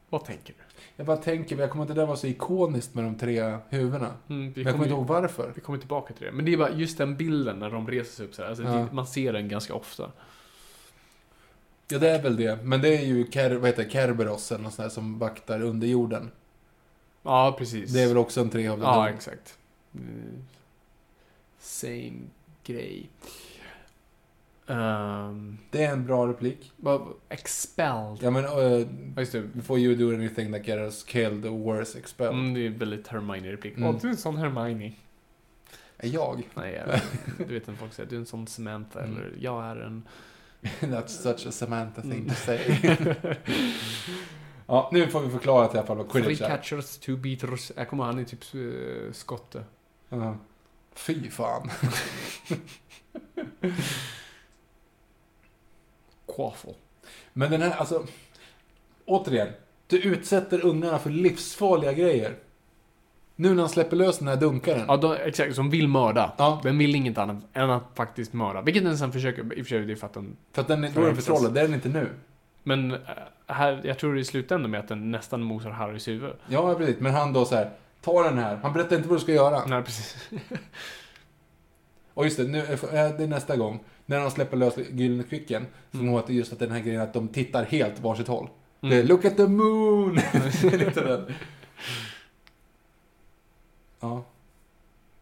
B: Vad tänker du?
A: Jag bara tänker, jag kommer inte det där vara så ikoniskt med de tre huvudena.
B: Mm, vi,
A: Men jag kommer
B: kommer
A: inte ihåg varför.
B: vi kommer tillbaka till det. Men det är bara just den bilden när de reser sig upp så här. Alltså,
A: Ja.
B: det, man ser den ganska ofta.
A: Ja, det är väl det. Men det är ju Ker, vad heter det? Kerberos eller något sånt där som vaktar under jorden.
B: Ja, precis.
A: Det är väl också en trehövdad
B: Ja,
A: hund.
B: exakt. Mm. Same grej. Ehm,
A: Det är en bra replik.
B: vad- expelled.
A: Ja, men eh,
B: Ja, just det.
A: Before you do anything that get us killed or worse expelled.
B: Mm, det är väldigt Hermione-replik. Åh,
A: Mm.
B: du är en sån Hermione.
A: Är jag?
B: Nej, jag, du vet när folk säger du är en sån Samantha
A: Mm.
B: eller jag är en...
A: That's such a Samantha thing to say.
B: Mm.
A: ja, nu får vi förklara i alla fall vad
B: Three
A: quidditch är.
B: catchers, two beaters. Jag kommer ihåg, han är typ uh, skotte.
A: Ja. Fy fan.
B: Quaffle.
A: Men den här, alltså. Återigen. Du utsätter ungarna för livsfarliga grejer. Nu när han släpper lös den här dunkaren.
B: Ja, de, exakt. Som vill mörda.
A: Ja.
B: Den vill inget annat än att faktiskt mörda. Vilket den sen försöker, i och för sig, det är för att den...
A: För att den är, då är den förtrollad. Det är den inte nu.
B: Men eh, här, jag tror det slutar med att den nästan mosar Harrys huvud.
A: Ja, precis. Men han då så här, ta den här. Han berättar inte vad du ska göra.
B: Nej, precis.
A: Och just det, nu, eh, det är nästa gång. När de släpper lös Gyllene Kvicken. Så mm. att det just att den här grejen att de tittar helt varsitt håll.
B: Mm.
A: Det är, Look at the moon! Det är lite den. Ja.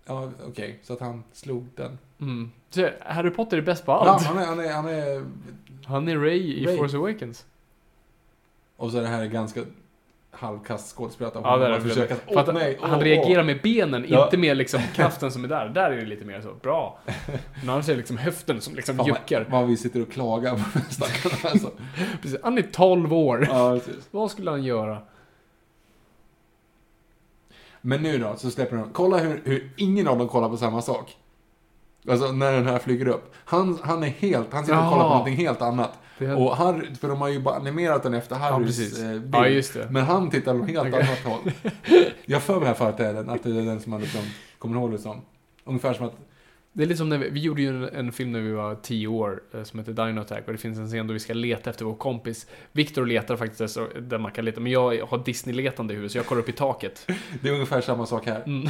A: Ja, okej. Så att han slog den.
B: Mm. Så Harry Potter är bäst på
A: Ja,
B: allt.
A: han är, han är, han är...
B: Han är Ray i
A: Ray.
B: Force Awakens.
A: Och så är det här ganska halvkast skådespelat av
B: Ja, det är
A: att
B: det.
A: försöka...
B: För att
A: Åh, nej,
B: han
A: åh,
B: reagerar
A: åh.
B: med benen,
A: Ja.
B: inte med liksom kraften som är där. Där är det lite mer så, bra. Men annars är det liksom höften som liksom
A: Fan,
B: juckar.
A: Vad, vad vi sitter och klagar på stackarna alltså.
B: Precis. Han är 12 år.
A: Ja, precis.
B: Vad skulle han göra?
A: Men nu då, så släpper de. Kolla hur, hur ingen av dem kollar på samma sak. Alltså när den här flyger upp. Han, han är helt, han sitter och
B: Jaha.
A: kollar på någonting helt annat.
B: Det-
A: Och Harry, för de har ju bara animerat den efter Harrys
B: precis.
A: eh, bild.
B: Ja, just det.
A: Men han tittar åt helt annat håll. Jag har för mig här föreställningen att det är den som man liksom kommer ihåg det som. Ungefär som att,
B: Det är lite som när vi, vi gjorde ju en, en film när vi var 10 år eh, som heter Dino Attack och det finns en scen då vi ska leta efter vår kompis. Viktor letar faktiskt där så- där man kan leta, men jag har Disney-letande i huvudet så jag kollar upp i taket.
A: det är ungefär samma sak här.
B: Mm.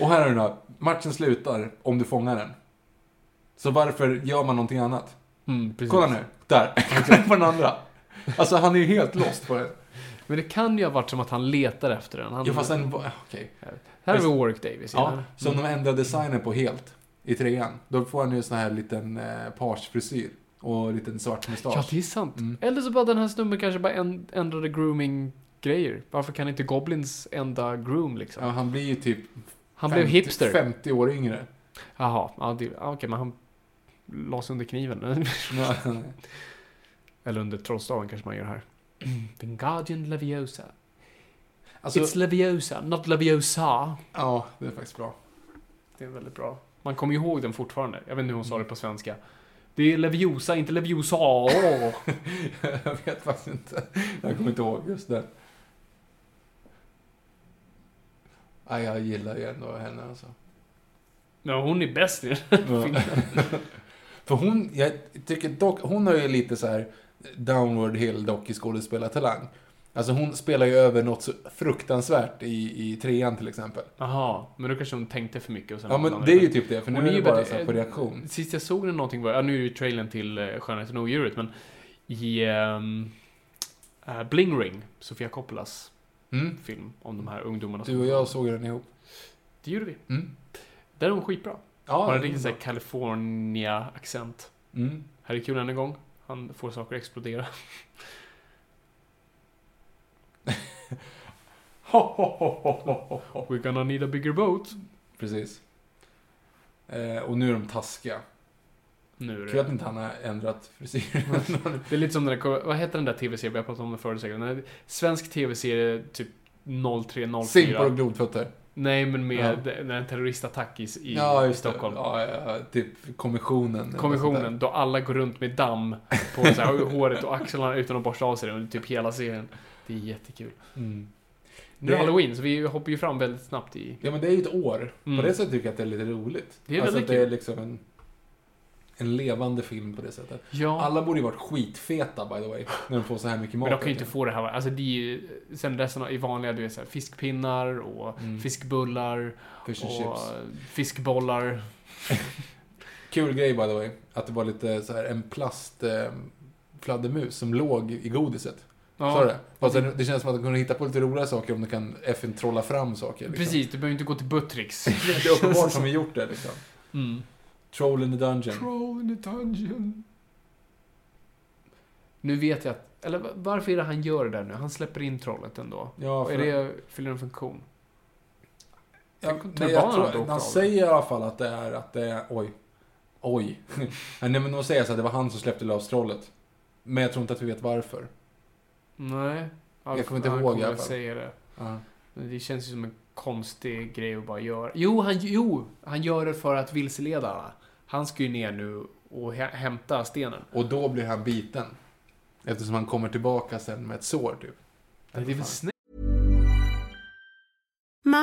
A: Och här är den då, matchen slutar om du fångar den. Så varför gör man någonting annat?
B: Mm, precis.
A: Kolla nu, där. Kolla på den andra. Alltså han är ju helt lost på det.
B: Men det kan ju ha varit som att han letar efter den. Han,
A: Ja, fast den var... Okej.
B: Här har vi Warwick Davis. Mm.
A: Ja, som de ändrade designen på helt i trean. Då får han ju sån här liten eh, pagefrisyr och liten svart
B: ja,
A: mustasch. Mm.
B: det är sant. Eller så bara den här snubben kanske bara en, ändrade grooming-grejer. Varför kan inte Goblins ända groom liksom?
A: Ja, han blir ju typ
B: han blev
A: 50
B: hipster.
A: 50 år yngre.
B: Jaha, ja, det- ja, okej, men han lades under kniven.
A: Ja,
B: Eller under trollstaven kanske man gör här. Vingardium Leviosa.
A: alltså,
B: It's Leviosa, not Leviosa.
A: ja, det är faktiskt bra.
B: Det är väldigt bra. Man kommer ju ihåg den fortfarande. Jag vet inte hur hon sa det
A: Mm.
B: på svenska. Det är Leviosa, inte Leviosa. Åh.
A: Jag vet faktiskt inte. Jag kommer inte ihåg just den. Ja, jag gillar ju ändå henne alltså.
B: Men hon är bäst i den.
A: Ja. För hon, jag tycker dock, hon har ju lite så här downward hill dock i skådespelartalang. Alltså hon spelar ju över något så fruktansvärt i, i trean till exempel.
B: Jaha, men då kanske hon tänkte för mycket och sen
A: Ja men det är ju typ det, för nu
B: Hon
A: är
B: är
A: det
B: ju
A: bara
B: väldigt-
A: så här på reaktion.
B: Sist jag såg den någonting var, ja nu är ju trailern till eh, Skönheten och odjuret, men i ehm, eh, Bling Ring, Sofia Coppolas
A: Mm.
B: film om de här ungdomarna. som-
A: Du och jag såg den ihop.
B: Det gjorde vi.
A: Mm.
B: Där är hon skitbra.
A: Ja,
B: Har en
A: det är
B: riktigt
A: bra.
B: såhär California-accent.
A: Mm.
B: Här är kul än en gång. Han får saker att explodera. Oh, We're gonna need a bigger boat.
A: Precis. Eh, och nu är de taskiga.
B: Nu är
A: Kul att
B: det.
A: inte han har ändrat frisyren.
B: det är lite som den där, vad heter den där tv-serien? Vi har pratat om den förut säkert. Den här Svensk tv-serie typ 0304.
A: Simpor och blodfötter.
B: Nej, men med
A: Ja.
B: den här terroristattack i, i,
A: Ja,
B: i
A: just det.
B: Stockholm.
A: Ja, ja, ja, typ kommissionen.
B: Kommissionen, då alla går runt med damm på så här, håret och axlarna utan att borsta av sig det under typ hela serien. Det är jättekul.
A: Mm.
B: Nu är
A: Det-
B: det halloween, så vi hoppar ju fram väldigt snabbt i...
A: Ja, men det är ju ett år.
B: Mm.
A: På det sättet tycker jag att det är lite roligt.
B: Det är
A: alltså
B: väldigt
A: att det är
B: kul.
A: liksom en, en levande film på det sättet.
B: Ja,
A: Alla borde ju varit skitfeta by the way, när de får så här mycket mat.
B: men de kan ju inte få det här. Alltså det är ju... Sen resten av, i vanliga, du vet så här, fiskpinnar och
A: Mm.
B: fiskbullar
A: Fish and
B: och
A: chips.
B: fiskbollar.
A: Kul grej by the way, att det var lite så här en plast eh, fladdermus som låg i godiset.
B: Ja,
A: Sa du det? Alltså, det känns som att de kunde hitta på lite roliga saker om de kan FN trolla fram saker. Liksom.
B: Precis, du behöver inte gå till Buttricks.
A: Det är uppenbart som vi gjort det liksom.
B: Mm.
A: Troll in the dungeon.
B: Troll in the dungeon. Nu vet jag att... Eller varför är det han gör det där nu? Han släpper in trollet ändå.
A: Ja,
B: Och är
A: för-
B: det, fyller det en funktion?
A: Ja,
B: Tänk om
A: nej,
B: turbanen
A: jag tror,
B: hade åkt
A: han
B: av.
A: säger i alla fall att det är att det är, oj. Oj. nej men de säger så att det var han som släppte lös trollet. Men jag tror inte att vi vet varför.
B: Nej.
A: Jag kommer inte
B: han
A: ihåg i
B: kommer
A: alla
B: att
A: fall.
B: säga det.
A: Ja.
B: Men Det känns ju som en konstig grej att bara göra. Jo, han, jo, han gör det för att vilseleda alla. Han ska ju ner nu och hä- hämta stenen.
A: Och då blir han biten. Eftersom han kommer tillbaka sen med ett sår typ.
B: Det är väl snällt?
C: Mom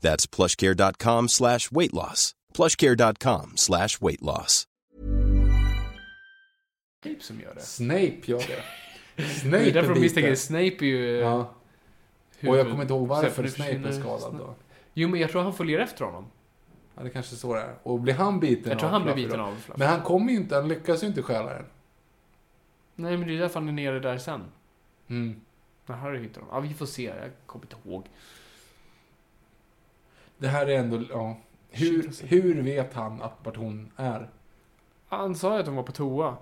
D: That's plushcare.com slash weight loss. Plushcare.com slash weight loss.
B: Snape som gör det.
A: Snape gör det. Snape
B: Det är därför
A: biter.
B: de misstänker. Snape är ju... eh,
A: Ja. Och jag
B: huvud-
A: kommer inte ihåg
B: Så här, för
A: varför
B: det
A: Snape är
B: försvinner-
A: skadad då.
B: Jo, men jag tror han följer efter honom.
A: Ja, det kanske är så det är. Och blir han biten
B: Jag tror
A: av
B: han blir
A: Fluffy
B: biten
A: då?
B: av Fluffy.
A: Men han kommer ju inte, han lyckas ju inte stjäla den.
B: Nej, men det är därför han är nere där sen.
A: Mm.
B: När Harry hittar honom. Ja, vi får se. Jag kommer inte ihåg.
A: Det här är ändå, ja.
B: Shit,
A: Hur,
B: alltså.
A: hur vet han att vart hon är?
B: Han sa ju att de var på toa.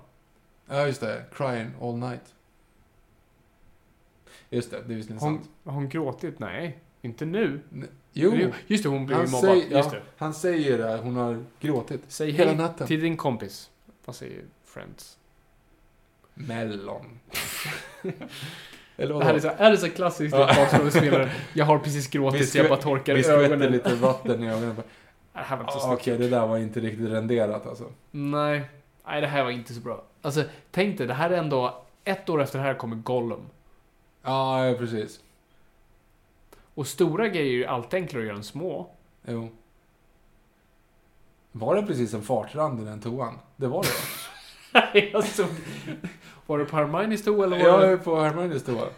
A: Ja, just det. Crying all night. Just det, det är visserligen
B: Har
A: sant.
B: hon, har hon gråtit? Nej, inte nu.
A: N- Jo,
B: Jo, Just det, hon blev
A: han
B: ju mobbad.
A: säger,
B: Just
A: ja,
B: det.
A: han säger det. Hon har gråtit.
B: Säg
A: hela
B: hej
A: natten.
B: till din kompis. Vad säger Friends?
A: Mellon. Eller
B: Det här är så, är det så klassiskt i bakgrundsspelaren. Jag har precis
A: Vi
B: gråtit så
A: skvätt-
B: jag bara torkar
A: Vi skvätter
B: ögonen.
A: lite vatten i ögonen.
B: Det här var inte så
A: Ah,
B: snyggt.
A: Okej, det där var inte riktigt renderat alltså.
B: Nej. Nej, det här var inte så bra. Alltså, tänk dig, det här är ändå... Ett år efter det här kommer Gollum.
A: Ja, ja, precis.
B: Och stora grejer är ju alltid enklare att göra än små.
A: Jo. Var det precis en fartrand i den toan? Det var det.
B: Nej, jag såg... Var det på Hermines toa eller var
A: Jag
B: det...
A: är på Hermiones toa.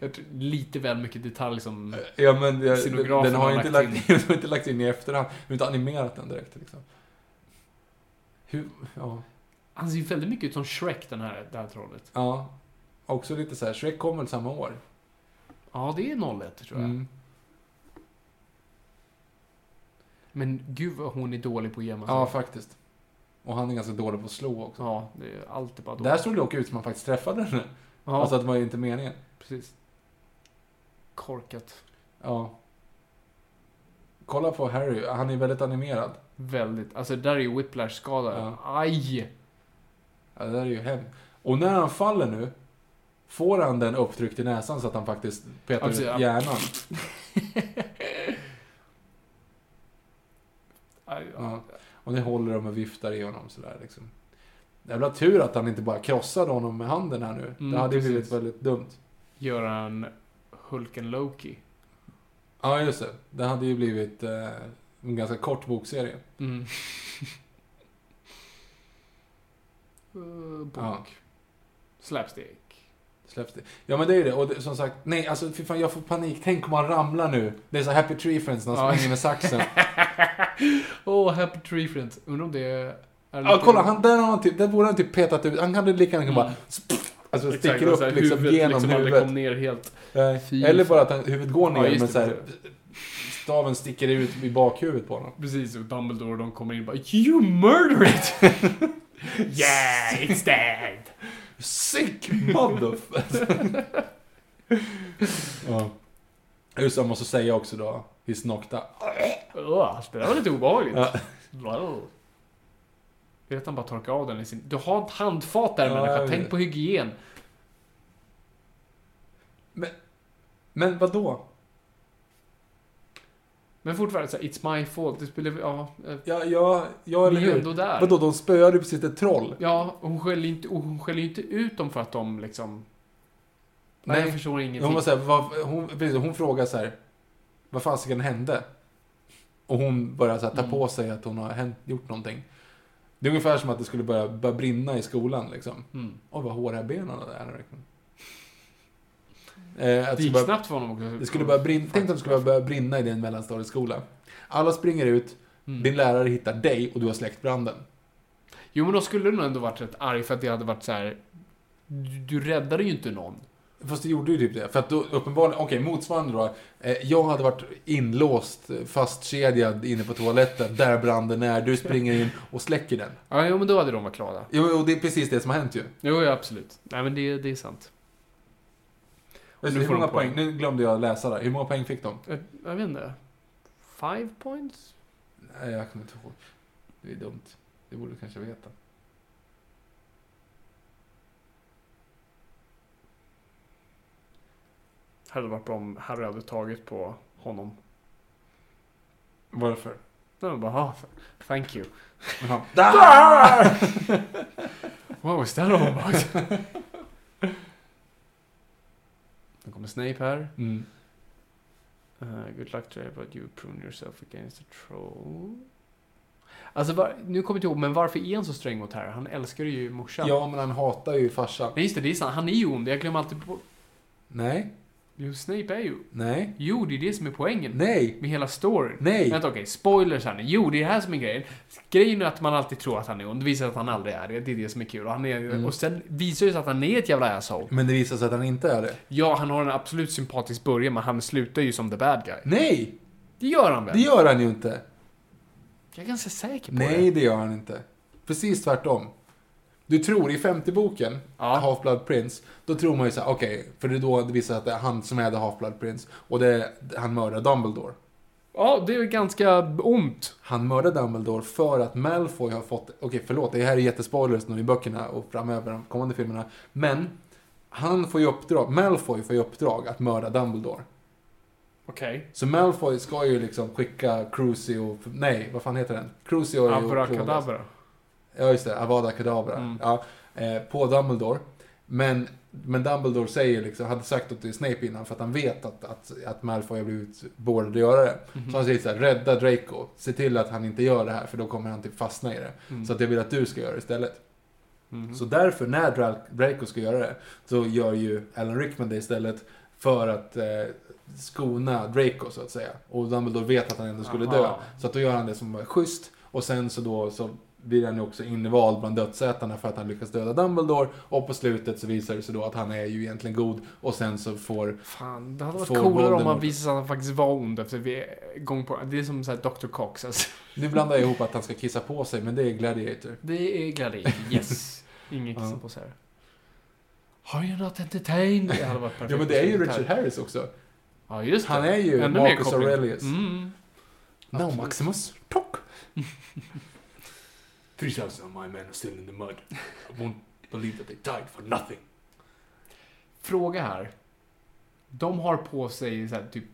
B: Jag tror, lite väl mycket detalj som...
A: Ja, men jag, den,
B: Scenografen
A: den har
B: har
A: ju inte
B: lagt
A: lagt, den har inte lagt in i efterhand. De har inte animerat den direkt liksom. Hur, ja.
B: Han ser ju väldigt mycket ut som Shrek, den här, det här trollet.
A: ja. Också lite så här, Shrek kom väl samma år?
B: Ja, det är 01 tror jag.
A: Mm.
B: Men gud vad hon är dålig på att gömma sig.
A: Ja, faktiskt. Och han är ganska dålig på att slå också.
B: Ja, det är alltid bara dåligt.
A: Där såg det dock ut som att man faktiskt träffade henne.
B: Ja,
A: Alltså att det var ju inte meningen.
B: precis. Korkat.
A: Ja. Kolla på Harry, han är väldigt animerad.
B: Väldigt. Alltså, det där är ju whiplash-skada.
A: Ja.
B: Aj!
A: Ja, det där är ju hem. Och när han faller nu, får han den upptryckt i näsan så att han faktiskt petar
B: Absolut, ja.
A: ut hjärnan.
B: Aj, ja.
A: Ja. Och det håller de och viftar i honom sådär liksom. Jävla tur att han inte bara krossade honom med handen här nu.
B: Mm,
A: det hade ju
B: precis.
A: blivit väldigt dumt.
B: Gör han Hulken Loki.
A: Ja, just det. Det hade ju blivit eh, en ganska kort bokserie.
B: Mm. Eh, Bok.
A: Ja.
B: Slapstick.
A: Släpps det. Ja, men det är ju det. Och det, som sagt, nej, alltså fy fan, jag får panik. Tänk om han ramlar nu. Det är så Happy Tree Friends när han
B: Ja.
A: springer med saxen.
B: Åh, oh, Happy Tree Friends. Undrar om det är... är
A: Ja,
B: lite-
A: kolla, han, där, har han typ, där borde han typ petat ut. Han hade lika gärna bara... Mm. Alltså
B: Exakt,
A: sticker
B: och
A: upp
B: så här
A: liksom
B: huvudet
A: genom
B: liksom aldrig
A: huvudet.
B: kom ner helt.
A: Nej.
B: Fy
A: Eller
B: fan.
A: bara att han, huvudet går ner,
B: Ja, just
A: men
B: det,
A: så här, staven sticker ut i bakhuvudet på honom.
B: Precis, och Dumbledore och de kommer in och bara You murder it! yeah, it's dead!
A: Sick motherfucker! ja. Just det, jag måste säga också då. He's knocked up.
B: Åh, det där var lite obehagligt.
A: Ja.
B: Wow. Jag vet att han bara torkar av den i sin... Du har ett handfat där
A: Ja, jag
B: människa,
A: vet.
B: tänk på hygien.
A: Men vadå?
B: Men Men fortfarande så här, it's my fault. Det spelar ja, eh,
A: Ja, ja, ja
B: Ni
A: eller
B: är
A: hur?
B: ändå där.
A: Vadå, de spöade ju precis ett troll.
B: ja, hon skäller ju inte, hon skäller ju inte ut dem för att de liksom... Nej,
A: Nej.
B: jag förstår ingenting.
A: Hon, var så här, vad, hon, precis, hon frågar så här, vad fasiken hände? Och hon börjar så här,
B: Mm.
A: ta på sig att hon har hänt, gjort någonting. Det är ungefär som att det skulle börja, börja brinna i skolan liksom.
B: Mm.
A: Oj, vad håriga benen hade Henrik. Eh, att
B: Det
A: det, skulle
B: gick
A: börja,
B: snabbt för honom också.
A: det skulle börja brinna, tänk om det skulle börja brinna i din mellanstadieskola. Alla springer ut, din lärare hittar dig och du har släckt branden.
B: Mm. Jo, men då skulle du nog ändå varit rätt arg för att det hade varit så här. Du, du räddade ju inte någon.
A: Fast det gjorde ju typ det. För att då uppenbarligen, okej motsvarande då. Eh, jag hade varit inlåst, eh, fastkedjad inne på toaletten. Där branden är, du springer in och släcker den.
B: Ja, jo, men då hade de varit glada.
A: Jo, och det är precis det som har hänt ju.
B: Jo, ja, absolut. Nej, men det, det är sant.
A: Alltså,
B: nu
A: hur
B: får de
A: många
B: poäng.
A: poäng, nu glömde jag läsa där. Hur många poäng fick de?
B: Jag, Eh, jag vet inte. Five points?
A: Nej, jag kommer inte ihåg. Det är dumt. Det borde du kanske veta.
B: Hade varit bra om Harry hade tagit på honom.
A: Varför?
B: Nej, men bara, "Ah, thank you.
A: Jaha.
B: Wow, is that all about? Nu kommer Snape här.
A: Mm.
B: Uh, good luck today, but you prune yourself against a troll. Alltså, var, nu kommer jag inte ihåg, men varför är han så sträng mot Harry? Han älskar ju morsan.
A: Ja, men han hatar ju farsan.
B: Nej, just det, det är sant. Han är ju ond. Jag glömmer alltid på...
A: Nej,
B: Jo, Snape är ju...
A: nej,
B: Jo, det är det som är poängen.
A: nej,
B: Med hela storyn.
A: Nej.
B: Vänta, okej. Spoilers här nu. Jo, det är det här som är grejen. Grejen är att man alltid tror att han är ond. Det visar sig att han aldrig är det. Det är det som är kul. Och, han är,
A: Mm.
B: och sen visar det sig att han är ett jävla asshole.
A: Men det visar sig att han inte är det.
B: Ja, han har en absolut sympatisk början, men han slutar ju som the bad guy.
A: Nej,
B: Det gör han väl?
A: det gör han ju inte.
B: Jag är ganska säker på
A: Nej,
B: det.
A: det gör han inte. Precis tvärtom. Du tror i femte boken,
B: Ja.
A: Half-Blood Prince, då tror man ju såhär, okej, för det är då det visar sig att det är han som är The Half-Blood Prince och det är, han mördar Dumbledore.
B: Ja, det är ganska ont.
A: Han mördar Dumbledore för att Malfoy har fått, okej förlåt, det här är jättespoilers nu i böckerna och framöver de kommande filmerna, men han får ju uppdrag, Malfoy får ju uppdrag att mörda Dumbledore.
B: Okej.
A: Så Malfoy ska ju liksom skicka Crucio, nej, vad fan heter den? Crucio är ju Clovis.
B: Abrakadabra.
A: Ja, just det. Avada Kedavra. Ja, eh, på Dumbledore. Men, men Dumbledore säger liksom, hade sagt åt Snape innan för att han vet att, att, att Malfoy har blivit beordrad att göra det. Så han säger så här, rädda Draco. Se till att han inte gör det här för då kommer han typ fastna i det. Så att jag vill att du ska göra det istället. Så därför, när Dra- Draco ska göra det, så gör ju Alan Rickman det istället för att eh, skona Draco så att säga. Och Dumbledore vet att han ändå skulle dö.
B: Aha.
A: Så att då gör han det som var schysst. Och sen så då så blir han ju också invald bland dödsätarna för att han lyckas döda Dumbledore. Och på slutet så visar det sig då att han är ju egentligen god. Och sen så får...
B: Fan, det hade varit
A: Får
B: coolare om
A: Voldemort.
B: man visade sig att han faktiskt var ond efter vi gång på... Det är som så här Dr. Cox alltså.
A: Nu blandar jag ihop att han ska kissa på sig, men det är Gladiator.
B: Det är Gladiator, yes. Ingen kissa
A: Ja.
B: på sig här. Are you not entertained? Det hade varit perfekt.
A: Ja men det är ju Richard
B: här.
A: Harris också.
B: Ja, just det.
A: Han är ju
B: Ännu mer
A: Marcus
B: koppling.
A: Aurelius.
B: Mm.
A: Now Maximus, talk!
E: Three thousand of my men are still in the mud. I won't believe that they died for nothing.
B: Fråga här. De har på sig så här, typ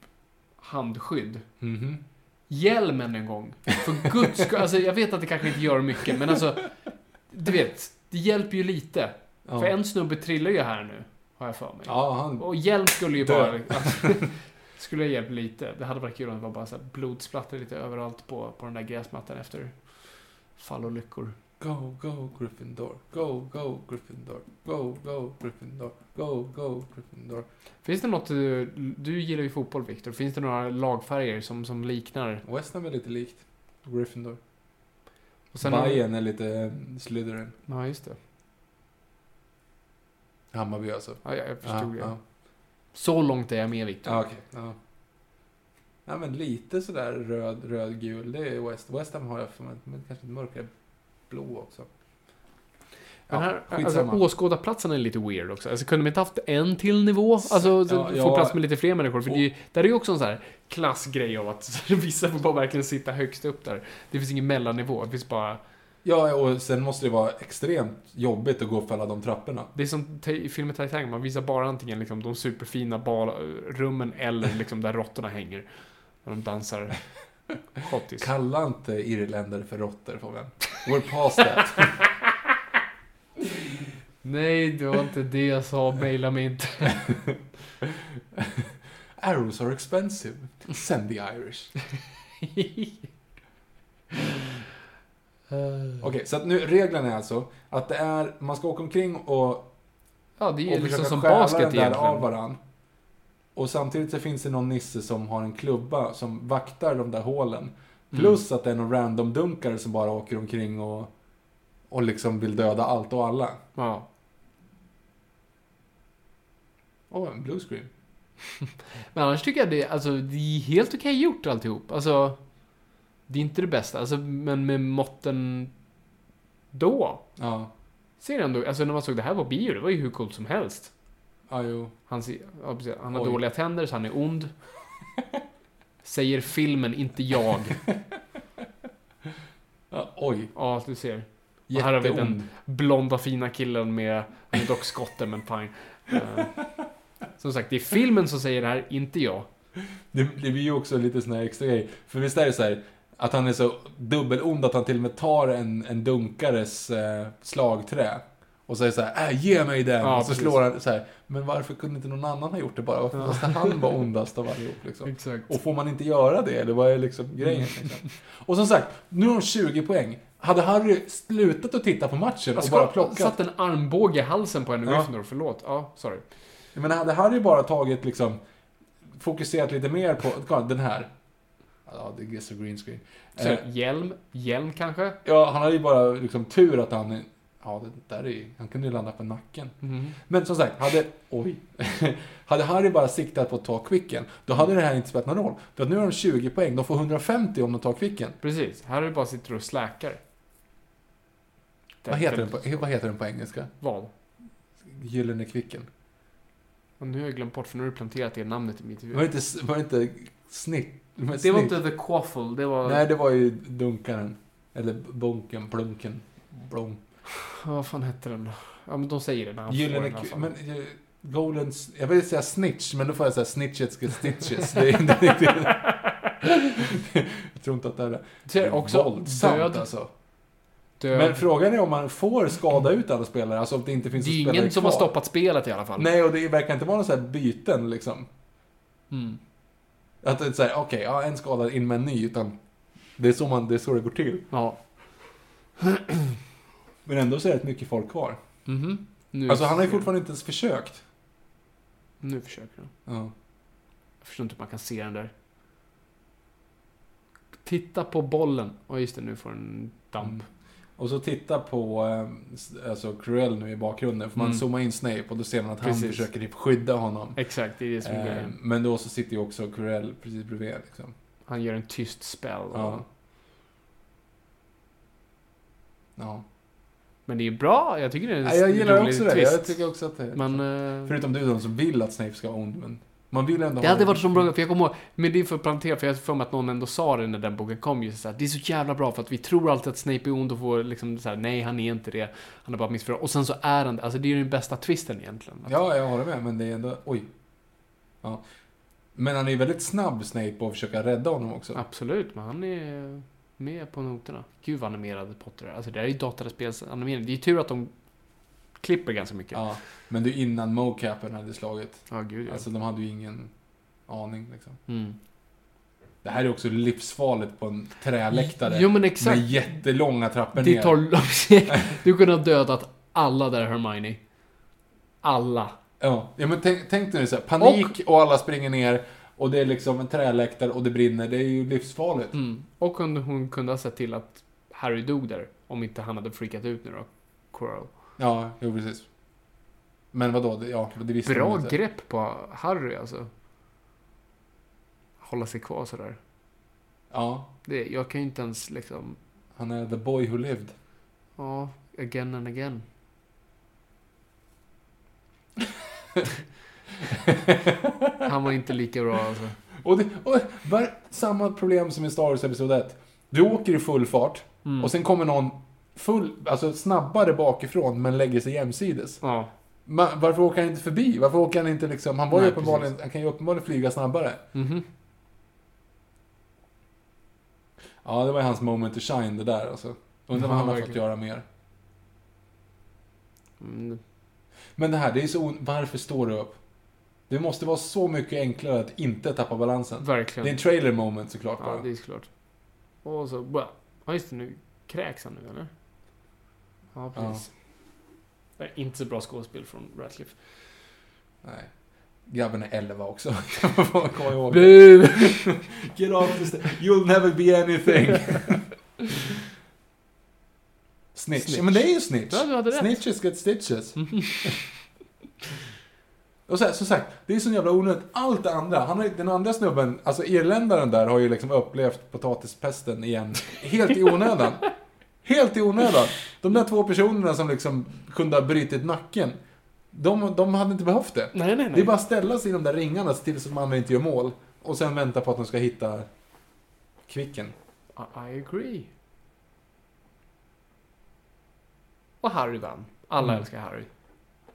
B: handskydd.
A: Mhm.
B: Hjälmen en gång. För guds skull. Alltså, jag vet att det kanske inte gör mycket, men alltså. Du vet, det hjälper ju lite.
A: Ja.
B: För en snubbe trillar ju här nu, har jag för mig.
A: Ja, han...
B: Och hjälp skulle ju
A: Dö.
B: bara... Alltså, skulle ha hjälpt lite. Det hade varit kul om det var bara så här blodsplattor lite överallt på, på den där gräsmattan efter fallolyckor.
A: Go, go Gryffindor, go, go Gryffindor, go, go Gryffindor, go, go Gryffindor.
B: Finns det något du... Du gillar ju fotboll, Viktor. Finns det några lagfärger som, som liknar?
A: West Ham är lite likt Gryffindor.
B: Och
A: Bayern är lite eh, Slytherin.
B: Ja, just det.
A: Hammarby alltså.
B: Ja, jag,
A: Ja,
B: jag förstod det.
A: ja.
B: Så långt är jag med, Viktor.
A: ja okej. Ja. ja, men lite sådär röd, röd, gul. Det är West. West Ham har jag för mig, men kanske lite mörkare blå också.
B: Men
A: Ja,
B: här, alltså,
A: skitsamma.
B: åskådarplatsen är lite weird också. Alltså, kunde de inte haft en till nivå? Alltså, så-
A: Ja,
B: få
A: ja.
B: plats med lite fler människor. För
A: Och-
B: det är ju, där är ju också en sån här klassgrej av att vissa får bara verkligen sitta högst upp där. Det finns ingen mellannivå. Det finns bara...
A: Ja, och sen måste det vara extremt jobbigt att gå för alla de trapporna.
B: Det är som ta- i filmen Titanic, man visar bara antingen liksom de superfina bal- rummen eller liksom där råttorna hänger. När de dansar Schottis.
A: Kalla inte irländare för råttor, får vän. We're past that.
B: Nej, det var inte det jag sa. Maila mig inte.
A: Arrows are expensive. Send the Irish.
B: Mm.
A: Okej, så att nu reglerna är alltså att det är, man ska åka omkring och
B: Ja, det är ju
A: och
B: liksom
A: försöka
B: som
A: stjäla
B: basket
A: den där av
B: egentligen.
A: varann. Och samtidigt så finns det någon nisse som har en klubba som vaktar de där
B: Mm.
A: hålen. Plus att det är någon random dunkare som bara åker omkring och, och liksom vill döda allt och alla.
B: Ja.
A: Åh, en blue screen.
B: Men annars tycker jag det, alltså, det är helt okej gjort alltihop. Alltså, det är inte det bästa. Alltså, men med måtten då.
A: Ja,
B: Ser jag ändå, alltså när man såg det här på bio, det var ju hur coolt som helst.
A: ja jo.
B: Han, ser, ja, precis. han har
A: Oj.
B: dåliga tänder, så han är ond. Säger filmen, inte jag.
A: Ja, oj,
B: Ja, du ser. Och här har vi
A: jätteond.
B: den blonda fina killen med, han är dock skotte men fine. Eh, som sagt, det är filmen som säger det här, inte jag.
A: Det, det blir ju också lite sån här extra grej. För visst är det så här att han är så dubbelond att han till och med tar en, en dunkares eh, slagträ. Och säger så här, äh, ge mig den!
B: Ja,
A: och så
B: precis.
A: slår han så här, men varför kunde inte någon annan ha gjort det bara? Varför måste han vara ondast av allihop liksom?
B: Exakt. Mm.
A: Och får man inte göra det? Eller vad är liksom grejen? Liksom? Och som sagt, nu har de 20 poäng. Hade Harry slutat att titta på matchen och
B: Alltså,
A: bara plockat...
B: satt en armbåge i halsen på en
A: Ja.
B: Gryffindor, förlåt. Ja, sorry.
A: Jag menar, hade Harry bara tagit liksom, fokuserat lite mer på, kolla, den här. Ja, det är så green screen.
B: Så,
A: Eh,
B: Hjälm, hjälm kanske?
A: Ja, han hade ju bara liksom tur att han... Ja, det där är ju... Han kunde ju landa på nacken.
B: Mm.
A: Men som sagt, hade... Oj. hade Harry bara siktat på att ta quicken, då hade det här inte spelat någon roll. För att nu har de 20 poäng, de får 150 om de tar quicken.
B: Precis, här är det bara sitter och släkar.
A: Vad heter, den på, vad heter den på engelska?
B: Vad?
A: Gyllene quicken.
B: Och nu har jag glömt bort, för nu har du planterat det namnet i mitt huvud.
A: Var det inte, var det inte snitt? men
B: det var
A: snitt?
B: inte the quaffle, det var...
A: Nej, det var ju dunkaren. Eller bonken, plunken, blom.
B: Vad fan hette den då? Ja, men de säger det när han får den alltså.
A: Gyllene
B: i alla
A: Q-
B: fall.
A: men eh, Golden... s- Jag vill säga snitch, men då får jag säga snitches get stitches. Det är inte riktigt... jag tror inte att det är det.
B: Så är det också
A: våldsamt
B: död.
A: alltså.
B: Död.
A: Men frågan är om man får skada ut alla spelare, alltså om det inte finns
B: det är
A: en
B: ju
A: spelare
B: ingen som
A: kvar.
B: har stoppat spelet i alla fall.
A: Nej, och det verkar inte vara några så här byten liksom.
B: Mm.
A: Att det är så här, okej, ja, en skadad in med en ny, utan det är, så man, det är så det går till.
B: Ja.
A: Men ändå så är det mycket folk kvar.
B: Mhm. Nu,
A: Alltså han har ju fortfarande inte ens försökt.
B: Nu försöker jag.
A: Ja.
B: Jag förstår inte hur man kan se den där. Titta på bollen. Ja, just det. Nu får den damp.
A: Mm. Och så titta på eh, s- alltså Cruel nu i bakgrunden, för man
B: Mm.
A: zoomar in Snape och då ser man att han
B: Precis.
A: försöker typ skydda honom.
B: Exakt, det är det som är
A: Eh,
B: grejen.
A: men då så sitter ju också Cruel precis bredvid. Liksom.
B: Han gör en tyst spell.
A: Ja. Ja.
B: Men det är bra. Jag tycker det är en
A: Nej, jag gillar
B: rolig
A: också det.
B: twist.
A: Jag tycker också att det
B: Men... eh,
A: Förutom du då, som vill att Snape ska vara ond, men man vill ändå
B: Det
A: ha
B: hade
A: en-
B: varit så bra, för jag kommer ihåg, men det är för att plantera, för jag har för mig att någon ändå sa det när den boken kom, just så här, det är så jävla bra för att vi tror alltid att Snape är ond och får liksom så här, nej han är inte det, han har bara missförstått. Och sen så är han det, alltså det är ju den bästa twisten egentligen. Att-
A: Ja, jag håller med, men det är ändå... Oj. Ja. Men han är ju väldigt snabb, Snape, på att försöka rädda honom också.
B: Ah, Absolut, men han är med på noterna. Gud vad animerade Potter är. Alltså det här är ju dataspelsanimering. Det är ju tur att de klipper ganska mycket. Ja,
A: Ja. Men du, innan mocapen hade slagit.
B: gud ja.
A: Alltså, de hade ju ingen aning, liksom.
B: mm.
A: Det här är också livsfarligt på en träläktare.
B: Jo men exakt.
A: Med jättelånga trappor
B: det
A: ner.
B: tar... du kunde ha dödat alla där Hermione. Alla.
A: Ja, ja men tänk, tänk dig nu så här, panik och... alla springer ner och det är liksom en träläktare och det brinner. Det är ju livsfarligt.
B: Mm. Och hon, hon kunde ha sett till att Harry dog där. Om inte han hade freakat ut nu då. Quirrell.
A: Ja, jo precis. Men vadå, det, ja, det visste
B: Bra
A: man inte.
B: grepp på Harry alltså. Hålla sig kvar sådär.
A: Ja,
B: Det, jag kan ju inte ens liksom...
A: han är the boy who lived.
B: Ja, again and again. han var inte lika bra alltså.
A: Och, det, och var, samma problem som i Star Wars Episod 1. Du åker i full fart
B: Mm.
A: och sen kommer någon full, alltså snabbare bakifrån men lägger sig jämsides.
B: Ja,
A: Ma- varför åker han inte förbi? Varför åker han inte liksom... Han, var ju
B: Nej, Mhm.
A: uppenbarligen, han kan ju uppenbarligen flyga snabbare. Ja, det var ju hans moment to shine det där alltså. Undrar vad
B: Ja,
A: han har fått
B: verkligen.
A: göra mer.
B: Mm.
A: Men det här, det är så on- Varför står du upp? Det måste vara så mycket enklare att inte tappa balansen.
B: Verkligen.
A: Det är en trailer moment såklart
B: Ja,
A: bara.
B: det är såklart. Och så bara... Ja, just det. Nu kräks han nu, eller? Ja, precis. Det är inte så bra skådespel från Ratcliffe.
A: Nej. Grabben är 11 också. Vad kommer jag ihåg?
B: Bu!
A: Get off the sta- You'll never be anything. snitch.
B: Snitch.
A: Ja, men det är ju snitch.
B: Ja, du hade rätt. Mm.
A: Snitches get stitches. Och så här, som sagt, det är så jävla onödigt. Allt det andra, han har, ju- den andra snubben, alltså irländaren där har ju liksom upplevt potatispesten igen. Helt i onödan. Helt i onödan. De där två personerna som liksom kunde ha brutit nacken. De, de hade inte behövt det.
B: Nej, nej, nej.
A: Det är bara att ställa sig i de där ringarna tills man inte gör mål. Och sen vänta på att de ska hitta kvicken.
B: I, I agree. Och Harry vann. Alla älskar Harry.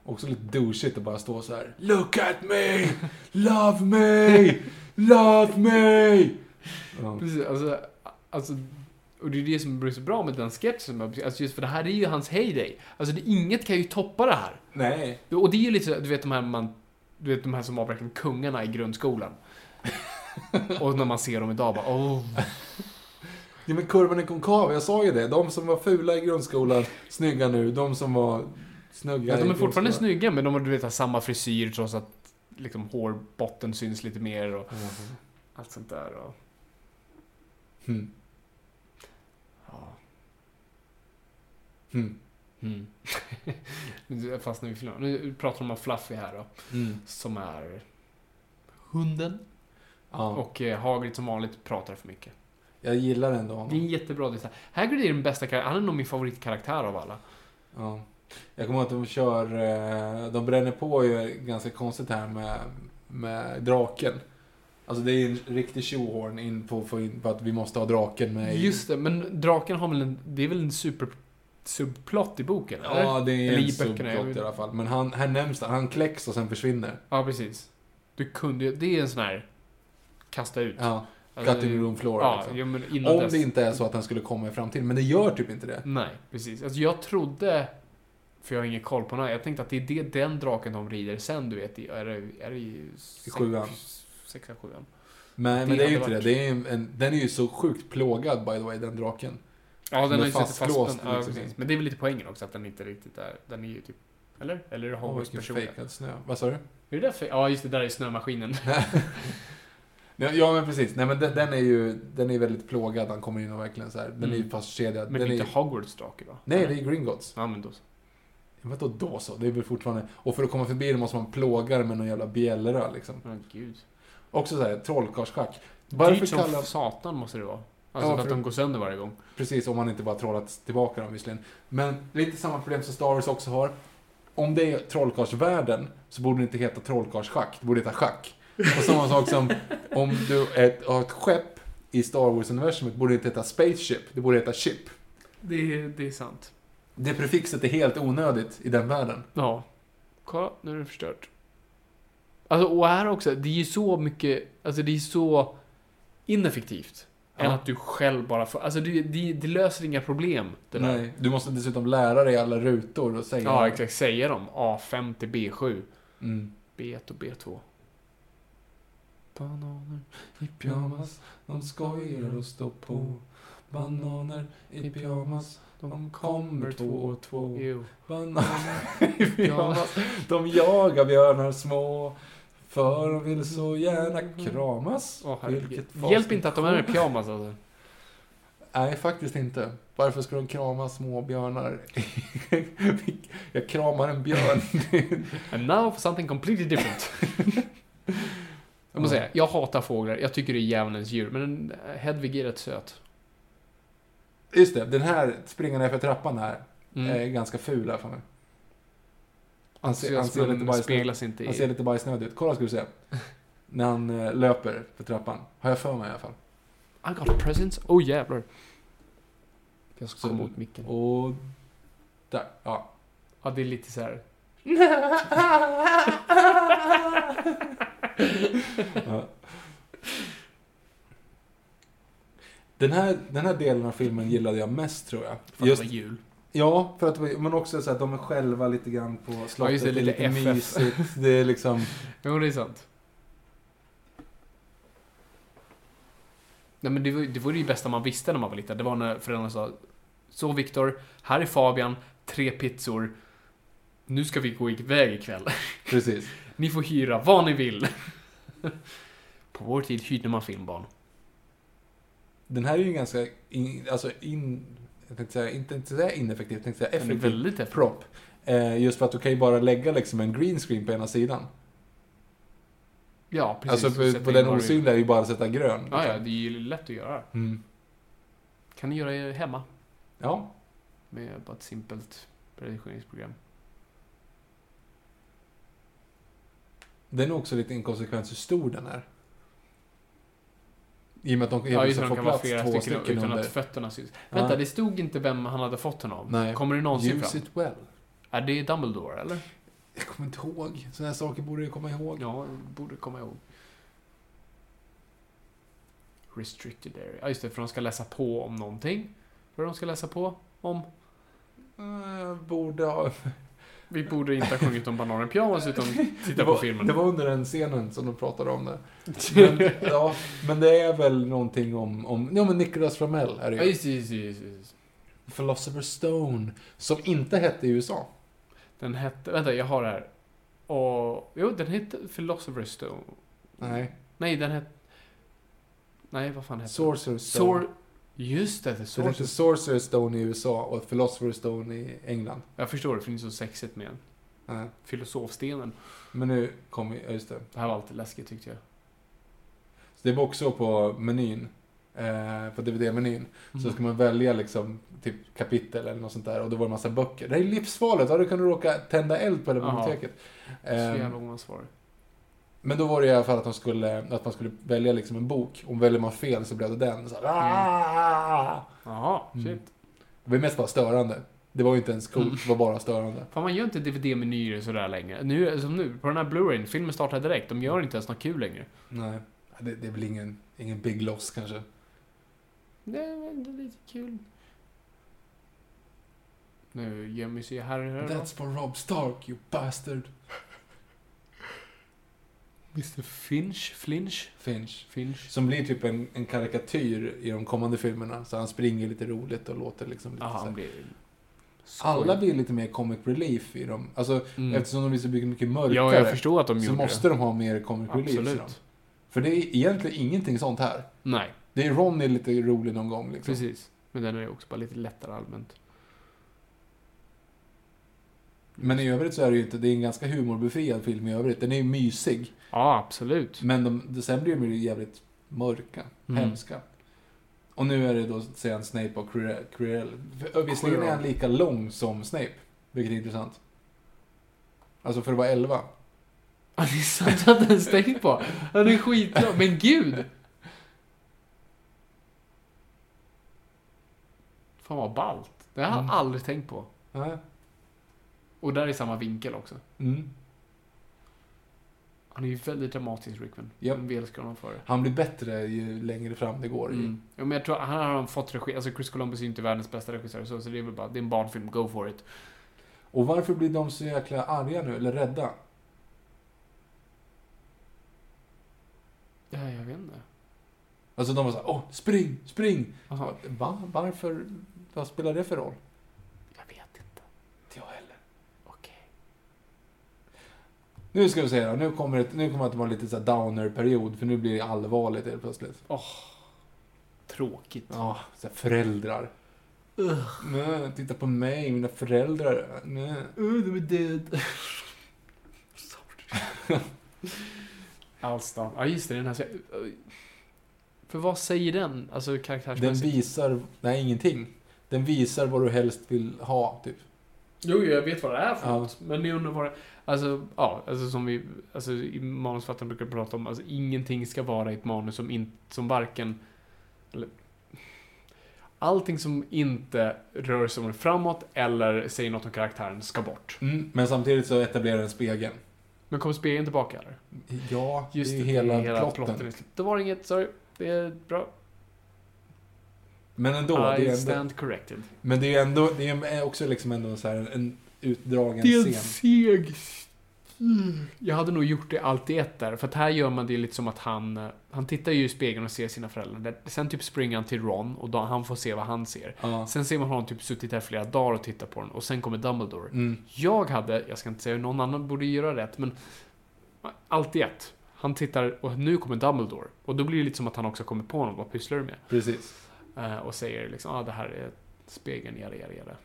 A: Också lite douchigt att bara stå så här. Look at me! Love me! Love me! Ja.
B: Precis, alltså, alltså... Och det är det som blir så bra med den sketchen. Alltså just för det här är ju hans heyday. Alltså det, inget kan ju toppa det här.
A: Nej.
B: Och det är ju lite så, du vet de här man... Du vet de här som var verkligen kungarna i grundskolan. och när man ser dem idag bara oh.
A: Ja, men kurvan är konkav, jag sa ju det. De som var fula i grundskolan, snygga nu. De som var snygga
B: Ja, de
A: i
B: är fortfarande
A: grundskolan.
B: snygga men de har du vet, har samma frisyr trots att liksom hårbotten syns lite mer och allt sånt där. Och,
A: Mm.
B: ja.
A: Mm.
B: Mm. Jag fastnar vid filmen. Nu pratar de om Fluffy här då.
A: Mm.
B: Som är hunden.
A: Ja,
B: Och eh, Hagrid som vanligt pratar för mycket.
A: jag gillar ändå honom.
B: Det är en jättebra design. Hagrid är den bästa karaktären. Han är nog min favoritkaraktär av alla.
A: Ja. Jag kommer ihåg att de kör, eh, de bränner på ju ganska konstigt här med, med draken. Alltså det är en riktig tjohorn in på, på, in, på att vi måste ha draken med. i-
B: Just det, men draken har väl en... Det är väl en super... Subplot i boken?
A: Ja, det är
B: Eller
A: en
B: i böckerna, jag
A: subplot
B: vet.
A: i alla fall. Men han, här nämns det, han kläcks och sen försvinner.
B: Ja, precis. Du kunde ju... Det är en sån här... Kasta ut.
A: Ja,
B: Alltså,
A: cut in room floor
B: Ja,
A: liksom.
B: jo, men innan
A: Om
B: dess.
A: det inte är så att han skulle komma i framtiden, men det gör typ inte det.
B: Nej, precis. Alltså jag trodde... För jag har ingen koll på den här. Jag tänkte att det är det, den draken de rider sen, du vet. i- Är det, är det i... sex-
A: sjuan.
B: Sexan, sjuan.
A: Men det, men det är
B: hade
A: ju inte
B: varit-
A: det. det är ju en, den är ju så sjukt plågad by the way, den draken.
B: Ja,
A: är
B: den har ju suttit
A: fastlåst,
B: fast. Ja,
A: liksom.
B: precis. Men det är väl lite poängen också, att den inte riktigt är... Den är ju typ... Eller? Eller är det
A: Åh,
B: Hogwarts
A: vilken
B: personliga?
A: fejkad snö. Vad sa du?
B: Är det där fake? Ja, just det. Där är snömaskinen.
A: Ja, ja men precis. Nej men den, den är ju den är väldigt plågad. Han kommer in och verkligen så här. Den är ju fastkedjad.
B: Mm. Men det
A: den
B: är
A: är,
B: inte Hogwarts drake, va?
A: Nej, det är Gringotts.
B: Ja, men då så.
A: Men då, då så. Det är väl fortfarande... Och för att komma förbi den måste man plåga den med någon jävla bjällra liksom.
B: Men gud.
A: Också så här, trollkarlsschack. Varför
B: Dyrt som
A: kallar...
B: satan måste det vara. Alltså
A: Ja, för-
B: för att de går sönder varje gång.
A: Precis, om man inte bara trollat tillbaka dem visserligen. Men lite samma problem som Star Wars också har. Om det är trollkarlsvärlden så borde det inte heta trollkarlsschack. Det borde heta schack. Och samma sak som om du är ett, har ett skepp i Star Wars-universumet borde det inte heta spaceship. Det borde heta ship.
B: Det är, det är sant.
A: Det prefixet är helt onödigt i den världen.
B: Ja. Kolla, nu är det förstört. Alltså, och här också. Det är ju så mycket... Alltså det är så ineffektivt.
A: Ja.
B: Än att du själv bara får... Alltså det, det, det löser inga problem. Det där.
A: Nej, du måste dessutom lära dig alla rutor och säga...
B: Ja, exakt. Säger de A5 till B7.
A: Mm.
B: B1 och B2. Bananer i pyjamas.
A: Pyjamas, de skojar och står på. Bananer i pyjamas, de kommer två och två.
B: Jo.
A: Bananer i pyjamas, de jagar björnar små. För de vill så gärna kramas.
B: Åh, herregud.
A: fasligt-
B: Hjälp inte att de är i pyjamas alltså.
A: Nej, faktiskt inte. Varför ska de krama små björnar? Jag kramar en björn.
B: And now for something completely different. jag måste säga, jag hatar fåglar. Jag tycker det är djävulens djur. Men eh, Hedvig är rätt söt.
A: Just det, den här springande för trappan här.
B: Mm.
A: är ganska ful här för mig. Han
B: så
A: ser, han
B: jag
A: ser, lite,
B: den
A: bajsnödig,
B: speglas inte
A: han ser
B: i...
A: lite bajsnödig ut. Kolla ska du se. När han eh, löper för trappan. Har jag för mig i alla fall.
B: I got presents. Oh jävlar. Jag ska
A: Så-
B: komma åt micken.
A: Och... Där. Ja.
B: Ja, det är lite så här.
A: Ja. Den här, den här delen av filmen gillade jag mest tror
B: För
A: jag. Just,
B: Just... det var jul.
A: ja, för att, det var- men också så att de är själva lite grann på slottet.
B: Ja, just det,
A: det, är
B: lite
A: lite
B: FF.
A: mysigt. Det är liksom...
B: Jo, det är sant. Nej, men det, var, det var ju det bästa man visste när man var liten. Det var när föräldrarna sa Så Viktor, här är Fabian, tre pizzor. Nu ska vi gå iväg ikväll.
A: Precis.
B: Ni får hyra vad ni vill. På vår tid hyrde man filmbarn.
A: Den här är ju ganska, in, alltså in, jag tänkte säga, inte, inte säga ineffektiv, jag tänkte säga
B: Den är
A: effektiv
B: väldigt effektiv.
A: prop. Eh, just för att du kan ju bara lägga liksom en green screen på ena sidan.
B: Ja, precis.
A: alltså
B: Sätta
A: på, på
B: in
A: den
B: vad du-
A: osynliga är ju bara att sätta grön.
B: Ja, ja,
A: liksom.
B: det är ju lätt att göra.
A: Mm.
B: Kan ni göra er hemma
A: ja.
B: med bara ett simpelt redigeringsprogram.
A: Den är också lite inkonsekvent hur stor den är. I och med att de
B: Ja,
A: helt
B: just det,
A: ja,
B: de
A: får
B: kan vara
A: plats
B: flera
A: två
B: stycken,
A: stycken,
B: utan
A: under.
B: att fötterna syns. Vänta,
A: Ja.
B: det stod inte vem han hade fått den av.
A: Nej.
B: Kommer det någonsin
A: Use
B: fram?
A: it well.
B: Är det Dumbledore, eller?
A: Jag kommer inte ihåg. Sådana här saker borde jag komma ihåg.
B: Ja, borde komma ihåg. Restricted area. Ja, just det, för de ska läsa på om någonting. Vad är det de ska läsa på om?
A: Eh, Borde ha...
B: Vi borde inte ha sjungit om bananen pyjamas utan titta
A: det,
B: på
A: var,
B: filmen.
A: det var under den scenen som de pratade om det. Men, ja, men det är väl någonting om... om ja, men Nicholas Flamel är
B: Ja,
A: det ju.
B: just, det, just, det, just, det, just. det.
A: Philosopher's Stone. Som inte hette i USA.
B: Den hette... Vänta, jag har det här. Och, jo, den hette Philosopher's Stone.
A: Nej.
B: Nej, den hette... Nej, vad fan hette
A: Sorcerer's
B: den?
A: Stone.
B: Sor... Just det, det är
A: Så det heter
B: Sorcerer's
A: Sorcerer's Stone i USA och Philosopher's Stone i England.
B: Jag förstår, det för det är inte så sexigt med den.
A: Nej.
B: Filosofstenen.
A: Men nu kommer... Ja, just det.
B: Det här var alltid läskigt tyckte jag.
A: Så det var också på menyn. Eh, på DVD-menyn. Så
B: Mm.
A: ska man välja liksom typ kapitel eller något sånt där och då var det en massa böcker. Det här är livsfarligt, ja, då kan du råka tända eld på hela
B: Jaha.
A: biblioteket.
B: Så
A: Ehm,
B: jävla oansvarig.
A: men då var det i alla fall att, de skulle, att man skulle välja liksom en bok. Om väljer man fel så blev det den. Så här, "Ah!"
B: Jaha, shit.
A: Det var mest bara störande. Det var ju inte ens coolt,
B: Mm.
A: det var bara störande.
B: Fan, man gör inte DVD-menyer sådär längre. Nu, som nu, på den här Blu-rayn, filmen startar direkt. De gör inte ens något kul längre.
A: Nej, Ja, det, det blir ingen, ingen big loss kanske.
B: Nej, men det är lite kul. Nu gömmer sig här och här.
A: That's for Rob Stark, you bastard.
B: Mr Finch? Flinch?
A: Finch.
B: Finch?
A: Som blir typ en, en karikatyr i de kommande filmerna. Så han springer lite roligt och låter liksom lite
B: Aha,
A: så här-
B: han blir...
A: Alla blir lite mer comic relief i dem. Alltså,
B: Mm.
A: eftersom de blir så mycket, mycket mörkare.
B: Ja, jag förstår att de
A: så
B: gjorde
A: måste de liksom. ha mer comic
B: det.
A: relief i dem.
B: Absolut.
A: För det är egentligen ingenting sånt här.
B: Nej,
A: Det är Ronny lite rolig någon gång liksom.
B: precis. Men den är också bara lite lättare allmänt.
A: Men i övrigt så är det ju inte, det är en ganska humorbefriad film i övrigt. Den är ju mysig.
B: Ja, absolut.
A: Men de, de, sen blir de ju jävligt mörka,
B: Mm.
A: hemska. Och nu är det då sen Snape och Quirrell- Quirrell. För- Visserligen är han lika lång som Snape, vilket är intressant. Alltså för att vara 11.
B: Ja, det är sant att den stängt på. Den är skitlång. Men gud! Fan vad ballt. Det här har jag
A: Mm.
B: aldrig tänkt på.
A: Ja.
B: Och där är samma vinkel också.
A: Mm.
B: Han är ju väldigt dramatisk, Rickman.
A: Japp.
B: En välskriven för det.
A: Han blir bättre ju längre fram det går.
B: Mm. Ja, men jag tror han har fått regi. Alltså Chris Columbus är ju inte världens bästa regissör och så, så det är väl bara, det är en barnfilm, go for it.
A: Och varför blir de så jäkla arga nu, eller rädda?
B: Ja, jag vet inte.
A: Alltså de var såhär, åh, spring, spring!
B: Aha.
A: Va? Varför? Vad spelar det för roll?
B: Jag vet inte.
A: Inte jag heller.
B: Okej.
A: Nu ska vi se då, nu kommer det, nu kommer det att vara lite så här downer-period, för nu blir det allvarligt helt plötsligt.
B: Tråkigt.
A: Ja, så här föräldrar. Nej, titta på mig, mina föräldrar. Nej.
B: Uh, de är död. Allstan. Ja, just det. Den här... För vad säger den? Alltså
A: Den
B: karaktärsmässigt?
A: visar, nej ingenting. Den visar vad du helst vill ha, typ.
B: Jo, jo, jag vet vad det är för
A: Ja.
B: något. Men jag undrar vad det... Alltså, ja. Alltså som vi... Alltså i manusförfattaren brukar prata om. Alltså ingenting ska vara i ett manus som, in, som varken... Eller, allting som inte rör sig framåt eller säger något om karaktären ska bort.
A: Mm, men samtidigt så etablerar den spegeln.
B: Men kommer spegeln tillbaka eller?
A: Ja,
B: Just
A: det
B: det,
A: är ju hela,
B: det är
A: plotten.
B: Då var det inget, sorry. Det är bra.
A: Men ändå, det
B: I
A: är ändå,
B: stand corrected.
A: men det är ändå, det är också liksom ändå en så här en utdragen
B: Det är en
A: scen.
B: seg... Mm. Jag hade nog gjort det allt i ett där. För att här gör man det lite som att han... eh, Han tittar ju i spegeln och ser sina föräldrar. Där- Sen typ springer han till Ron och då, han får se vad han ser.
A: Ja.
B: Sen ser man honom typ suttit där flera dagar och tittat på den. Och sen kommer Dumbledore.
A: Mm.
B: Jag hade, jag ska inte säga hur någon annan borde göra rätt, men... Allt i ett. Han tittar och nu kommer Dumbledore. Och då blir det lite som att han också kommer på honom. Vad pysslar du med?
A: Precis.
B: Eh, Och säger liksom, ah, det här är spegeln, jada, jada, jada.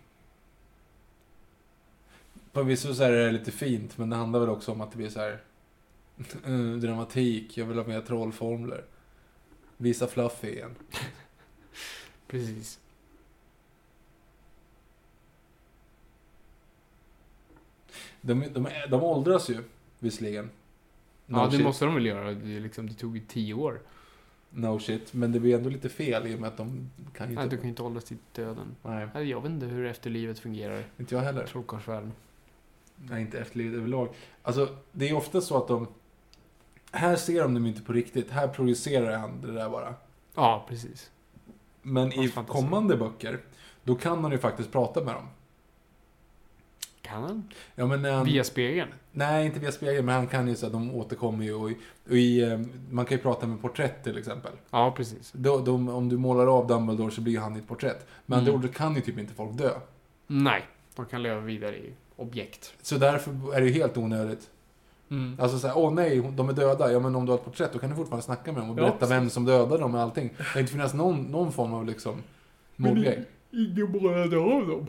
A: Förvisso så här är det lite fint, men det handlar väl också om att det blir så här eh, dramatik, jag vill ha mer trollformler. Visa Fluffy igen.
B: Precis.
A: De, de, de åldras ju, visserligen. No,
B: ja, det
A: shit.
B: måste de väl göra. Det, är liksom, det tog ju tio år.
A: no shit, men det blir ändå lite fel i och med att de kan ju
B: Nej,
A: inte...
B: du kan ju inte hålla till döden.
A: Nej,
B: Nej, Jag vet inte hur efterlivet fungerar i
A: inte jag heller.
B: trollkarlsvärlden.
A: Nej, inte efterlivet överlag. Alltså, det är ofta så att de... Här ser de dem inte på riktigt. Här projicerar han det där bara.
B: Ja, precis.
A: Men i
B: Hans fantasi.
A: kommande böcker, då kan han ju faktiskt prata med dem.
B: Kan han?
A: Ja, men när han,
B: Via spegeln?
A: Nej, inte via spegeln, men han kan ju så att de återkommer ju. Och, i- och i, eh, man kan ju prata med porträtt till exempel.
B: Ja, precis.
A: Då, de, om du målar av Dumbledore så blir han ditt porträtt. Men
B: Mm.
A: andra ord kan ju typ inte folk dö.
B: Nej, de kan leva vidare i objekt.
A: Så därför är det ju helt onödigt.
B: Mm.
A: Alltså såhär, åh nej, de är döda. Ja men om du har ett porträtt då kan du fortfarande snacka med dem och
B: Ja,
A: berätta
B: precis.
A: vem som dödade dem och allting. Det kan inte finnas någon, någon form av liksom mordgrej.
B: Ingen målade av dem.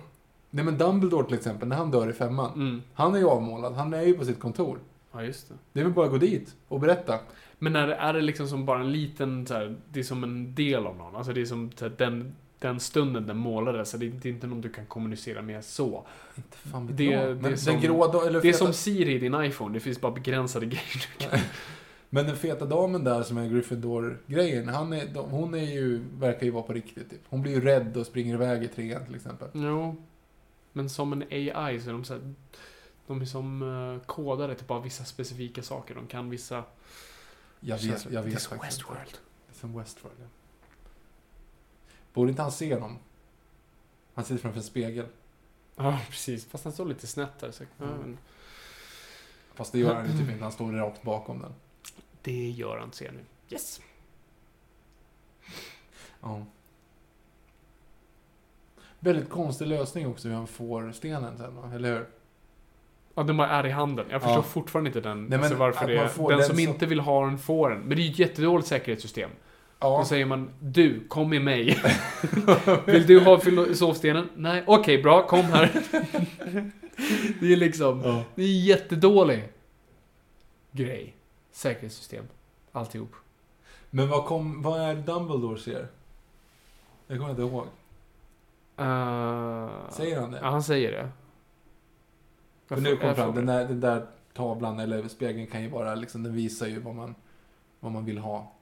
A: Nej men Dumbledore till exempel, när han dör i femman.
B: Mm.
A: Han är ju avmålad, han är ju på sitt kontor.
B: Ja, just det.
A: Det är väl bara att gå dit och berätta.
B: Men är det, är det liksom som bara en liten så här, det är som en del av någon? Alltså det är som så här, den, den stunden den målades. Det är, det är inte någon du kan kommunicera med så.
A: Inte fan vet
B: Det-
A: jag.
B: det är
A: Men
B: som-
A: den grå da- eller
B: Det är
A: feta,
B: som Siri i din iPhone, det finns bara begränsade grejer du kan...
A: Men den feta damen där som är Gryffindor-grejen, han är, de, hon är ju, verkar ju vara på riktigt typ. Hon blir ju rädd och springer iväg i trean till exempel.
B: Jo. Men som en AI så är de så här, De är som eh, kodade till bara vissa specifika saker. De kan vissa...
A: Jag
B: så här,
A: vet, jag
B: det är
A: vet
B: som
A: faktiskt inte.
B: Westworld.
A: Det är Som Westworld, ja. Borde inte han se dem? Han sitter framför en spegel.
B: Ja, precis. Fast han står lite snett där. Så, ja, men
A: Fast det gör han ju typ inte, han står rakt bakom den.
B: det gör han, ser jag nu. Yes!
A: Ja. Väldigt konstig lösning också hur han får stenen sen, va? eller hur?
B: Ja, den bara är i handen. Jag förstår
A: Ja.
B: fortfarande inte den.
A: Nej, men
B: alltså varför
A: att
B: det
A: man
B: är.
A: får
B: Den,
A: den
B: som
A: som-
B: inte vill ha den får den. Men det är ju ett jättedåligt säkerhetssystem. Då
A: Ja,
B: säger man du, kom med mig. Vill du ha filosofstenen? Nej, okej, bra, kom här. det är liksom,
A: Ja.
B: det är jättedålig grej. Säkerhetssystem, alltihop. Eh,
A: men vad, kom, vad är Dumbledore ser? Jag kommer inte ihåg.
B: Uh,
A: Säger han
B: Ja,
A: det?
B: han säger det.
A: För eh,
B: Jag
A: nu
B: får-
A: kom
B: jag
A: fram,
B: får-
A: den där, den där tavlan eller spegeln kan ju vara liksom, den visar ju vad man, vad man vill ha.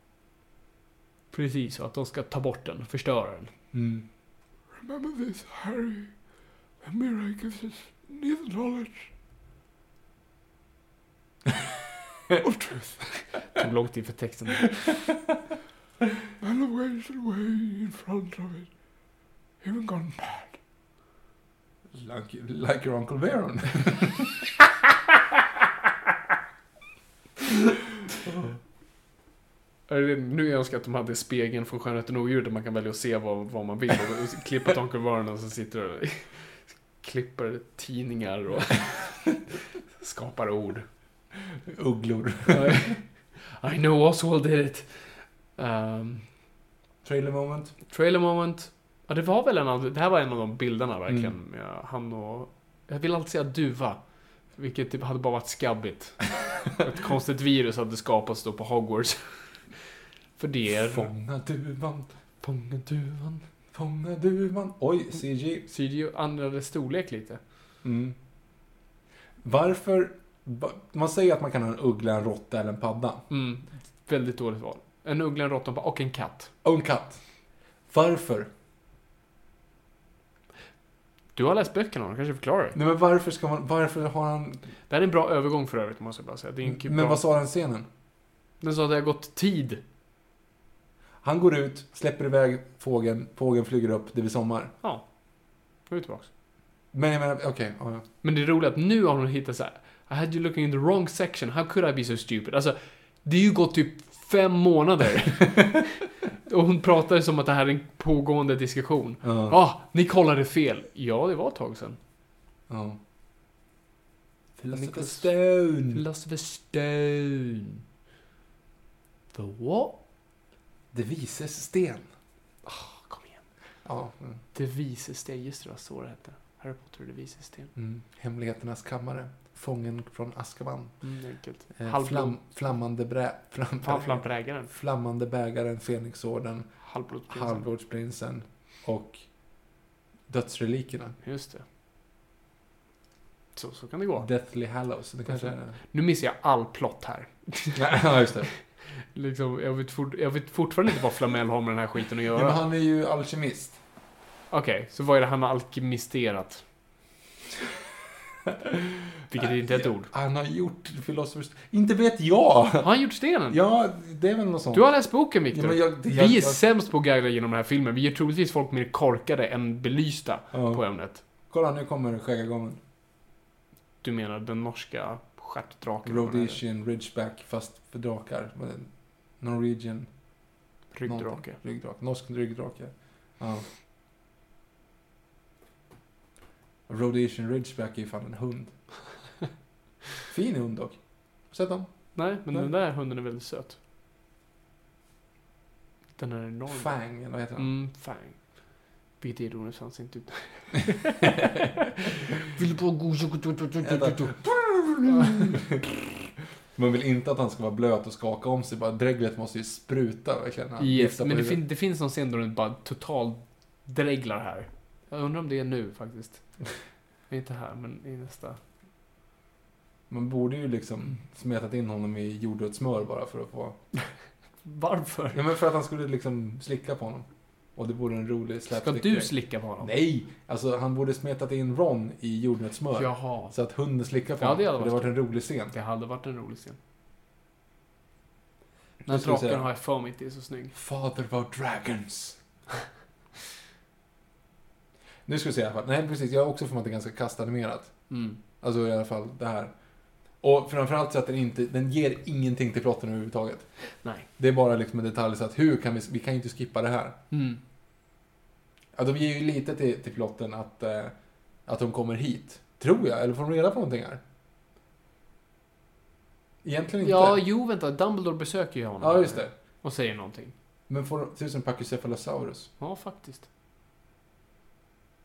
B: Precis, och att de ska ta bort den, förstöra den.
A: Mm.
B: Remember this, Harry. The mirror gives us neither knowledge or truth. Det tog lång tid för texten. Man ways away in front of it. Even gone mad.
A: Like, like your Uncle Baron.
B: Nu önskar jag att de hade spegeln från Skönheten och odjuret där man kan välja att se vad, vad man vill. Och klippa Tonken Vernon och så sitter och klipper tidningar och skapar ord.
A: Ugglor.
B: I, I know Oswald did it. Um,
A: Trailer moment.
B: trailer moment. Ja, det var väl en av, det här var en av de bilderna verkligen. Ja, han och, jag vill alltid säga duva. Vilket typ hade bara varit skabbigt. Ett konstigt virus hade skapats då på Hogwarts. För det är...
A: Fånga duvan,
B: Fånga duvan.
A: fånga duvan. Oj, CG.
B: Sirius ändrade storlek lite.
A: Mm. Varför... va- Man säger att man kan ha en uggla, en råtta eller en padda.
B: Mm, väldigt dåligt val. En uggla, en råtta och en katt.
A: Och en katt. Varför?
B: Du har läst böckerna, de kanske förklarar det.
A: Nej men varför ska man... Varför har han...
B: Det här är en bra övergång för övrigt, måste jag bara säga. Det är en kul-
A: Men
B: bra...
A: vad sa den scenen?
B: Den sa att det har gått tid.
A: Han går ut, släpper iväg fågeln, fågeln flyger upp, det blir sommar.
B: Ja. Nu är vi tillbaks.
A: Men jag menar, okej. ja, ja.
B: Men det är roligt att nu har hon hittat så här. I had you looking in the wrong section. How could I be so stupid? Alltså, det är ju gått typ fem månader. Och hon pratar som att det här är en pågående diskussion. Ja,
A: Ja.
B: ah, ni kollade fel. Ja, det var ett tag sedan.
A: ja. Philosopher
B: Nicholas-
A: Stone.
B: Philosopher's Stone. The what?
A: Det vises sten.
B: Ah, kom igen.
A: Ja. mm,
B: Det vises sten. Just det, det var så det hette. Harry Potter och det vises sten.
A: Mm. Hemligheternas kammare. Fången från Azkaban.
B: Mm, enkelt.
A: Eh,
B: Halvblod.
A: flam, flammande brä... Flam,
B: Fan, flamprägaren.
A: flammande bägaren, Fenixorden,
B: Halvblodsprinsen.
A: Halvblodsprinsen och Dödsrelikerna.
B: Just det. Så, så kan det gå.
A: Deathly Hallows. Det kanske är...
B: Nu missar jag all plott här.
A: Ja, just det.
B: Liksom, jag, vet fort, jag vet fortfarande inte vad Flamel har med den här skiten att
A: Ja, men
B: göra.
A: han är ju alkemist.
B: Okej, så vad är det han har alkemisterat? Vilket inte är ett ord.
A: Han har gjort Philosophers... Inte vet jag!
B: Har han gjort stenen?
A: Ja, det är väl något sånt.
B: Du har läst boken, Viktor.
A: Ja, men jag- det-
B: Vi
A: jag-
B: är
A: jag-
B: sämst på att guida genom den här filmen. Vi är troligtvis folk mer korkade än belysta
A: Ja.
B: på ämnet.
A: Kolla, nu kommer skäggagången.
B: Du menar den norska stjärtdraken?
A: Rhodesian Ridgeback, fast för drakar. Norwegian...
B: Ryggdrake.
A: någonting. Ryggdrake. Norsk ryggdrake. Ja. Rhodesian Ridgeback är ju fan en hund. Fin hund dock. Sett dem?
B: Nej, men
A: Nej.
B: den där hunden är väldigt söt. Den är enorm.
A: Fang, eller vad heter han?
B: Mm, fang. Vilket ironiskt fanns inte ut. Vill bara gå...
A: Man vill inte att han ska vara blöt och skaka om sig. Bara dreglet måste ju spruta verkligen. när han
B: Yes,
A: giftar på
B: men det,
A: huvudet.
B: fin- det finns någon scen då den bara totalt dreglar här. Jag undrar om det är nu faktiskt. inte här, men i nästa.
A: Man borde ju liksom smetat in honom i jordnötssmör bara för att få...
B: Varför?
A: Ja, men för att han skulle liksom slicka på honom. Och det vore en rolig
B: Ska
A: slapstick
B: du slicka på honom?
A: Nej! Alltså han borde smetat in Ron i jordnötssmör.
B: Jaha.
A: Så att hunden slickar på
B: Ja,
A: honom.
B: det
A: Det
B: hade
A: hade
B: varit
A: varit en rolig scen.
B: Det hade varit en rolig scen. Den
A: Nu
B: här
A: ska vi se.
B: draken har jag för mig inte är så snygg.
A: Father of our dragons. nu ska vi se i alla fall. Nej, precis. Jag har också för mig att det är ganska kastanimerat.
B: Mm.
A: Alltså i alla fall det här. Och framförallt så att den inte, den ger ingenting till plotten överhuvudtaget.
B: Nej.
A: Det är bara liksom en detalj så att hur kan vi, vi kan ju inte skippa det här.
B: Mm.
A: Ja, de ger ju lite till, till plotten att, eh, att de kommer hit. Tror jag, eller får de reda på någonting här? Egentligen inte.
B: Ja, jo vänta. Dumbledore besöker ju honom.
A: ja just det.
B: Och säger någonting.
A: Men får de, tusen Pachycephalosaurus.
B: Ja, faktiskt.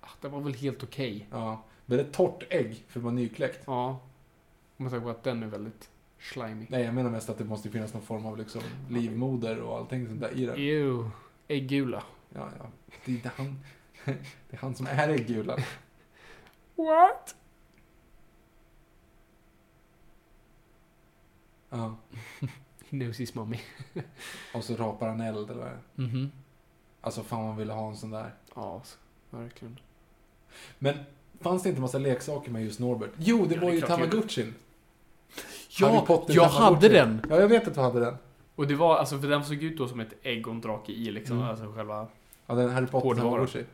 B: Ah, det var väl helt okej.
A: Ja. Väldigt torrt ägg, för det var nykläckt.
B: Ja. Om man tänker på att den är väldigt slimy.
A: Nej, jag menar mest att det måste finnas någon form av liksom livmoder och allting sånt där i den.
B: Ew. Äggula.
A: Ja, ja. Det är inte han, det är han som är äggulan.
B: What?
A: Ja.
B: Knows his mommy.
A: Och så rapar han eld eller vad det är.
B: Mhm.
A: Alltså fan man ville ha en sån där.
B: Ja, alltså, verkligen.
A: Men fanns det inte massa leksaker med just Norbert? Jo, det
B: Ja,
A: var
B: det är
A: ju
B: klart det gjorde.
A: Tamagotchin. Harry
B: Ja,
A: Potter
B: jag
A: Tamagotchi.
B: hade den!
A: Ja, jag vet att du hade den.
B: Och det var, alltså för den såg ut då som ett ägg och en drake i liksom,
A: Mm.
B: alltså själva...
A: Ja, den Harry Potter
B: Hårdvara.
A: Tamagotchi.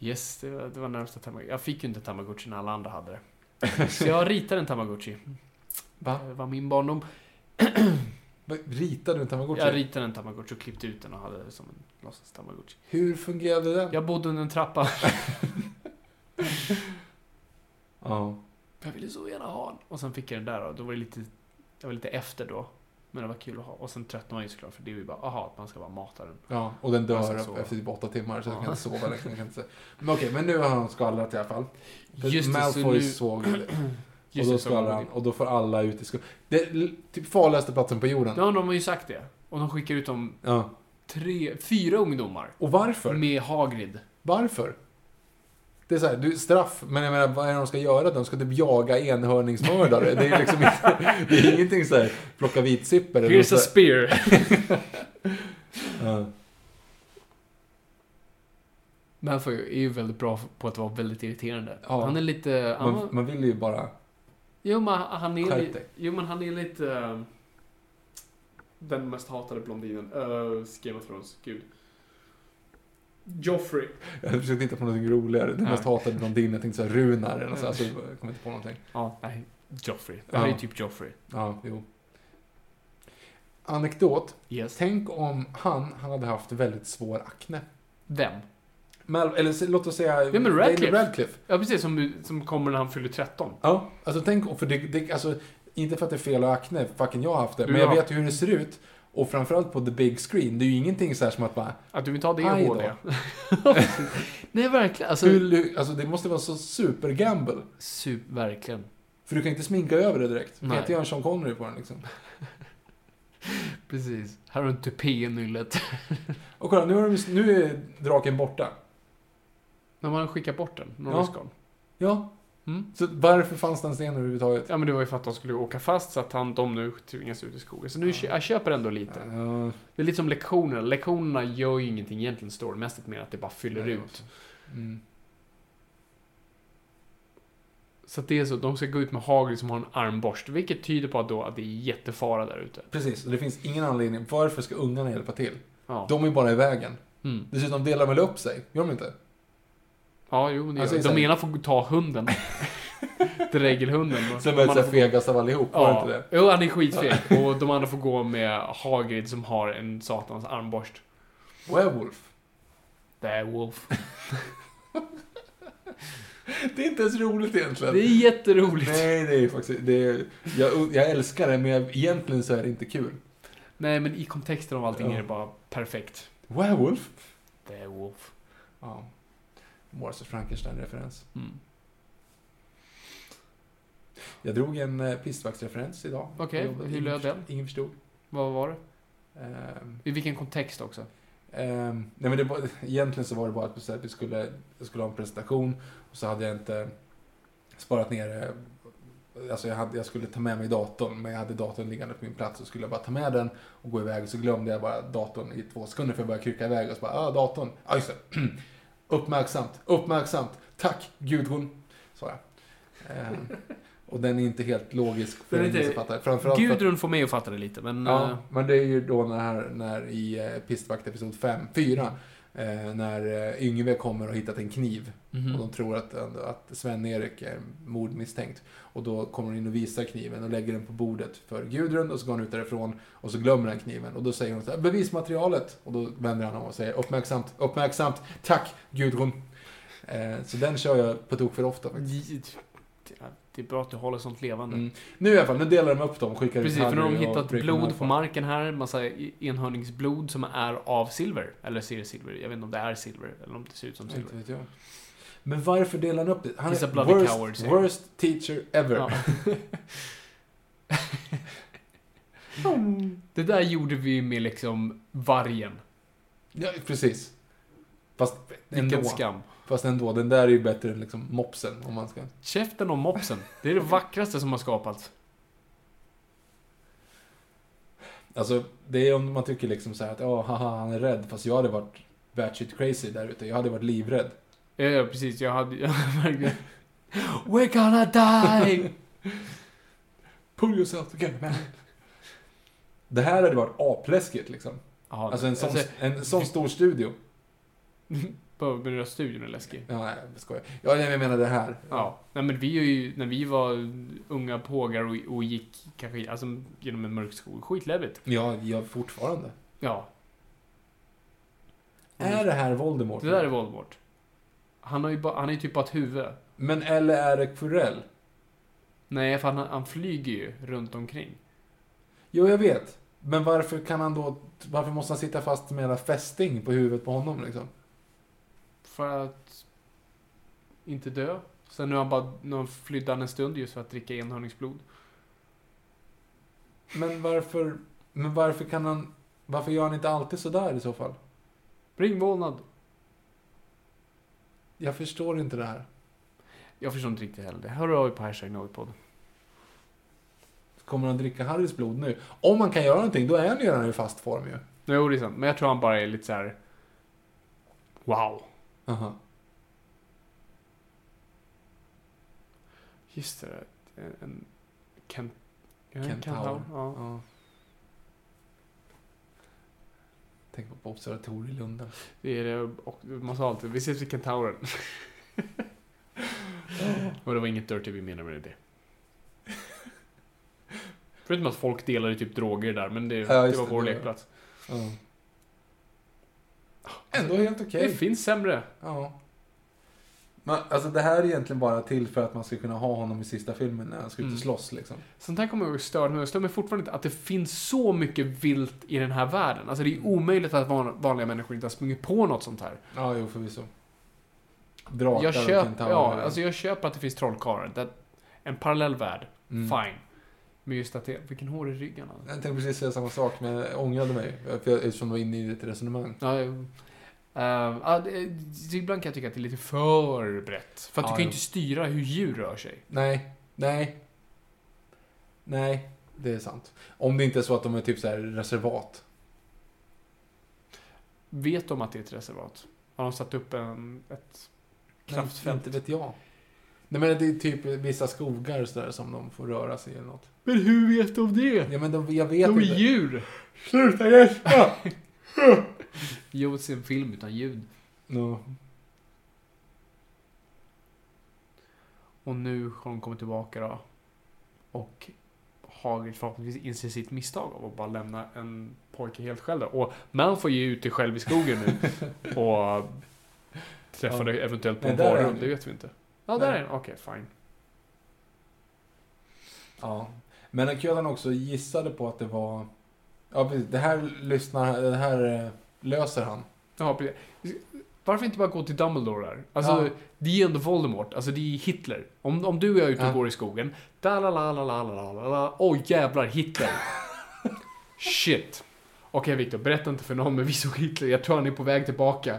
B: Yes, det var, det var närmsta Tamagotchi. Jag fick ju inte Tamagotchi när alla andra hade det. Så jag ritade en Tamagotchi.
A: Va?
B: Det var min barndom.
A: Va? Ritade du en Tamagotchi?
B: Jag ritade en Tamagotchi och klippte ut den och hade det som en låtsas Tamagotchi.
A: Hur fungerade den?
B: Jag bodde under en trappa.
A: Ja.
B: Jag ville så gärna ha en. Och sen fick jag den där och då var det lite... Jag var lite efter då. Men det var kul att ha. Och sen tröttnade man ju såklart för det är ju bara, aha, att man ska bara mata den.
A: Ja, och den
B: Jag
A: dör
B: ska
A: upp
B: sova.
A: efter typ åtta timmar så jag
B: Ja.
A: kan inte sova längre. Jag kan inte... se. Men okej, men nu har han skvallrat i alla fall. För
B: Just det, så
A: Malfoy
B: nu...
A: såg det. Och
B: Just
A: då
B: det, så
A: skvallrar
B: var
A: han
B: det.
A: och då får alla ut i skogen. Det är l- typ farligaste platsen på jorden.
B: Ja, de har ju sagt det. Och de skickar ut dem
A: Ja.
B: tre, fyra ungdomar.
A: Och varför?
B: Med Hagrid.
A: Varför? Det är så här, du, straff, men jag menar, vad är det de ska göra? De ska typ jaga enhörningsmördare. Det är liksom inte, det är ingenting så här, plocka vitsippor eller
B: Here's a
A: något så
B: spear.
A: här. Ja.
B: Malfoy är ju väldigt bra på att vara väldigt irriterande.
A: Ja.
B: Han är lite... Han,
A: Man, man vill ju bara...
B: jo, men han är,
A: Skärp
B: li-
A: dig.
B: jo, men han är lite... eh,
F: den mest hatade blondinen. Uh, Game of Thrones, gud. Joffrey.
A: Jag försökte hitta på något roligare. Den
B: Ja.
A: mest hatade blondinen, jag tänkte såhär Runar eller något sånt. Alltså, jag kom inte på någonting.
B: Ja, nej. Joffrey. Det
A: Ja.
B: här är ju typ Joffrey.
A: Ja, jo. Anekdot.
B: Yes.
A: Tänk om han, han hade haft väldigt svår akne.
B: Vem?
A: Mal, eller s- låt oss säga
B: men
A: Daniel
B: Radcliffe.
A: Radcliffe.
B: Ja, precis. Som, som kommer när han fyller 13.
A: Ja, alltså tänk, för det, det, alltså, inte för att det är fel att ha akne, fucking jag har haft det,
B: Du
A: men jag
B: har-
A: vet ju hur det ser ut. Och framförallt på the big screen, det är ju ingenting så här som att bara,
B: Att du vill inte ha det
A: Aj
B: i
A: då.
B: HD. Nej, verkligen. Alltså,
A: hur, alltså det måste vara så super gamble.
B: super, verkligen.
A: För du kan inte sminka över det direkt. Du kan
B: Nej.
A: inte göra en Sean Connery på den liksom.
B: Precis. Här har du en tupé i nyllet.
A: Och kolla, nu, har de, nu är draken borta.
B: När man skickar bort den, några
A: Ja.
B: skal.
A: Ja.
B: Mm.
A: Så varför fanns den stenen överhuvudtaget?
B: Ja, men det var ju för att de skulle åka fast så att han, de nu tvingas ut i skogen. Så nu, kö- jag köper ändå lite.
A: Ja,
B: Det är lite som lektionerna. Lektionerna gör ju ingenting egentligen storymässigt mer att det bara fyller
A: Nej,
B: ut.
A: också. mm.
B: Så att det är så, de ska gå ut med hagel som har en armborst. Vilket tyder på att, då, att det är jättefara där ute.
A: Precis, och det finns ingen anledning. Varför ska ungarna hjälpa till?
B: Ja.
A: De är bara i vägen.
B: Mm.
A: Dessutom delar de väl upp sig? Gör de inte?
B: ja, jo, men det
A: Alltså,
B: gör-
A: så här-
B: De ena får ta hunden. Dregelhunden. Och
A: Som
B: de
A: är
B: andra
A: så här
B: får-
A: fegast av allihop, var det
B: Ja,
A: inte det?
B: jo, han är skitfeg. Och de andra får gå med Hagrid som har en satans armborst.
A: Werewolf.
B: Det är Wolf.
A: Det är inte ens roligt egentligen.
B: Det är jätteroligt. Nej,
A: Nej, det är faktiskt... Det är, jag, jag älskar det, men jag, egentligen så är det inte kul.
B: men i kontexten av allting
A: Ja.
B: är det bara perfekt.
A: Werewolf?
B: Det är Wolf.
A: Ja. Morse Frankenstein-referens.
B: Mm.
A: Jag drog en eh, pistvaktsreferens idag.
B: Okej,
A: Jag jobbade.
B: hur
A: Ingen
B: löd den?
A: förstod- Ingen förstod.
B: Vad var det?
A: Ehm,
B: I vilken kontext också?
A: ehm, nej men det var, egentligen så var det bara att så här, vi skulle, jag skulle ha en presentation och så hade jag inte sparat ner eh, Alltså jag, hade, jag skulle ta med mig datorn, men jag hade datorn liggande på min plats och skulle jag bara ta med den och gå iväg. Så glömde jag bara datorn i två sekunder för jag började krycka iväg och så bara, ah, datorn, ja ah, just det. uppmärksamt, uppmärksamt, tack Gudrun, sa jag. Ehm, och den är inte helt logisk för
B: Den är
A: den
B: inte-
A: som fattar. Framförallt för att-
B: Gudrun får mig att fatta det lite, men... eh,
A: Ja,
B: Ja.
A: men det är ju då när, när i eh, Pistvakt episod 5, 4, eh, när eh, Yngve kommer och hittat en kniv.
B: Mhm.
A: Och de tror att, att Sven-Erik är mordmisstänkt. Och då kommer hon in och visar kniven och lägger den på bordet för Gudrun och så går han ut därifrån och så glömmer han kniven. Och då säger hon så här, bevismaterialet! Och då vänder han om och säger uppmärksamt, uppmärksamt, tack Gudrun! Eh, så den kör jag på tok för ofta faktiskt.
B: Det är bra att du håller sånt levande.
A: Mm. Nu i alla fall, nu delar de upp dem och skickar
B: Precis, för nu har de
A: Harry och
B: hittat
A: Brickman i alla
B: blod på
A: fall.
B: marken här. Massa i- enhörningsblod som är av silver. Eller ser silver. Jag vet inte om det är silver, eller om det ser ut som silver.
A: Inte vet jag. Men varför delar han upp det? Han
B: He's a
A: är
B: bloody
A: worst,
B: coward, säger
A: worst teacher ever.
B: Ja. det där gjorde vi med liksom vargen.
A: Ja, precis. Fast
B: Vilken
A: ändå,
B: skam.
A: fast ändå, den där är ju bättre än liksom mopsen. Om man ska.
B: Käften och mopsen. Det är det vackraste som har skapats.
A: Alltså, det är om man tycker liksom så här att ja, haha, han är rädd. Fast jag hade varit batshit crazy där ute. Jag hade varit livrädd.
B: Ja, ja precis. Jag hade... Jag verkligen... We're gonna die!
A: Pull yourself together man. Det här hade varit apläskigt liksom.
B: Jaha,
A: Alltså en sån, en sån stor studio.
B: Behöver den där studion är läskig.
A: Ja, nej, jag skojar. Ja, nej, men jag menar det här.
B: Ja. Nej men vi är ju, när vi var unga pågar och, och gick kanske alltså, genom en mörk skog. Skitläbbigt.
A: Ja, ja fortfarande.
B: Ja.
A: Är det här Voldemort?
B: Det där är Voldemort. Han har ju bara, han är ju typ bara ett huvud.
A: Men eller är det Quirrell?
B: Nej, för han, han flyger ju runt omkring.
A: Jo, jag vet. Men varför kan han då... Varför måste han sitta fast med hela fästing på huvudet på honom liksom?
B: För att inte dö. Sen nu, har han bara, nu har- flydde han en stund just för att dricka enhörningsblod.
A: Men varför... Men varför kan han... Varför gör han inte alltid sådär i så fall?
B: Ringvålnad.
A: Jag förstår inte det här.
B: Jag förstår inte riktigt heller. Det hör av er på hashtag Novipod.
A: Kommer han dricka Harrys blod nu? Om han kan göra någonting, då är han ju redan i fast form ju.
B: Jo, det är sant. Men jag tror han bara är lite så här. Wow.
A: Aha.
B: Just det. En, en, Ken,
A: Kentaur.
B: Ja.
A: Ja. Tänk på observatorier i Lund.
B: Det är det och du måste ha allt. Vi ses vid kentauren. Och det var inget dirty vi menade med det. Förutom att folk delade typ droger där, men det,
A: Ja,
B: det
A: just
B: var
A: det,
B: vår
A: det var-
B: lekplats.
A: Ändå helt okej.
B: Det finns sämre.
A: Ja. Men alltså det här är egentligen bara till för att man ska kunna ha honom i sista filmen när han ska ut
B: Mm.
A: och slåss liksom.
B: Sånt här kommer jag ihåg störde mig. Jag stör mig fortfarande inte att det finns så mycket vilt i den här världen. Alltså det är omöjligt att van- vanliga människor inte har sprungit på något sånt här.
A: Ja, jo förvisso. Drakar
B: Jag
A: och
B: köper,
A: kentaurer.
B: ja, alltså jag köper att det finns trollkarlar. Det- En parallell värld.
A: Mm.
B: Fine. Men just att det, vilken hår i ryggen alltså.
A: Jag tänkte precis säga samma sak, men jag ångrade mig. För jag, eftersom jag var inne i ett resonemang.
B: Ja, jag- Ehm, ja, det- det- ibland kan jag tycka att det är lite för brett. För att
A: Ja,
B: du kan ju
A: jo.
B: inte styra hur djur rör sig.
A: Nej, nej. Nej, det är sant. Om det inte är så att de är typ så här reservat.
B: Vet de att det är ett reservat? Har de satt upp en, ett kraftfält?
A: Nej, inte vet jag. Nej men det är typ vissa skogar och så där som de får röra sig i eller något.
B: Men hur vet de det?
A: Ja men de, jag vet
B: De är
A: inte.
B: djur!
A: Sluta gäspa!
B: Jo, se en film utan ljud.
A: no.
B: Och nu har de kommit tillbaka då. Och Hagrid förhoppningsvis inser sitt misstag av att bara lämna en pojke helt själv där. Och man får ju ut det själv i skogen nu. och träffar
A: Ja.
B: det eventuellt på
A: Nej,
B: en
A: där är
B: varum,
A: han.
B: det vet vi inte. Ja,
A: Nej.
B: där är den. Okej, fine.
A: Ja. Men att Ködan också gissade på att det var... Ja precis, det här lyssnar det här eh, löser han.
B: Ja, precis. Varför inte bara gå till Dumbledore där? Alltså,
A: Ja.
B: det är ändå Voldemort. Alltså, det är Hitler. Om, om du och jag är ute och
A: Ja.
B: går i skogen. Da la la la la la la la. Oj, jävlar, Hitler. Shit. Okej, Viktor, berätta inte för någon, men vi såg Hitler. Jag tror han är på väg tillbaka.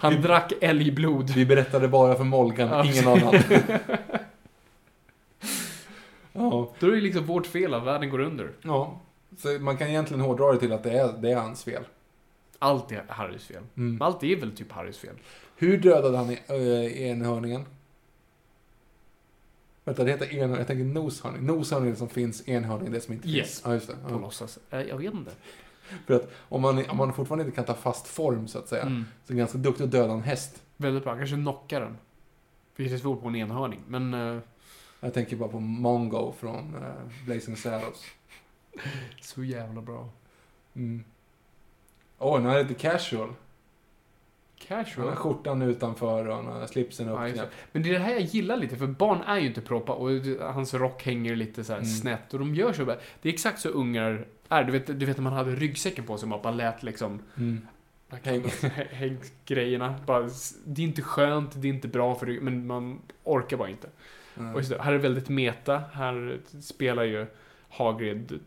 B: Han drack älgblod.
A: Vi berättade bara för Molgan,
B: Ja,
A: ingen annan. ja.
B: Då är det liksom vårt fel att världen går under.
A: ja. Så man kan egentligen hårdra det till att det är, det är hans fel.
B: Allt är Harrys fel.
A: Mm.
B: Allt är väl typ Harrys fel.
A: Hur dödade han i- eh, enhörningen? Vänta, det heter enhörning. Jag tänker noshörning. Noshörning är det som finns, enhörning är det som inte
B: Yes.
A: finns. Ja, just det.
B: På
A: Ja.
B: låtsas. Eh, Jag vet inte.
A: För att om man, om man fortfarande inte kan ta fast form, så att säga,
B: Mm.
A: så är det ganska duktig att döda en häst.
B: Väldigt bra. Kanske knockar den. Vilket är svårt på en enhörning, men... eh,
A: Jag tänker bara på Mongo från eh, Blazing Saddles.
B: Så jävla bra.
A: Mm. Åh, nu är det lite casual. Han har
B: Casual.
A: skjortan utanför och han har slipsen
B: Ja, just det.
A: uppknäppt.
B: Men det är det här jag gillar lite, för barn är ju inte proppa och hans rock hänger lite så här
A: Mm.
B: snett och de gör så. bara- Det är exakt så ungar är. Du vet, du vet när man hade ryggsäcken på sig och man bara lät liksom
A: Mm.
B: häng, häng grejerna. Bara, s- det är inte skönt, det är inte bra för ryggen, men man orkar bara inte.
A: Mm.
B: Och just det, här är väldigt meta. Här spelar ju Hagrid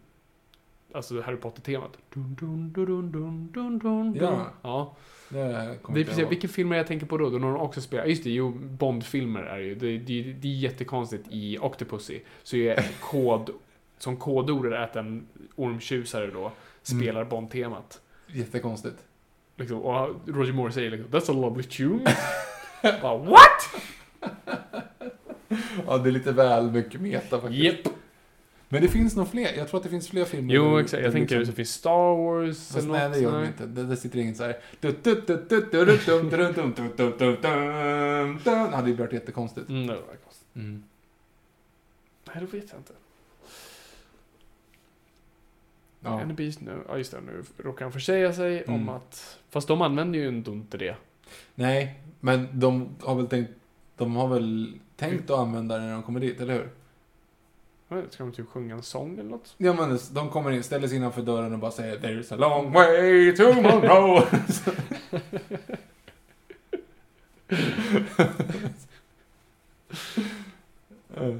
B: Alltså Harry Potter-temat. Dun, dun, dun, dun, dun, dun, dun.
A: Ja.
B: ja.
A: Det kommer
B: Det är
A: inte
B: precis,
A: jag ihåg.
B: vilken film är jag tänker på då? Då någon också spelar, just det, jo, Bond-filmer är ju, det, det, det är jättekonstigt i Octopussy, så är kod, som kodordet är att en ormtjusare då spelar
A: Mm.
B: Bond-temat.
A: Jättekonstigt.
B: Liksom, och Roger Moore säger liksom, That's a lovely tune. Bara, What?
A: Ja, det är lite väl mycket meta faktiskt.
B: Japp.
A: Men det finns nog fler. Jag tror att det finns fler filmer.
B: Jo,
A: där-
B: exakt.
A: där
B: Jag tänker
A: liksom-
B: så finns Star Wars
A: Mm. Fast
B: eller
A: nej,
B: något.
A: det gör de
B: nej.
A: inte. Det, det sitter ingen så här... Du, du, du, du, du, du, dum, du, dum, dum, dum, dum, dum, dum, dum. Det hade ju varit jättekonstigt.
B: Mm, det var konstigt. Nej, det vet jag inte.
A: Ja.
B: And the Beast nu, ja just det, nu råkar han försäga sig om
A: Mm.
B: att... Fast de använder ju ändå inte det.
A: Nej, men de har väl tänkt... De har väl tänkt att använda det när de kommer dit, eller hur?
B: Jag vet inte, Ska de typ sjunga en sång eller något?
A: Ja, men de kommer in, ställer sig innanför dörren och bara säger There's a long way to Monroe. Eh,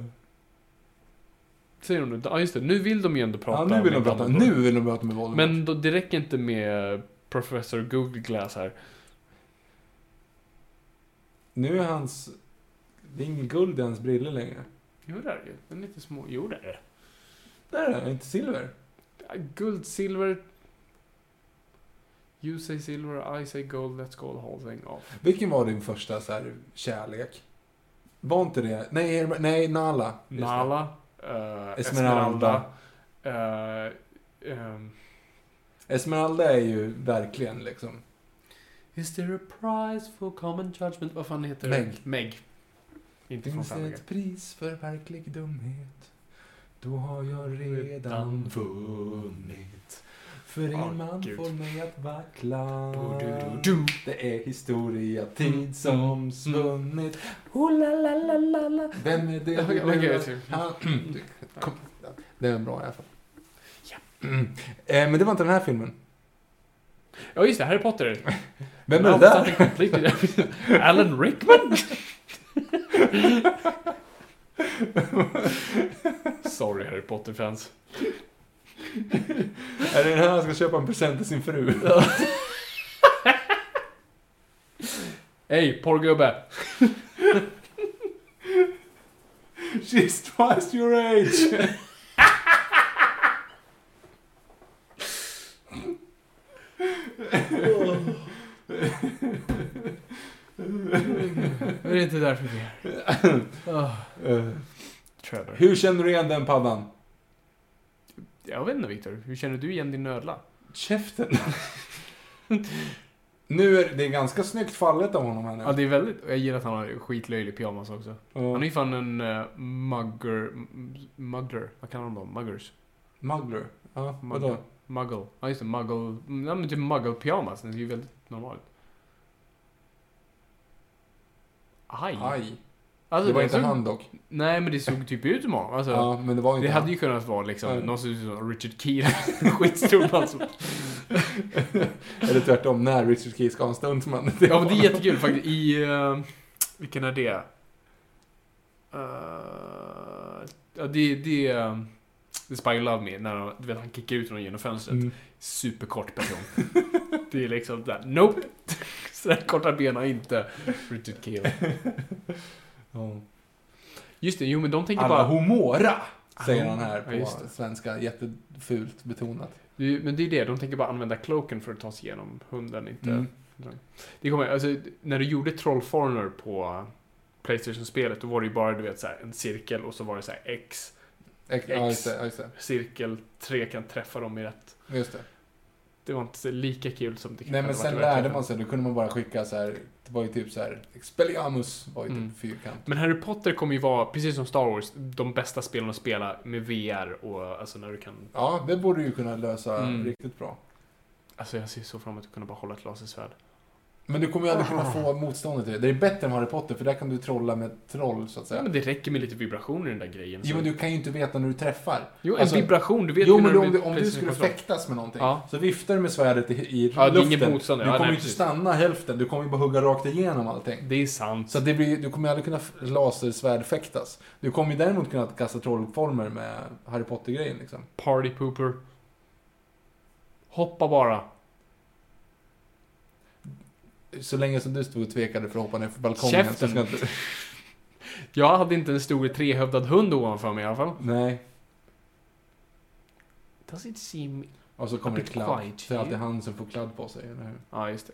B: Säger de nu? Ja just det, nu vill de ju ändå prata
A: ja, nu vill de
B: med
A: prata.
B: Dumbledore.
A: Nu vill de prata med Voldemort.
B: Men då, det räcker inte med Professor Google Glass här.
A: Nu är hans... Det är ingen guld i hans briller längre.
B: Jo det är det ju. Den är lite små. Jo det är det.
A: Där är det, inte silver.
B: Ja, Guld, silver... You say silver, I say gold, let's go the whole thing off.
A: Vilken var din första så här, kärlek? Var inte det? Nej, Herm- nej Nala. Just det.
B: Nala, eh,
A: Esmeralda.
B: Esmeralda, eh, ehm,
A: Esmeralda är ju verkligen liksom...
B: Is there a prize for common judgment? Vad fan heter
A: Meg.
B: det? Meg. Inte från
A: Finns det
B: Family Guy.
A: ett pris för verklig dumhet? Då har jag redan
B: Redan
A: vunnit. För en
B: Åh,
A: man
B: Gud.
A: får mig att vackla.
B: Du-du-du-du.
A: Det är historia, tid som svunnit. Oh, Mm. la, la, la, la, la. Vem är Mm. det
B: Okej,
A: du
B: okej,
A: lurar?
B: jag ser.
A: Han- Kom. Det är bra i alla fall. Mm. Eh, men det var inte den här filmen.
B: Ja just det, Harry Potter.
A: Vem är
B: Now
A: det där?
B: something completely- Alan Rickman? Sorry Harry Potter-fans.
A: Är det den här han ska köpa en present till sin fru?
B: Hej, porrgubbe.
A: She's twice your age!
B: Det är inte därför vi är oh,
A: Eh,
B: Trevor.
A: hur känner du igen den paddan?
B: Jag vet inte Viktor, hur känner du igen din nödla?
A: Käften! nu är det är ganska snyggt fallet av honom här nu.
B: Ja, det är väldigt... Jag gillar att han har skitlöjlig pyjamas också.
A: Ja.
B: Han är ju fan en uh, mugger... m- Muggler? Vad kallar de dem? Muggers?
A: Muggler. Ja, vadå?
B: Muggle. Muggle. Ja, just det. Muggle... Ja, men typ muggle-pyjamas. Det är ju väldigt normalt. Aj.
A: Aj.
B: Alltså,
A: Det var
B: den
A: inte
B: såg-
A: han dock.
B: Nej, men det såg typ ut som honom. Alltså,
A: Ja, men det var inte
B: det
A: han.
B: hade ju kunnat vara liksom
A: Ja.
B: någon som ser ut som Richard Keel. Skitstor alltså.
A: Eller tvärtom, när Richard Keys ska ha en stuntman.
B: Ja, men det är jättekul faktiskt. I... eh, vilken är det? Eh, ja, det, det är... eh, The Spy Who Loved Me, när han, du vet, han kickar ut någon genom fönstret.
A: Mm.
B: Superkort person. det är liksom där, nope! Sådär korta ben har inte Richard Keel.
A: Ja.
B: Just det, jo men de tänker
A: Alla
B: bara...
A: homora! Säger han här
B: Ja,
A: på
B: just det.
A: svenska, jättefult betonat.
B: Det är ju- Men det är det, de tänker bara använda cloaken för att ta sig igenom hunden, inte...
A: Mm.
B: Det kommer, alltså, när du gjorde Trollformer på Playstation-spelet, då var det ju bara du vet, så här, en cirkel och så var det så här X,
A: Ex- Ja, just det. ja, Just det.
B: cirkel, tre kan träffa dem i rätt.
A: Just det.
B: Det var inte lika kul som det kanske
A: Nej
B: hade
A: men sen
B: varit i verkligheten.
A: lärde man sig, då kunde man bara skicka så här. det var ju typ så här, Expelliarmus var ju typ
B: Mm.
A: fyrkant.
B: Men Harry Potter kommer ju vara, precis som Star Wars, de bästa spelen att spela med VR och alltså när du kan...
A: Ja, det borde ju kunna lösa
B: Mm.
A: riktigt bra.
B: Alltså jag ser så fram emot att kunna bara hålla ett lasersvärd.
A: Men du kommer ju aldrig kunna få motståndet till det. Det är bättre än Harry Potter, för där kan du trolla med troll, så att
B: Ja,
A: säga.
B: men det räcker med lite vibrationer i den där grejen.
A: Jo,
B: så-
A: men du kan ju inte veta när du träffar.
B: jo en
A: alltså-
B: vibration, du vet
A: Jo,
B: ju när
A: men
B: du
A: om
B: blir
A: du, om du skulle
B: Playstation-kontroll.
A: fäktas med någonting,
B: Ja.
A: så viftar du med svärdet i, i
B: Ja, det är ingen
A: luften.
B: motstånd.
A: Du
B: Ja,
A: kommer
B: nej,
A: ju inte
B: precis.
A: stanna hälften, du kommer ju bara hugga rakt igenom allting.
B: Det är sant.
A: Så att det blir, du kommer ju aldrig kunna f- lasersvärdfäktas. Du kommer ju däremot kunna kasta trollformer med Harry Potter-grejen liksom.
B: Party pooper. Hoppa bara.
A: Så länge som du stod och tvekade för att hoppa ner för balkongen så
B: Käften.
A: ska inte...
B: Jag hade inte en stor trehövdad hund ovanför mig i alla fall.
A: Nej.
B: Does it seem...
A: Och så kommer
B: A
A: det
B: bit
A: kladd.
B: quiet
A: Det är alltid
B: here.
A: han som får kladd på sig, eller hur?
B: Ja, just det.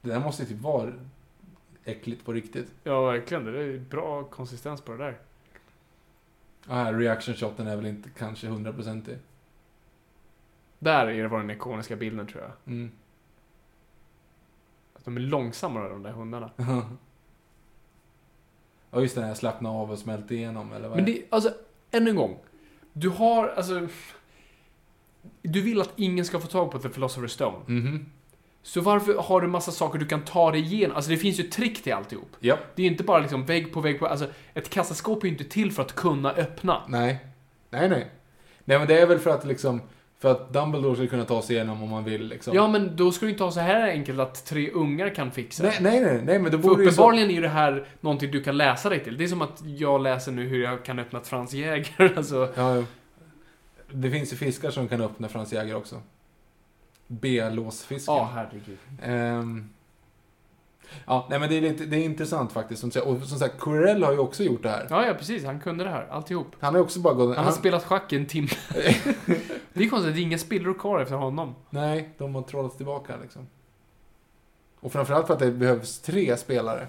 A: Det där måste ju typ vara äckligt på riktigt.
B: Ja, verkligen. Det är bra konsistens på det där.
A: Ah, reaction shoten är väl inte kanske hundraprocentig.
B: Där är det var den ikoniska bilden, tror jag.
A: Mm.
B: Att de är långsammare, de där hundarna.
A: Ja, just det, när jag slappnade av och smälte igenom, eller vad
B: Men
A: är
B: det, alltså, än en gång. Du har, alltså... Du vill att ingen ska få tag på The Philosopher's Stone.
A: Mhm.
B: Så varför har du massa saker du kan ta dig igenom? Alltså det finns ju trick till alltihop.
A: Japp.
B: Det är ju inte bara liksom vägg på vägg på... Alltså, ett kassaskåp är ju inte till för att kunna öppna.
A: Nej. Nej, nej. Nej, men det är väl för att liksom... För att Dumbledore ska kunna ta sig igenom om man vill, liksom.
B: Ja, men då ska det inte vara så här enkelt att tre ungar kan fixa
A: nej,
B: det.
A: nej, nej, nej, men då
B: För
A: borde ju så...
B: uppenbarligen är ju det här någonting du kan läsa dig till. Det är som att jag läser nu hur jag kan öppna ett Franz Jäger. Alltså,
A: Ja, ja. Det finns ju fiskar som kan öppna Franz Jäger också. B-låsfisken.
B: ja, herregud.
A: Ehm. ja, nej men det är, lite, det är intressant faktiskt. Som, sagt. och som sagt, Corell har ju också gjort det här.
B: Ja, ja, precis. Han kunde det här. Alltihop.
A: Han har ju också bara gått...
B: Han har spelat schack i en timme. det är konstigt, det är inga spillror kvar efter honom.
A: Nej, de har trollat tillbaka liksom. Och framförallt för att det behövs tre spelare.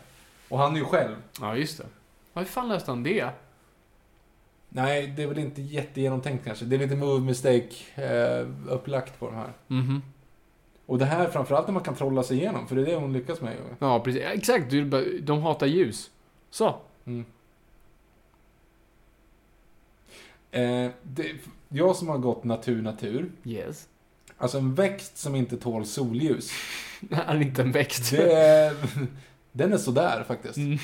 A: Och han är ju själv.
B: Ja, just det. Ja, Hur fan löste han det?
A: Nej, det är väl inte jättegenomtänkt kanske. Det är lite move mistake eh, upplagt på de här.
G: Mhm.
A: Och det här framförallt när man kan trolla sig igenom, för det är det hon lyckas med. ju.
B: Ja, precis. Ja, Exakt, du, bara- de hatar ljus. Så.
A: Mm. Eh, det, jag som har gått natur, natur.
B: Yes.
A: Alltså en växt som inte tål solljus.
B: Han är inte en växt.
A: Det är, den är sådär faktiskt.
B: Mm.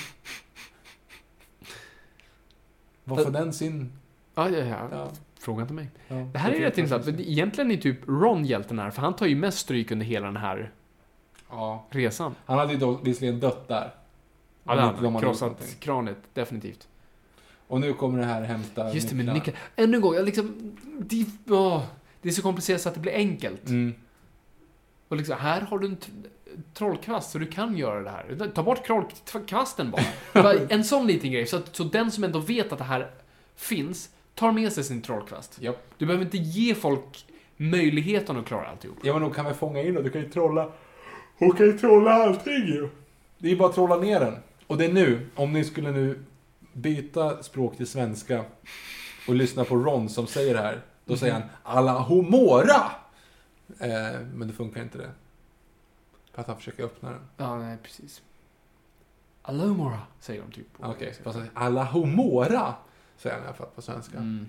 A: Varför den sin...
B: Ja, ja, ja.
A: Ja,
B: Fråga inte mig.
A: ja,
B: Det här är rätt intressant. För egentligen är typ Ron hjälten här, för han tar ju mest stryk under hela den här
A: Ja.
B: resan.
A: Han hade ju då visserligen dött där.
B: Ja,
A: Om
B: det
A: inte de
B: har han
A: hade gjort någonting.
B: krossat kranet, definitivt.
A: Och nu kommer det här hämta
B: Just det, med
A: nycklar.
B: nycklar. Ännu en gång, jag liksom... Det, åh, det är så komplicerat så att det blir enkelt.
A: Mm.
B: Och liksom, här har du en tr- trollkvast så du kan göra det här. Ta bort trollkvasten bara. bara. En sån liten grej, så, att, så den som ändå vet att det här finns tar med sig sin trollkvast.
A: Japp.
B: Du behöver inte ge folk möjligheten att klara alltihop.
A: Ja men då kan vi fånga in och du kan ju trolla. Hon kan ju trolla allting ju. Det är ju bara att trolla ner den. Och det är nu, om ni skulle nu byta språk till svenska och lyssna på Ron som säger det här. Då säger
B: Mhm.
A: han alla homora! Eh, men det funkar inte det. För att han försöker öppna den.
B: Ja, nej, precis. Alomora, säger de typ.
A: Ah, Okej, fast han säger alla homora! Säger han i alla fall på svenska.
B: Mm.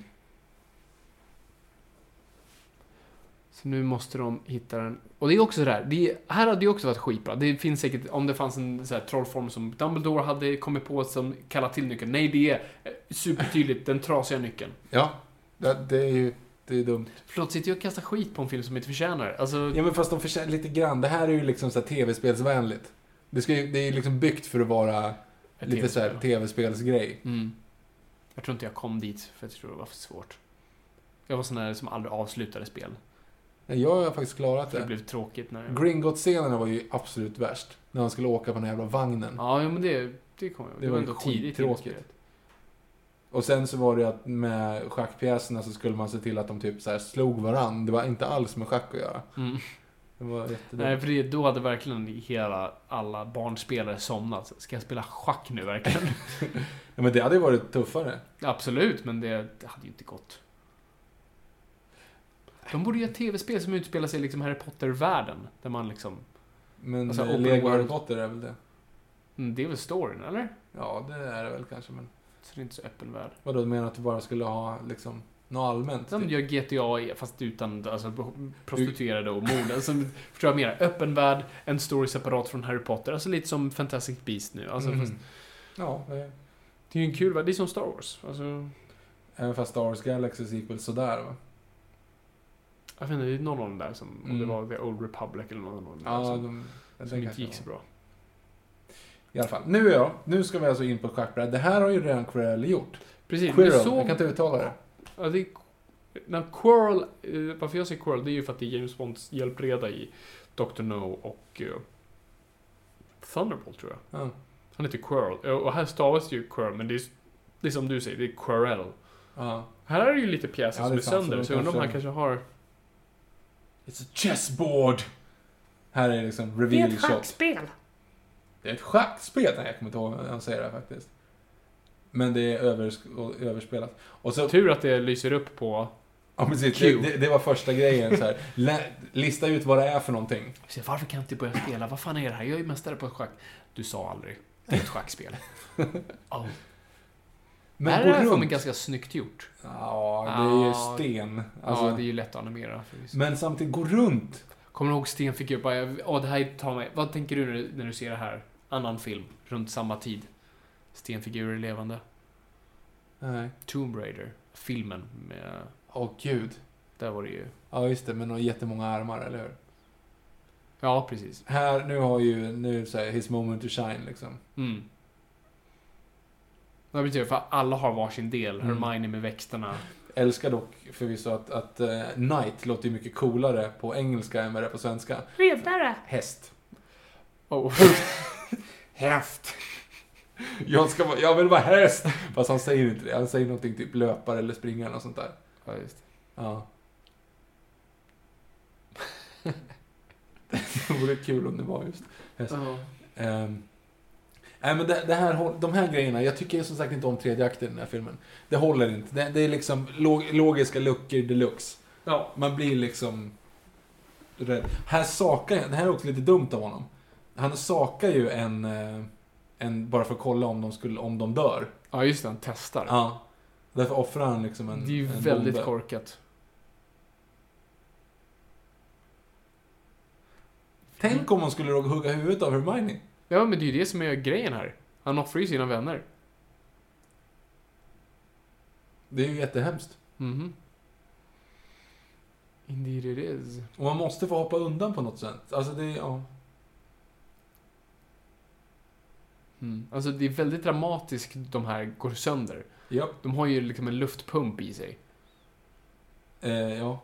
B: Så nu måste de hitta den. Och det är också sådär, det är, här hade ju också varit skitbra. Det finns säkert, om det fanns en så här, trollform som Dumbledore hade kommit på som kallar till nyckeln. Nej, det är eh, supertydligt den trasiga nyckeln.
A: Ja, det, det är ju det är dumt.
B: Förlåt, sitter jag och kastar skit på en film som inte förtjänar det? Alltså,
A: Ja men fast de förtjänar lite grann. Det här är ju liksom så här tv-spelsvänligt. Det, ska ju, det är ju liksom byggt för att vara
B: ett
A: lite så här
B: tv-spel.
A: tv-spelsgrej.
B: Mm. Jag tror inte jag kom dit, för jag tror det var för svårt. Jag var sån där som aldrig avslutade spel.
A: Nej, Jag har faktiskt klarat
B: Det
A: det.
B: blev tråkigt när jag...
A: Gringotts-scenerna var ju absolut värst. När han skulle åka på den här jävla vagnen.
B: Ja, ja, men det, det kom jag ihåg.
A: Det
B: Det
A: var
B: var
A: ju
B: ändå tidigt. i
A: skittråkigt.
B: spelet.
A: Och sen så var det ju att med schackpjäserna så skulle man se till att de typ så här slog varann. Det var inte alls med schack att göra.
B: Mm.
A: Det var jättedumt.
B: Nej, för det, då hade verkligen hela, alla barnspelare somnat. Ska jag spela schack nu verkligen?
A: Ja, men det hade ju varit tuffare.
B: Absolut, men det, det hade ju inte gått. De borde göra tv-spel som utspelar sig i liksom Harry Potter-världen. Där man liksom...
A: Men
B: Alltså,
A: eh,
B: open
A: Lego Harry
B: world.
A: Potter är väl det.
B: Mm, Det är väl storyn, eller?
A: Ja, det är det väl kanske. Men
B: Så det är inte så öppen värld.
A: vadå, du menar att du bara skulle ha liksom något allmänt?
B: De
A: typ?
B: gör GTA i- fast utan alltså, prostituerade och mord. Alltså, förstår jag mer? Öppen värld, en story separat från Harry Potter. Alltså lite som Fantastic Beast nu. Alltså,
A: Mhm.
B: fast,
A: Ja, eh,
B: det är ju en kul värld. Det är som Star Wars. Alltså,
A: även fast Star Wars Galaxy gick väl sådär va?
B: Jag vet inte, det är någon av dem där som, om det
A: Mm.
B: var The Old Republic eller någon av dem där
A: Ja,
B: som,
A: de, den
B: som
A: kanske
B: inte alltså, gick
A: var.
B: så bra.
A: I alla fall, nu är jag. Nu ska vi alltså in på ett schackbräde. Det här har ju redan Quirrell gjort.
B: Precis, men
A: Quirrell,
B: så...
A: jag kan inte uttala det.
B: Ja, det är, när Quirrell, eh, varför jag säger Quirrell, det är ju för att det är James Bonds hjälpreda i Dr. No och eh, Thunderbolt tror jag.
A: Ja.
B: Han heter Quirrell. Eh, Och här stavas det ju Quirrell, men det är, det är som du säger, det är Quirrell.
A: Ja.
B: Här är det ju lite pjäser
A: Ja,
B: som
A: det
B: är
A: är sant,
B: sönder,
A: så
B: så
A: de
B: jag undrar om han
A: kanske-
B: kanske har...
A: It's a chessboard! Här är liksom reveal shot. Det är ett schackspel! Nej, jag kommer inte ihåg vad han säger det här faktiskt. Men det är övers- överspelat. Och så...
B: Tur att det lyser upp på...
A: Ja, precis. Det,
B: Q.
A: det, det var första grejen så här. Lä- Lista ut vad det är för någonting.
B: Så Varför kan jag inte börja spela? Vad fan är det här? Jag är ju mästare på schack. Du sa aldrig. Det är ett schackspel. Oh. Men
A: Men
B: här är det
A: gå
B: för mig
A: runt.
B: ganska snyggt gjort.
A: Ja, det är ju
B: Ja.
A: sten.
B: Alltså,
A: Alltså,
B: ja, det är ju lätt att animera. förvisso.
A: Men samtidigt, gå runt!
B: Kommer du ihåg Sten fick upp bara, åh det här tar mig. Vad tänker du när, du när du ser det här? Annan film, runt samma tid. Stenfigurer levande.
A: Nej.
B: Tomb Raider, filmen med...
A: Åh, gud.
B: Där var det ju...
A: Ja, just det. Men de har jättemånga armar, eller hur?
B: Ja, precis.
A: Här, nu har ju, nu så här, his moment to shine liksom.
B: Mm. Det betyder för alla har varsin del.
A: Mm.
B: Hermione med växterna.
A: Älskar dock förvisso att, att eh, knight låter ju mycket coolare på engelska än vad det är på svenska.
B: Redare!
A: Häst.
B: Oh.
A: Häst! Jag, ska vara, jag vill vara häst! Fast han säger inte det. Han säger någonting typ löpare eller springare eller sånt där.
B: ja, just.
A: Ja. det vore kul om det var just.
B: det.
A: Ehm, Nej, men det, det här, håll- de här grejerna, jag tycker som sagt inte om tredje akten i den här filmen. Det håller inte. Det, det är liksom log, logiska luckor deluxe.
B: Ja.
A: Man blir liksom rädd. Här sakar jag, det här är också lite dumt av honom. Han sakar ju en, eh, en bara för att kolla om de, skulle, om de dör.
B: Ja, just det. Han testar.
A: Ja. Därför offrar han liksom en
B: det är ju
A: en
B: väldigt
A: bombe.
B: korkat. Mm.
A: Tänk om man skulle råka hugga huvudet av Hermione.
B: Ja, men det är ju det som är grejen här. Han offrar ju sina vänner.
A: Det är ju jättehemskt.
B: Mhm. Indeed it is.
A: Och man måste få hoppa undan på något sätt. Alltså det är, ja.
B: Mm. Alltså det är väldigt dramatiskt de här går sönder.
A: Japp.
B: De har ju liksom en luftpump i sig.
A: Eh, ja.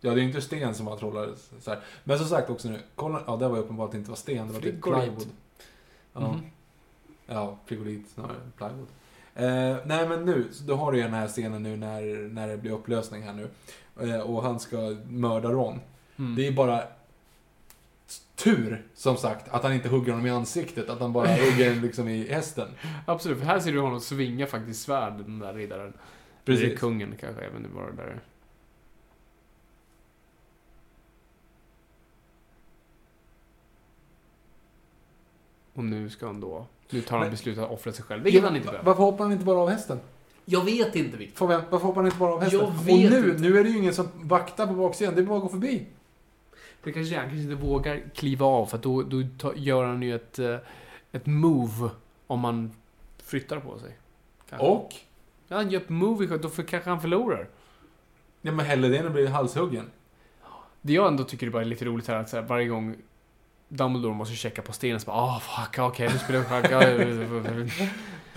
A: Ja, det är ju inte sten som man trollar så här. Men som sagt också nu, kolla, ja det var ju uppenbart att det inte var sten, det var typ
B: Frigolit.
A: plywood. Ja,
B: Mhm.
A: ja frigolit snarare, än plywood. Eh, nej men nu, så då har du ju den här scenen nu när, när det blir upplösning här nu. Eh, och han ska mörda Ron.
B: Mm.
A: Det är bara tur, som sagt, att han inte hugger honom i ansiktet, att han bara hugger liksom i hästen.
B: Absolut, för här ser du honom svinga faktiskt svärd, den där riddaren.
A: Precis.
B: Eller kungen kanske, även det var det där. Och nu ska han då... Nu tar han
A: Men-
B: beslutet att offra sig själv, vilket han inte
A: Va-
B: behöver.
A: Varför hoppar han inte bara av hästen?
H: Jag vet inte Victor.
A: Fabian, varför hoppar han inte bara av hästen?
H: Jag vet
A: och nu,
H: inte.
A: nu är det ju ingen som vaktar på baksidan, det är bara att gå förbi.
B: Det kanske är, han kanske inte vågar kliva av, för att då, då ta, gör han ju ett, eh, ett move om man flyttar på sig. Kanske.
A: Och?
B: Ja, han gör ett move, i sjö- då för, kanske han förlorar.
A: Ja men hellre det än att bli halshuggen.
B: Det jag ändå tycker är bara lite roligt här att så här, varje gång Dumbledore måste checka på stenen så bara ah fuck, okej nu spelar jag schack. Ah,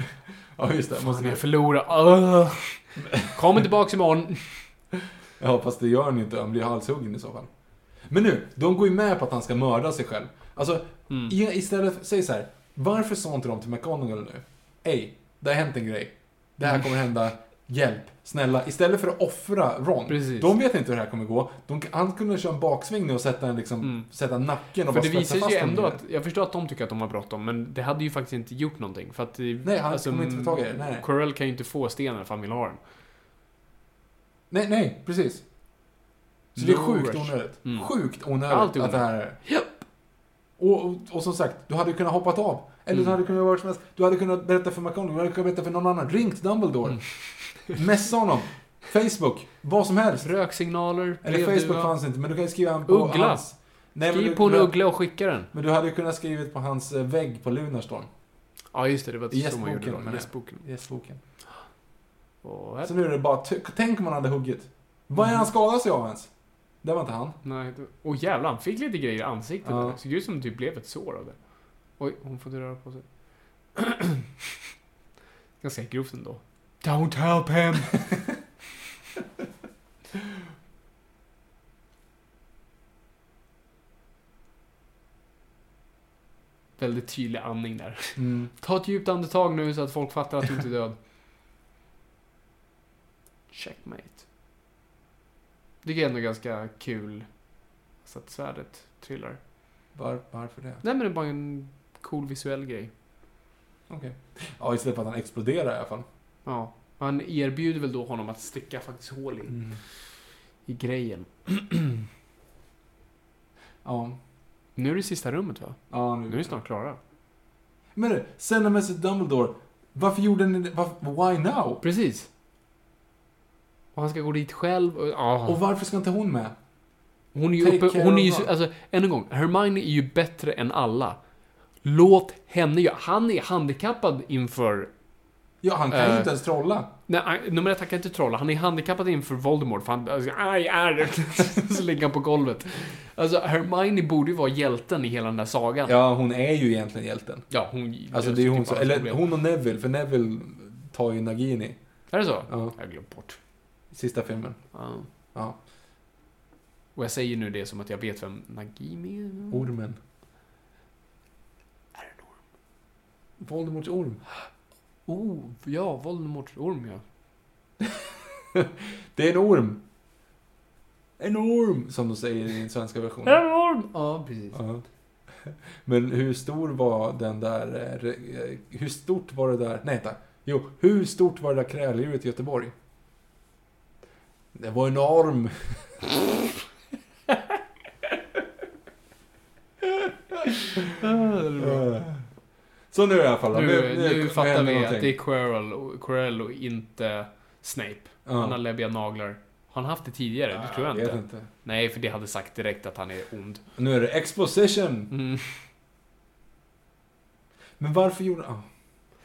A: Ja just det, måste
B: Fan, jag
A: jag...
B: förlorar. Ah. Kommer tillbaks imorgon.
A: ja fast det gör han ju inte, han blir halshuggen i så fall. Men nu, de går ju med på att han ska mörda sig själv. Alltså,
B: Mm.
A: i- istället, för, säg så här. Varför sa inte de till McGonagall nu? Ey, det har hänt en grej. Det
B: Mm.
A: här kommer hända. Hjälp, snälla. Istället för att offra Ron.
B: Precis.
A: De vet inte hur det här kommer gå. De, han kunde köra en baksving nu och sätta, en, liksom, sätta nacken och
B: Mm. För
A: bara
B: det
A: spetsa
B: visar
A: fast
B: sig ju
A: honom
B: ändå
A: i
B: att, jag förstår att de tycker att de har bråttom, men det hade ju faktiskt inte gjort någonting. För att det, alltså,
A: Nej, han kommer inte få tag i det, nej.
B: Quirrell kan ju inte få stenen för han vill ha den.
A: Nej, nej, precis. Så det är
B: No
A: sjukt
B: rush.
A: onödigt.
B: Mm.
A: Sjukt onödigt
B: Allt är
A: att det här är. Och, och, och som sagt, du hade kunnat hoppat av. Eller
B: Mm.
A: du hade kunnat göra vad som helst. Du hade kunnat berätta för McConaughey, du hade kunnat berätta för någon annan. Ringt Dumbledore.
B: Mm.
A: Messa honom. Facebook. Vad som helst.
B: Röksignaler,
A: Eller
B: brevduva.
A: Facebook fanns inte, men du kan ju skriva på
B: Uggla.
A: hans... Nej, men
B: Skriv
A: du-
B: på en
A: men-
B: uggla och skicka den.
A: Men du hade ju kunnat skrivit på hans eh, vägg på Lunarstorm.
B: Ja, just det. Det var
A: I
B: så man gjorde
A: gästboken,
B: då.
A: menar jag.
B: Gästboken.
A: Gästboken.
B: Och här.
A: Så nu är det bara... ty- Tänk om han hade huggit. Vad
B: Mm.
A: är han skadad sig av ens? Det var inte han.
B: Nej, det- åh jävlar, han fick lite grejer i ansiktet.
A: Ja.
B: där. Såg ut som typ blev ett sår av det. Oj, hon får inte röra på sig. Ganska grovt ändå. Don't help him! Väldigt tydlig andning där.
A: Mm.
B: Ta ett djupt andetag nu så att folk fattar att du inte är död. Checkmate. Det är ändå ganska kul så att svärdet trillar.
A: Var, varför det?
B: Nej men det är bara en cool visuell grej.
A: Okej. Ja, istället för att han exploderar i alla fall.
B: Ja. Han erbjuder väl då honom att sticka faktiskt hål i, i grejen.
A: Ja.
B: Nu är det sista rummet va?
A: ja
B: Nu är vi snart klara.
A: Men du, send a message to Dumbledore. Varför gjorde ni det? Varför, why now?
B: Precis. Och han ska gå dit själv och... ja.
A: Och varför ska inte hon med?
B: Hon är ju
A: Take
B: uppe,
A: care
B: hon
A: of
B: är ju,
A: her.
B: alltså, än en gång, Hermione är ju bättre än alla. Låt henne göra, han är handikappad inför,
A: Ja, han kan ju
B: Eh.
A: inte ens trolla.
B: nej, han- nummer ett, han kan inte trolla, han är handikappad inför Voldemort, för han, alltså, aj, aj, så ligger han på golvet. Alltså, Hermione borde ju vara hjälten i hela den där sagan.
A: Ja, hon är ju egentligen hjälten.
B: Ja, hon...
A: Alltså det är
B: löser
A: ju hon
B: typ
A: som,
B: alla
A: eller
B: problem.
A: hon och Neville, för Neville tar ju Nagini
B: Är det så?
A: Ja.
B: Jag har glömt bort.
A: i sista filmen.
B: Ja.
A: Ja.
B: Och jag säger nu det som att jag vet vem Nagini är.
A: Ormen. Voldemorts orm.
B: Oh, ja, Voldemorts orm ja.
A: Det är en orm. En orm, som de säger i den svenska versionen.
B: En orm! Ja, precis.
A: Ja. Men hur stor var den där... eh, re- eh, Hur stort var det där... Nej, tack. Jo, hur stort var det där kräldjuret i Göteborg? Det var enorm. Så nu i alla fall. då.
B: Nu, nu fattar
A: händer
B: vi att
A: någonting.
B: det är Quirrell och, Quirrell och inte Snape.
A: Ja.
B: Han har läbbiga naglar. Har han haft det tidigare? Det tror jag
A: vet
B: inte. Nej, för det hade sagt direkt att han är ond.
A: Nu är det exposition.
B: Mm.
A: Men varför gjorde... ah.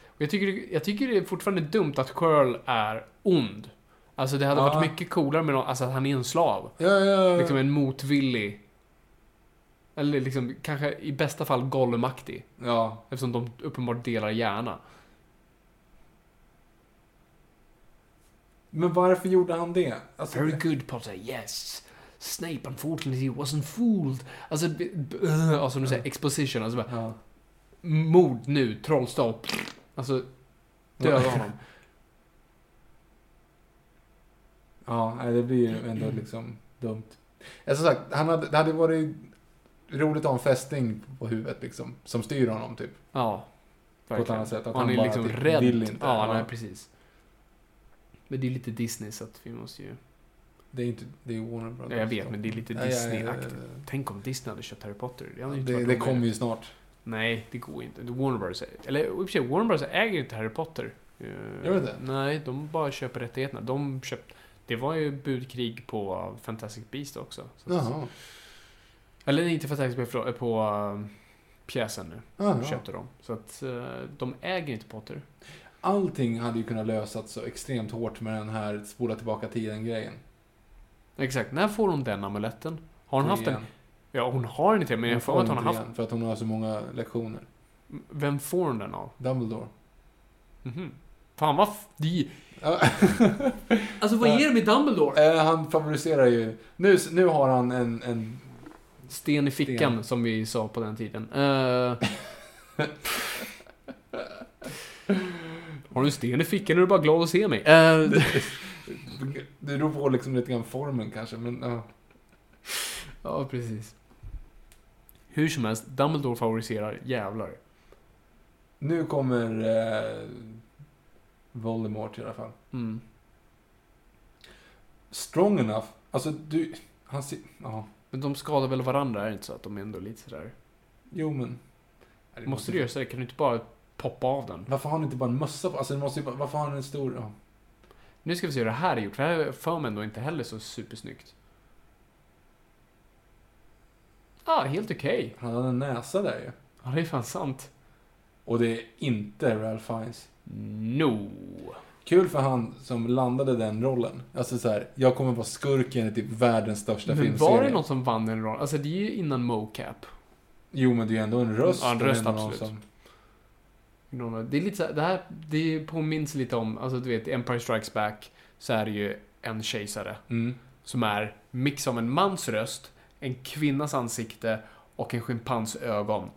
B: Och Jag tycker, jag tycker det är fortfarande dumt att Quirrell är ond. Alltså det hade
A: Ja.
B: varit mycket coolare med någon, alltså att han är en slav.
A: Ja, ja, ja.
B: Liksom en motvillig... Eller liksom, kanske i bästa fall Gollumaktig.
A: ja.
B: Eftersom de uppenbart delar hjärna.
A: Men varför gjorde han det? Alltså,
B: Very good Potter, yes. Snape unfortunately wasn't fooled. Alltså, b- b- uh, alltså som du säger, exposition. Alltså bara,
A: ja.
B: mord nu, trollstav. Alltså, döda honom.
A: Ja, nej, det blir
B: Mm.
A: ju ändå liksom dumt. Ja, som sagt, han hade, det hade varit roligt att ha en fästing på huvudet liksom. Som styr honom typ.
B: Ja.
A: ett annat sätt, att
B: Och han,
A: han
B: är
A: bara
B: liksom
A: typ
B: rädd.
A: vill inte.
B: Ja,
A: Ja.
B: nej, precis. Men det är lite Disney så att vi måste ju...
A: Det är inte, det är Warner Brothers.
B: Ja, jag vet, men det är lite
A: Ja, ja, ja, ja,
B: Disney-aktigt. Tänk om Disney hade köpt Harry Potter. Det,
A: ja.
B: hade ju inte
A: Det,
B: varit
A: det
B: omöjligt.
A: kommer ju snart.
B: Nej, det går inte. Warner Bros. Eller i och för sig, Warner Bros äger inte Harry Potter. Eh,
A: Gör de det?
B: Nej, de bara köper rättigheterna. De köpt... Det var ju budkrig på Fantastic Beast också. Så att-
A: Jaha.
B: Eller nej, inte Fantastic Beast, förlåt, eh, på eh, pjäsen nu.
A: Jaha.
B: Köpte de. Så att eh, de äger inte Potter.
A: Allting hade ju kunnat lösas så extremt hårt med den här spola tillbaka tiden-grejen.
B: Exakt, när får hon den amuletten? Har hon haft den?
A: Igen.
B: Ja, hon har den inte, men
A: Hon
B: jag
A: får
B: får att
A: inte
B: hon har haft...
A: igen, För att hon har så många lektioner.
B: Vem får hon den av?
A: Dumbledore.
B: Mhm. Fan vad... F- det-
A: Ja.
B: Alltså vad är det med Dumbledore?
A: Eh, han favoriserar ju... Nu, nu har han en... en
B: Sten i fickan,
A: Sten.
B: som vi sa på den tiden. Eh, har du en sten i fickan är du bara glad att se mig. Eh,
A: det beror på liksom lite grann formen kanske, men ja.
B: ja, precis. Hur som helst, Dumbledore favoriserar jävlar.
A: Nu kommer eh, Voldemort i alla fall.
B: Mm.
A: Strong enough. Alltså du... Han ser... Ja.
B: Men de skadar väl varandra, är det inte så att de är ändå lite sådär?
A: Jo men...
B: Måste du göra sådär? Kan du inte bara poppa av den?
A: Varför har han inte bara en mössa på? Alltså det måste ju bara... Varför har han en stor... Ja.
B: Nu ska vi se hur det här är gjort, för det här är för mig ändå inte heller så supersnyggt. Ah, helt okej.
A: Han hade en näsa där ju.
B: Ja, det är fan sant.
A: Och det är inte Ralph Fiennes.
B: No.
A: Kul för han som landade den rollen. Alltså så här, jag kommer vara skurken i typ världens största
B: Men
A: filmserie.
B: var det någon som vann en roll? Alltså det är ju innan mocap.
A: Jo men det är ju ändå en röst.
B: Ja, en
A: Det är
B: röst,
A: ändå någon
B: absolut. Någon- Det är lite så här, det här det påminns lite om, alltså du vet, Empire Strikes Back så är det ju en kejsare
A: Mm.
B: som är mix av en mans röst, en kvinnas ansikte och en schimpans ögon.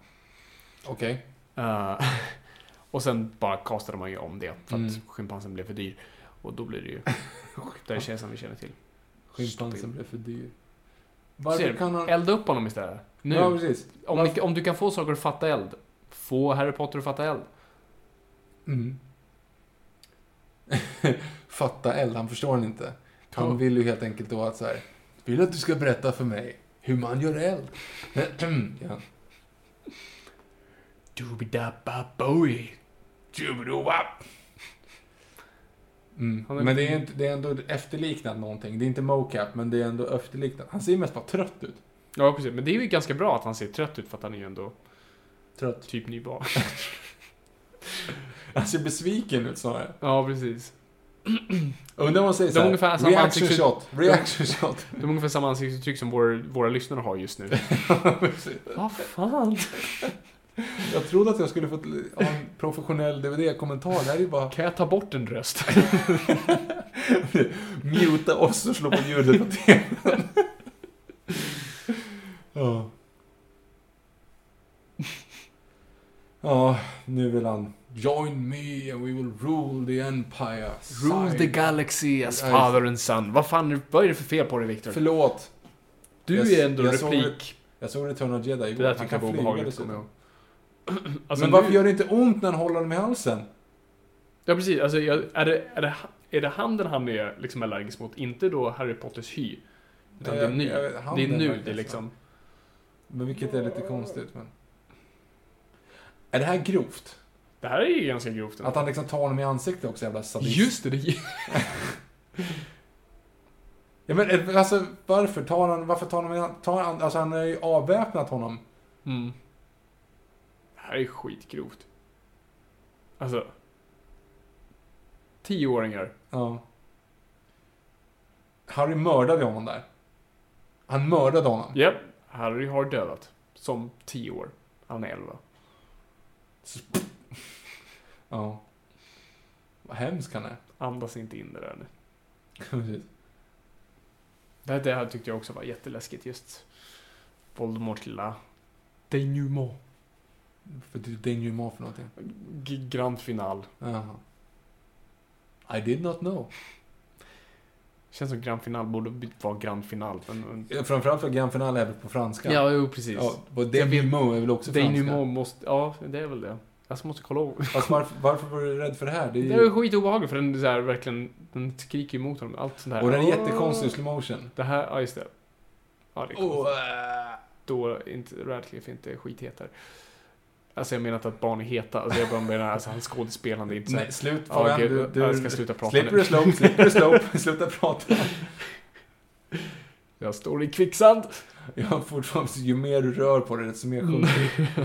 A: Okej.
B: Eh, och sen bara kastade man ju om det för att
A: Mm.
B: schimpansen blev för dyr. Och då blir det ju den kejsaren vi känner till.
A: Schimpansen blev för dyr.
B: Ser
A: Varför
B: du?
A: kan han...
B: Elda upp honom istället. Nu.
A: Ja, precis.
B: Om, ni, om du kan få saker att fatta eld, få Harry Potter att fatta eld.
A: Mm. Fatta eld, han förstår den inte. Han vill ju helt enkelt då att så här, vill att du ska berätta för mig hur man gör eld. ja.
B: Doobidababoi.
A: Tjubidobapp. Mm.
B: Han är-
A: Men det är, inte, det är ändå efterliknat någonting. Det är inte mocap, men det är ändå efterliknat. Han ser mest bara trött ut.
B: Ja, precis. Men det är ju ganska bra att han ser trött ut för att han är ju ändå
A: Trött.
B: typ nybarn.
A: Han ser besviken ut snarare.
B: ja, precis.
A: Undrar vad man säger
B: Det är
A: så här,
B: ungefär samma
A: Reaction
B: ansikts-
A: shot. Reaction shot.
B: De har ungefär samma ansiktsuttryck som vår, våra lyssnare har just nu. Vad fan?
A: jag trodde att jag skulle få ett- ha en professionell DVD-kommentar. Det här är ju bara
B: Kan jag ta bort en röst?
A: Muta oss och slå på ljudet på tvn. ja. Ja, nu vill han. Join me and we will rule the empire.
B: Rule the
A: Sigh.
B: galaxy as
A: Nej.
B: father and son. Vad fan, vad är det för fel på dig, Victor?
A: Förlåt.
B: Du
A: jag-
B: är ändå
A: jag såg-
B: replik
A: Jag såg Return of Jedi
B: Det
A: igår.
B: där
A: Han
B: tyckte jag
A: kan
B: var
A: flyga
B: obehagligt,
A: dessutom.
B: kommer jag ihåg. alltså,
A: Men varför gör det inte ont när han håller dem i halsen?
B: Ja, precis. Alltså, jag, är, det, är, det, är det handen han är liksom allergisk mot? Inte då Harry Potters hy. Utan
A: Nej,
B: det är
A: jag-
B: nu.
A: jag vet,
B: det är
A: handen
B: nu
A: verkar
B: det
A: så.
B: liksom...
A: Men vilket är lite konstigt. Men... Är det här grovt?
B: Det här är ju ganska grovt. ändå.
A: Att han liksom tar honom i ansiktet också, jävla sadist.
B: Just det, det
A: Ja, men eh, alltså varför tar han, varför tar han, tar han, alltså han har ju avväpnat honom.
B: Mm. Det här är skitgrovt. Alltså. Tioåringar.
A: Ja. Harry mördade honom där. Han mördade honom.
B: Japp, Harry har dödat. Som tio år. Han är elva.
A: Ja. Vad hemsk han är.
B: Andas inte in det där nu.
A: Precis.
B: Det här, det här tyckte jag också var jätteläskigt just. Voldemorts lilla denouement.
A: För det det är ju mat för någonting.
B: G- Grand final.
A: Jaha. I did not know.
B: Känns som grand final borde by- vara grand final. Men...
A: Eh, Framförallt för Grand Finale är väl på franska.
B: Ja, jo precis.
A: Ja,
B: Ja,
A: och Denouement är väl också franska.
B: denouement måste... Ja, det är väl det. Jag måste kolla ihåg.
A: Fast varför, varför var du rädd för det här? Det är
B: Det är
A: ju,
B: skitobehagligt för den är så här, verkligen, den skriker emot honom. Allt sånt här.
A: och den är jättekonstig i slow motion.
B: Det här, ja just det. Ja, det är konstigt.
A: Och, äh,
B: Då är inte Radcliffe inte skitheta. Alltså jag menar inte att barn är heta. Alltså jag bara menar, alltså hans skådespelande är inte så här-
A: nej, slut
B: Ja,
A: Fabian.
B: gud,
A: du, du,
B: jag ska sluta prata
A: Slipper
B: nu.
A: du slope, slipper du slope, sluta prata.
B: Jag står i kvicksand.
A: Jag har fortfarande, ju mer du rör på dig desto mer sjunker du.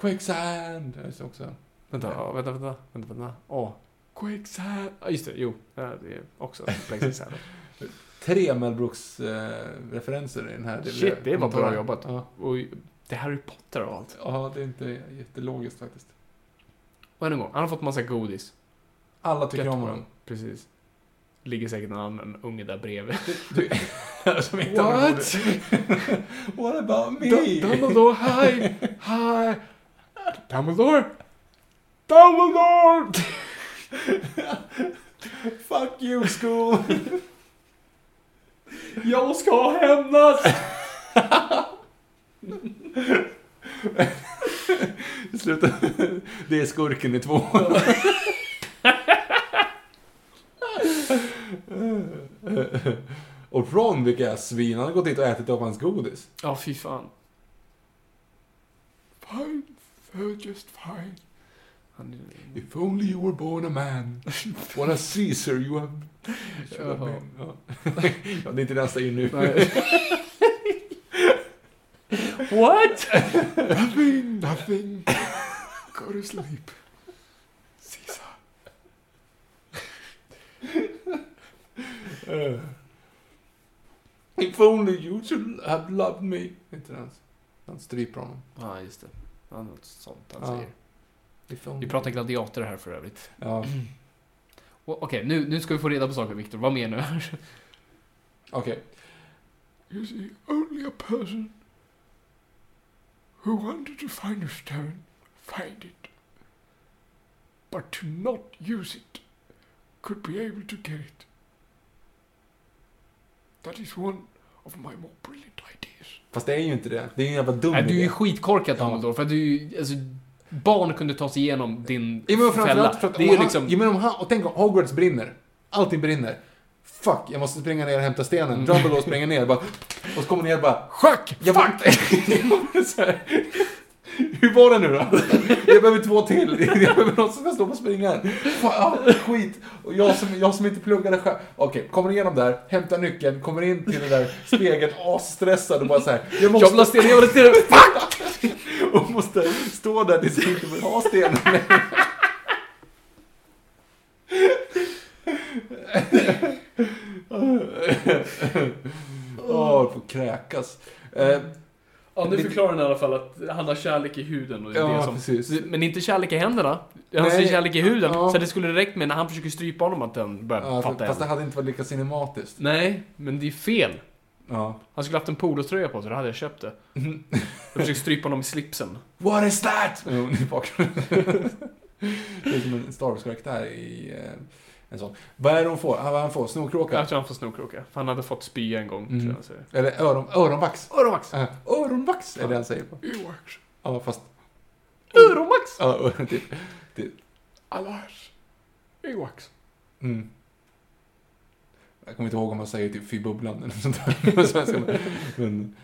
A: Quicksand! Det är också.
B: Vänta, ja, vänta, vänta, vänta, vänta. Åh. Quicksand. Ja, just det. Jo, ja, det är också Quicksand.
A: Tre Mel Brooks-referenser i den här.
B: Shit, det var bra jobbat.
A: Ja.
B: Och det är Harry Potter och allt.
A: ja, det är inte jättelogiskt faktiskt.
B: Och än en gång, han har fått massa godis.
A: Alla tycker
B: Gött
A: om
B: på
A: honom.
B: dem. Precis. Ligger säkert en annan unge där bredvid.
A: Som har
B: What?
A: roligt. What about me?
B: Du- Dumbledore, hi! Hi! Dumbledore! Dumbledore!
A: Fuck you school!
B: Jag ska hämnas!
A: Sluta. Det är skurken i två. Och Ron, vilka svin. Han har gått dit och ätit upp hans godis.
B: Ja, fy fan. Fine, they're just fine. Han är...
A: If only you were born a man. What a Caesar you have...
B: Jaha.
A: Ja. ja, det är inte det han säger nu.
B: Nej. What?
A: Nothing, nothing. Go to sleep. Caesar. Eh. If only you should have loved me. Inte hans. Han stryper honom.
B: Ja, just det. Det var något sånt han
A: Ja.
B: säger.
A: If only-
B: Vi pratar gladiatorer här för övrigt.
A: Ja.
B: Och- Okej, nu, nu ska vi få reda på saker, Viktor. Vad mer nu?
A: Okej.
B: You see, only a person who wanted to find a stone find it, but to not use it could be able to get it. That is one of my more brilliant ideas.
A: Fast det är ju inte det. Det är en jävla dum
B: Nej, du är
A: idé.
B: ju skitkorkad Dumbledore, för att du, alltså, barn kunde ta sig igenom din
A: Ja, men
B: fälla.
A: framförallt för att
B: Det är
A: om
B: ju
A: han,
B: liksom...
A: ja, men om han, och tänk om Hogwarts brinner. Allting brinner. Fuck, jag måste springa ner och hämta stenen. Dumbledore springer ner bara, Mm. och så kommer ner och bara
B: Schack!
A: Jag bara, så här, hur var det nu då? Jag behöver två till. Jag behöver någon som kan stå på springaren. Fan, ja, skit. Och jag, som, jag som inte pluggade själv. Okej, kommer igenom där, hämtar nyckeln, kommer in till den där spegeln, asstressad och bara så här. Jag måste...
B: Jävla sten, jävla sten! Fuck!
A: och måste stå där tills jag inte vill ha stenen längre. Åh, du får kräkas. Eh,
B: Ja, nu förklarar han i alla fall att han har kärlek i huden och Mm. det är
A: Ja,
B: det som...
A: precis.
B: Men inte kärlek i händerna. Han
A: Nej.
B: säger kärlek i huden.
A: Ja.
B: Så det skulle räckt med när han försöker strypa honom att den börjar
A: Ja,
B: fatta
A: fast det
B: eld.
A: hade inte varit lika cinematiskt.
B: Nej, men det är fel.
A: Ja.
B: Han skulle haft en polotröja på sig, då hade jag köpt det. Jag försöker strypa honom i slipsen.
A: What is that? Jo, i bakgrunden. det är som en Star Wars-karaktär i eh, En sån. Vad är det hon får? Ah, Vad han får?
B: Jag
A: Snorkråka?
B: tror han får snorkråka. För han hade fått spya en
A: Mm.
B: gång, tror jag han säger.
A: Eller öron, öronvax?
B: Öronvax!
A: Ah, Öronvax är det han säger. på. Ja, fast...
B: Öronvax!
A: Ja, typ. typ.
B: Annars... Öronvax.
A: Mm. Jag kommer inte ihåg om man säger typ fy bubblan eller något sånt där. på svenska, men- men,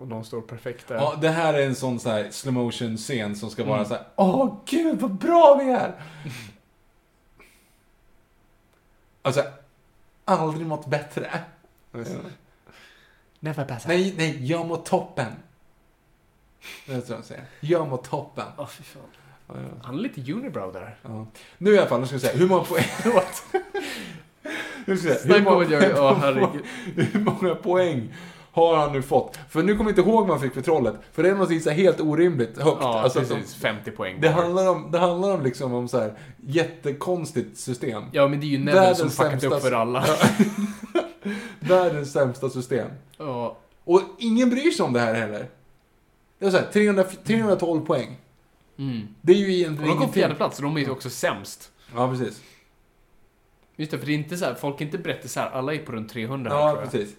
B: Och någon står perfekt där.
A: ja, det här är en sån så här slow motion scen som ska vara så här. Åh gud vad bra vi är! alltså, aldrig mått bättre.
B: Never pass out.
A: Nej, nej, jag mår toppen. Det är så de säger. Jag mår toppen.
B: Åh, fy fan. Han är lite unibrow där.
A: Ja. Nu i alla fall, nu ska vi se. Hur många poäng... What? nu ska vi se. Hur
B: Snacka om
A: många,
B: att jag... Ja, herregud.
A: hur många poäng har han nu fått? För nu kommer jag inte ihåg vad han fick för trollet. För det är någonting så här helt orimligt högt.
B: Ja,
A: Alltså,
B: precis. 50 poäng.
A: det, handlar om, det handlar om liksom om så här jättekonstigt system.
B: Ja, men det är ju Neville som
A: Världens
B: fuckat
A: sämsta-
B: upp för alla.
A: Världens sämsta system.
B: Ja.
A: Och ingen bryr sig om det här heller. Det är så här, 300, 312 poäng.
B: Mm.
A: Det är ju
B: Och
A: egentligen
B: de kom på fjärde plats, så de är ju också sämst.
A: Ja, precis.
B: Just det, för det är inte så här, folk är inte brättisar, alla är på runt 300 här,
A: Ja,
B: tror jag.
A: precis.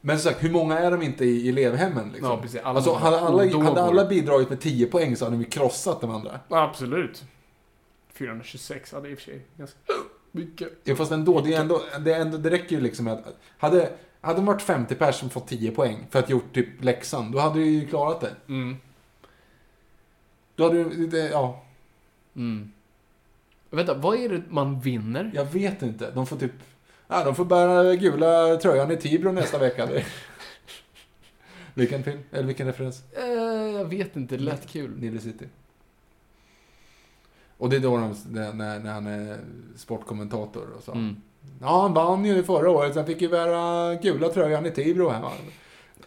A: Men som sagt, hur många är de inte i elevhemmen? Liksom?
B: Ja, precis. Alla-
A: Alltså, hade, alla,
B: odågor.
A: hade alla bidragit med 10 poäng så hade de ju krossat de andra.
B: Absolut. 426, ja det är i och för sig ganska mycket.
A: Ja, fast ändå, det, är ändå, det, är ändå, det räcker ju liksom med att... Hade, hade de varit 50 pers som fått 10 poäng för att gjort typ läxan, då hade du ju klarat det.
B: Mm.
A: Då hade du... Det, ja,
B: Mm. Vänta, vad är det man vinner?
A: jag vet inte. De får typ... Ja, de får bära gula tröjan i Tibro nästa vecka. vilken film? Eller vilken referens?
B: Eh, jag vet inte, det lät kul.
A: Nile City. Och det är då de, när, när han är sportkommentator och så.
B: Mm.
A: Ja, han vann ju förra året. Sen fick ju bära gula tröjan i Tibro hemma.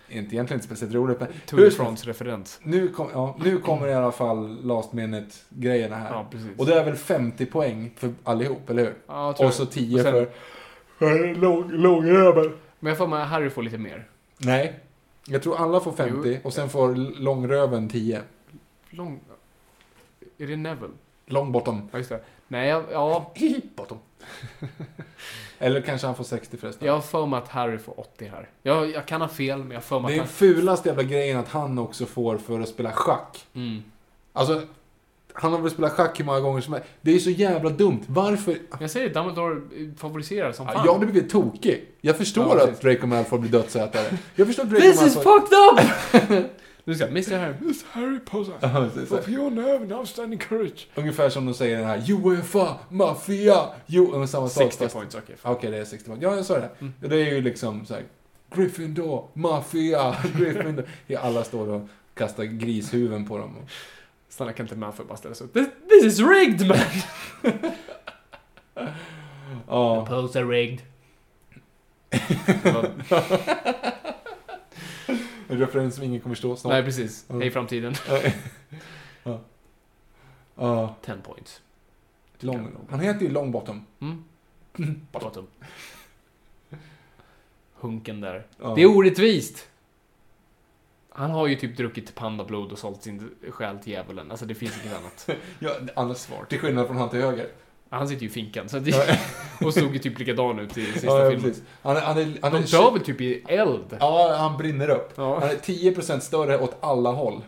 A: Inte egentligen inte speciellt roligt, men...
B: Tour de
A: Hur-
B: France-referens.
A: Nu, kom, ja, nu kommer i alla fall last minute-grejerna här.
B: Ja, precis.
A: och det är väl 50 poäng för allihop, eller hur?
B: Ja, jag tror
A: Och så
B: jag.
A: 10
B: Och sen-
A: för... för Lång, långrövel.
B: Men jag får med Harry får lite mer.
A: Nej. Jag tror alla får 50
B: Jo.
A: och sen får långröven 10.
B: Lång... Är det Neville?
A: Lång bottom.
B: Ja, just det. Nej, jag, ja.
A: Bottom. Eller kanske han får 60 förresten.
B: Jag har för mig att Harry får 80 här. Jag, jag kan ha fel, men jag har för mig
A: Det
B: att
A: är
B: han...
A: fulaste jävla grejen att han också får för att spela schack.
B: Mm.
A: Alltså, han har väl spelat schack hur många gånger som helst. Det är så jävla dumt. Varför?
B: Jag säger Dumbledore eh, favoriserar som fan.
A: Jag hade blivit tokig. Jag förstår
B: Ja,
A: att Draco Malfoy blir dödsätare. Jag förstår att Draco
B: This is
A: Malfoy...
B: fucked up! nu ska jag, Mr Harry. Mr Harry Potter.
A: Ja, precis.
B: your nerve and outstanding courage.
A: Ungefär som de säger i den här Uefa, Mafia, Jo... och Samma sak
B: 60
A: fast-
B: points, okej.
A: Okej, det är 60 poäng. Ja, jag sa det. Det är ju liksom så här, Gryffindor, Mafia, Gryffindor. Ja, alla står och kastar grishuvuden på dem. Och,
B: Stanna kan inte man för att bara ställa sig upp. This, this is rigged man!
A: ja.
B: Poser rigged. Det var-
A: En referens som ingen kommer förstå snart.
B: Nej, precis. Hej framtiden.
A: Ja,
B: 10 points.
A: lång, han heter ju Longbottom.
B: Mm. Bottom. Hunken där.
A: Ja.
B: Det är orättvist! Han har ju typ druckit pandablod och sålt sin själ till djävulen. Alltså det finns inget annat.
A: Ja, alla svar. Till skillnad från han till höger.
B: Han sitter ju i finkan. Så det... och såg ju typ likadan ut i sista
A: Ja, ja,
B: filmen.
A: precis. Han, är- han är... Han
B: De
A: är
B: dör väl typ i eld?
A: ja, han brinner upp.
B: Ja.
A: Han är 10% större åt alla håll.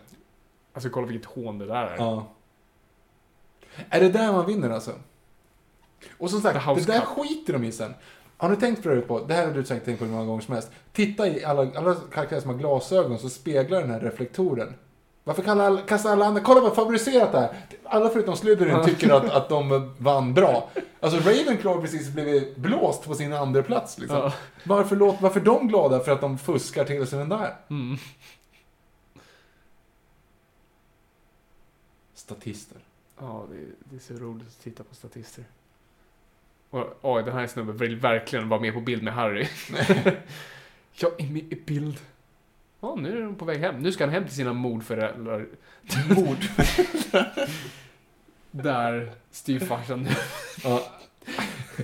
B: Alltså kolla vilket hån det där är.
A: Ja. Är det där man vinner alltså? Och som sagt,
B: The House
A: det där
B: Cup.
A: skiter de i sen. Har ni tänkt förut på, det här har du säkert tänkt på hur många gånger som helst. Titta i alla, alla karaktärer som har glasögon så speglar den här reflektoren. Varför kallar alla, kastar alla andra, kolla vad favoriserat det här! Alla förutom Slytherin tycker att, att de vann bra. Alltså Ravenclaw har precis blivit blåst på sin andra plats liksom.
B: Ja.
A: Varför, låt, varför är de glada för att de fuskar till sig den där?
B: Mm.
A: Statister.
B: Ja, det är, det är så roligt att titta på statister. Och, oj, den här snubben vill verkligen vara med på bild med Harry. Jag är med i bild. Ja, nu är de på väg hem. Nu ska han hem till sina mordföräldrar. Mord? Där styvfarsan
A: Ja.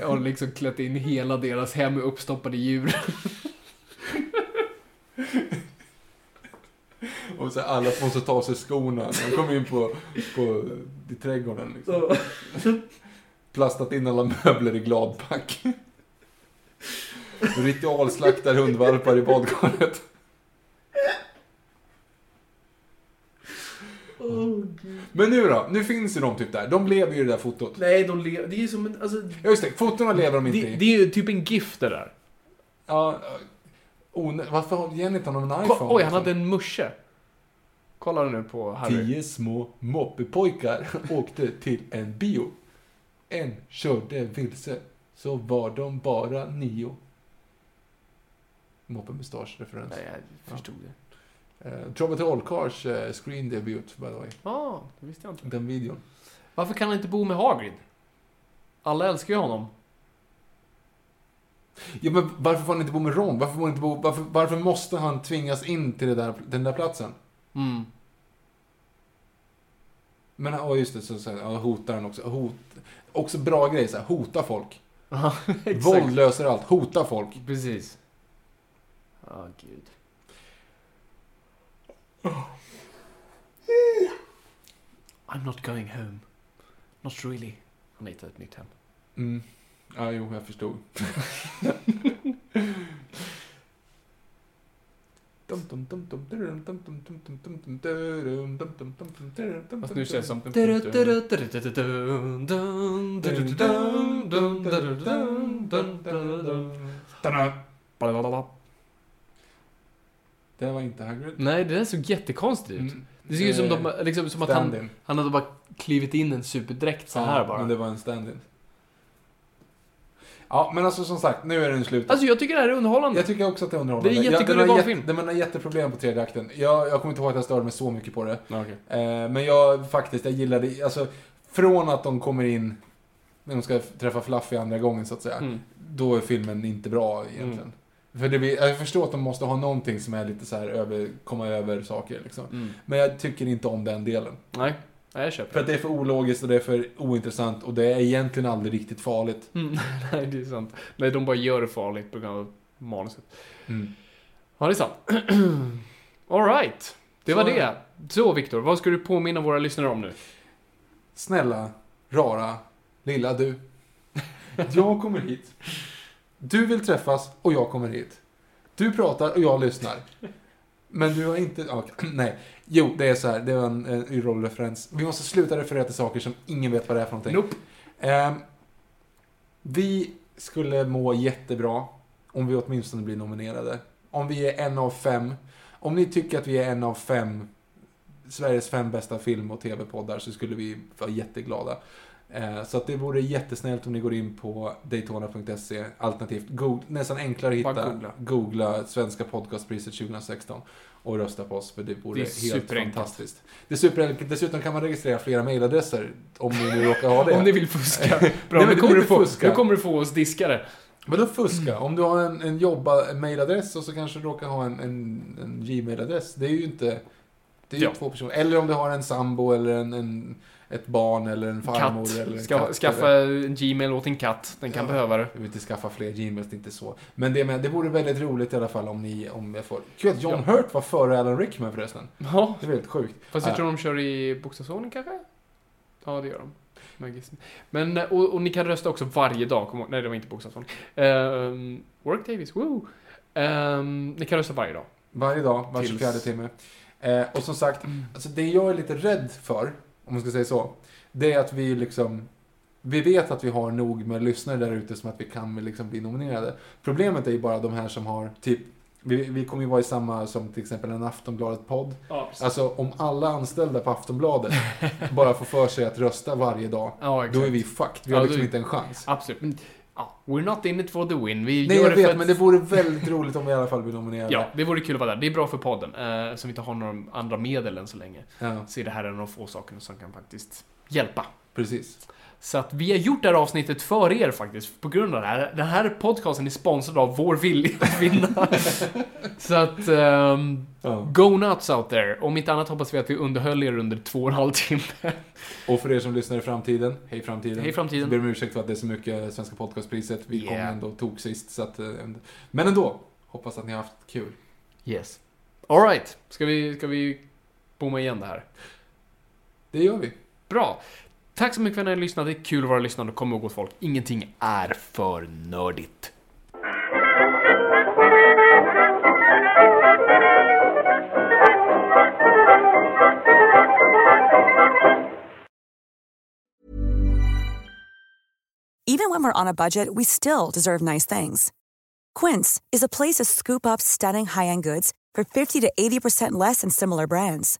B: har liksom klätt in hela deras hem med uppstoppade djur.
A: Och så alla som måste ta av sig skorna. De kommer in på, på, i trädgården. Liksom.
I: Så,
A: Plastat in alla möbler i gladpack. Ritualslaktar hundvalpar i badkaret.
I: oh, gud.
A: Men nu då? Nu finns ju de typ där. De lever ju i det där fotot.
I: Nej, de lever... Det är som en... Alltså,
A: Ja, just det. Fotona lever de inte
B: Det,
A: i.
B: det är ju typ en GIF det där.
A: Ja, onö- varför har Jenny inte någon iPhone?
B: Ko- Oj, han hade en musche. Kolla nu på Harry.
A: Tio små moppepojkar åkte till en bio. En körde vilse, så var de bara nio. Moppemustasch-referens.
B: Nej, jag förstod det.
A: Eh, Trouble to All Cars eh, screen debut, by the way.
B: Ja, det visste jag inte.
A: Den videon.
B: Varför kan han inte bo med Hagrid? Alla älskar ju honom.
A: Ja, men varför får han inte bo med Ron? Varför, får han inte bo, varför, varför måste han tvingas in till det där, den där platsen?
B: Mm.
A: Men ja, just det, så, så, ja, hotar han också. Hot, också bra grej, så här, hota folk. Våld löser allt, hota folk.
B: Precis. Ja, gud. I'm not going home. Not really. Han hittar ett nytt hem.
A: Mm. Ja, jo, jag förstod.
B: Fast nu känns det som...
A: Det var inte Hagrid.
B: Nej, det där såg jättekonstigt ut.
A: Mm.
B: Det ser ju ut som,
A: Eh,
B: de, liksom, som att han,
A: stand-in.
B: han hade bara klivit in en superdräkt så här
A: Ja,
B: bara.
A: Men det var en stand-in. Ja, men alltså som sagt, nu är den slut.
B: Alltså jag tycker det här är underhållande.
A: jag tycker också att det är underhållande.
B: Det är
A: Jag-
B: jättegullig
A: den har
B: barnfilm.
A: jätte- Den har jätteproblem på tredje akten. Jag, jag kommer inte ihåg att jag störde mig så mycket på det.
B: Ja, okej.
A: Eh, men jag faktiskt, jag gillade, alltså från att de kommer in när de ska träffa Fluffy andra gången så att säga.
B: Mm.
A: Då är filmen inte bra egentligen. För det blir, jag förstår att de måste ha någonting som är lite så här över, komma över saker liksom.
B: Mm.
A: Men jag tycker inte om den delen.
B: Nej, Nej, jag köper
A: För att det är för ologiskt och det är för ointressant och det är egentligen aldrig riktigt farligt.
B: Mm, nej, det är sant. Nej, de bara gör det farligt på grund av manuset.
A: Mm.
B: Ja, det är sant. Alright. Det var
A: Så-
B: det. Så, Viktor, vad ska du påminna våra lyssnare om nu?
A: Snälla, rara, lilla du. Jag kommer hit. Du vill träffas och jag kommer hit. Du pratar och jag lyssnar. Men du har inte... ja, nej. Jo, det är så här. Det var en, eh, en Y-roll-referens. Vi måste sluta referera till saker som ingen vet vad det är för någonting.
B: Nope.
A: Ehm, vi skulle må jättebra om vi åtminstone blir nominerade. Om vi är en av fem. Om ni tycker att vi är en av fem Sveriges fem bästa film och tv-poddar så skulle vi vara jätteglada. Eh, Så att det vore jättesnällt om ni går in på daytona.se alternativt Google, nästan enklare att
B: Bara
A: hitta
B: googla.
A: googla Svenska podcastpriset 2016 och rösta på oss för det vore
B: Det är
A: helt
B: superenkelt.
A: fantastiskt. Det är superenkelt. Dessutom kan man registrera flera mailadresser om ni nu råkar ha det.
B: Om ni vill fuska. Bra,
A: men
B: nu,
A: det
B: kommer
A: blir
B: du
A: inte
B: få,
A: fuska.
B: nu kommer du få oss diskare.
A: Vadå fuska? Om du har en, en jobba en mailadress och så kanske du råkar ha en, en, en Gmail-adress. Det är ju inte... Det är ju
B: Ja.
A: två personer. Eller om du har en sambo eller en, en, ett barn eller en farmor.
B: Katt.
A: Eller en
B: Ska,
A: katt
B: skaffa
A: Eller,
B: en Gmail åt en katt. Den kan
A: Ja.
B: behöva det.
A: jag vill inte skaffa fler Gmails, det är inte så. Men det, med, det vore väldigt roligt i alla fall om ni... Om jag får... Kul att John Hurt var före Alan Rickman förresten.
B: Ja,
A: Det är väldigt sjukt.
B: fast jag
A: Ja.
B: tror de kör i bokstavsordning kanske? Ja, det gör de. Magis. Men, eh, och, och ni kan rösta också varje dag. Kom, ihåg- nej, det var inte bokstavsordning. Um, work Davis, woo! Ehm, ni kan rösta varje dag.
A: Varje dag, var
B: Tills- Mm.
A: 24 timme. Eh, och som sagt, alltså det jag är lite rädd för, om man ska säga så, det är att vi liksom... Vi vet att vi har nog med lyssnare där ute som att vi kan väl liksom bli nominerade. Problemet är ju bara de här som har, typ, vi, vi kommer ju vara i samma som till exempel en Aftonbladet-podd.
B: Ja,
A: Alltså om alla anställda på Aftonbladet bara får för sig att rösta varje dag,
B: Ja,
A: då
B: exakt.
A: är vi fucked. Vi
B: Ja,
A: har
B: då-
A: liksom inte en chans.
B: Absolut. Men, ja, we're not in it for the win. Vi
A: Nej,
B: gör
A: jag
B: det för
A: vet,
B: att...
A: men det vore väldigt roligt om vi i alla fall blir nominerade.
B: Ja, det vore kul att vara där. Det är bra för podden, eh, som inte har några andra medel än så länge.
A: ja
B: Så är det här en av de få sakerna som kan faktiskt hjälpa.
A: precis.
B: Så att vi har gjort det här avsnittet för er faktiskt, på grund av det här. Den här podcasten är sponsrad av vår vilja att vinna. Så att, ehm,
A: Ja.
B: go nuts out there. Om inte annat hoppas vi att vi underhöll er under två och en halv timme.
A: Och för er som lyssnar i framtiden, hej framtiden.
B: Hej framtiden.
A: Så ber om ursäkt för att det är så mycket Svenska Podcastpriset. Vi
B: Yeah.
A: kom ändå tok sist, så att... eh, Men ändå, hoppas att ni har haft kul.
B: Yes. Alright, ska vi, ska vi bomma igen det här?
A: Det gör vi.
B: Bra. Tack så mycket för att ni lyssnade. Det är kul att vara lyssnande och komma ihåg gott folk. Ingenting är för nördigt.
J: Even when we're on a budget, we still deserve nice things. Quince is a place to scoop up stunning high-end goods for 50 to 80% less than similar brands.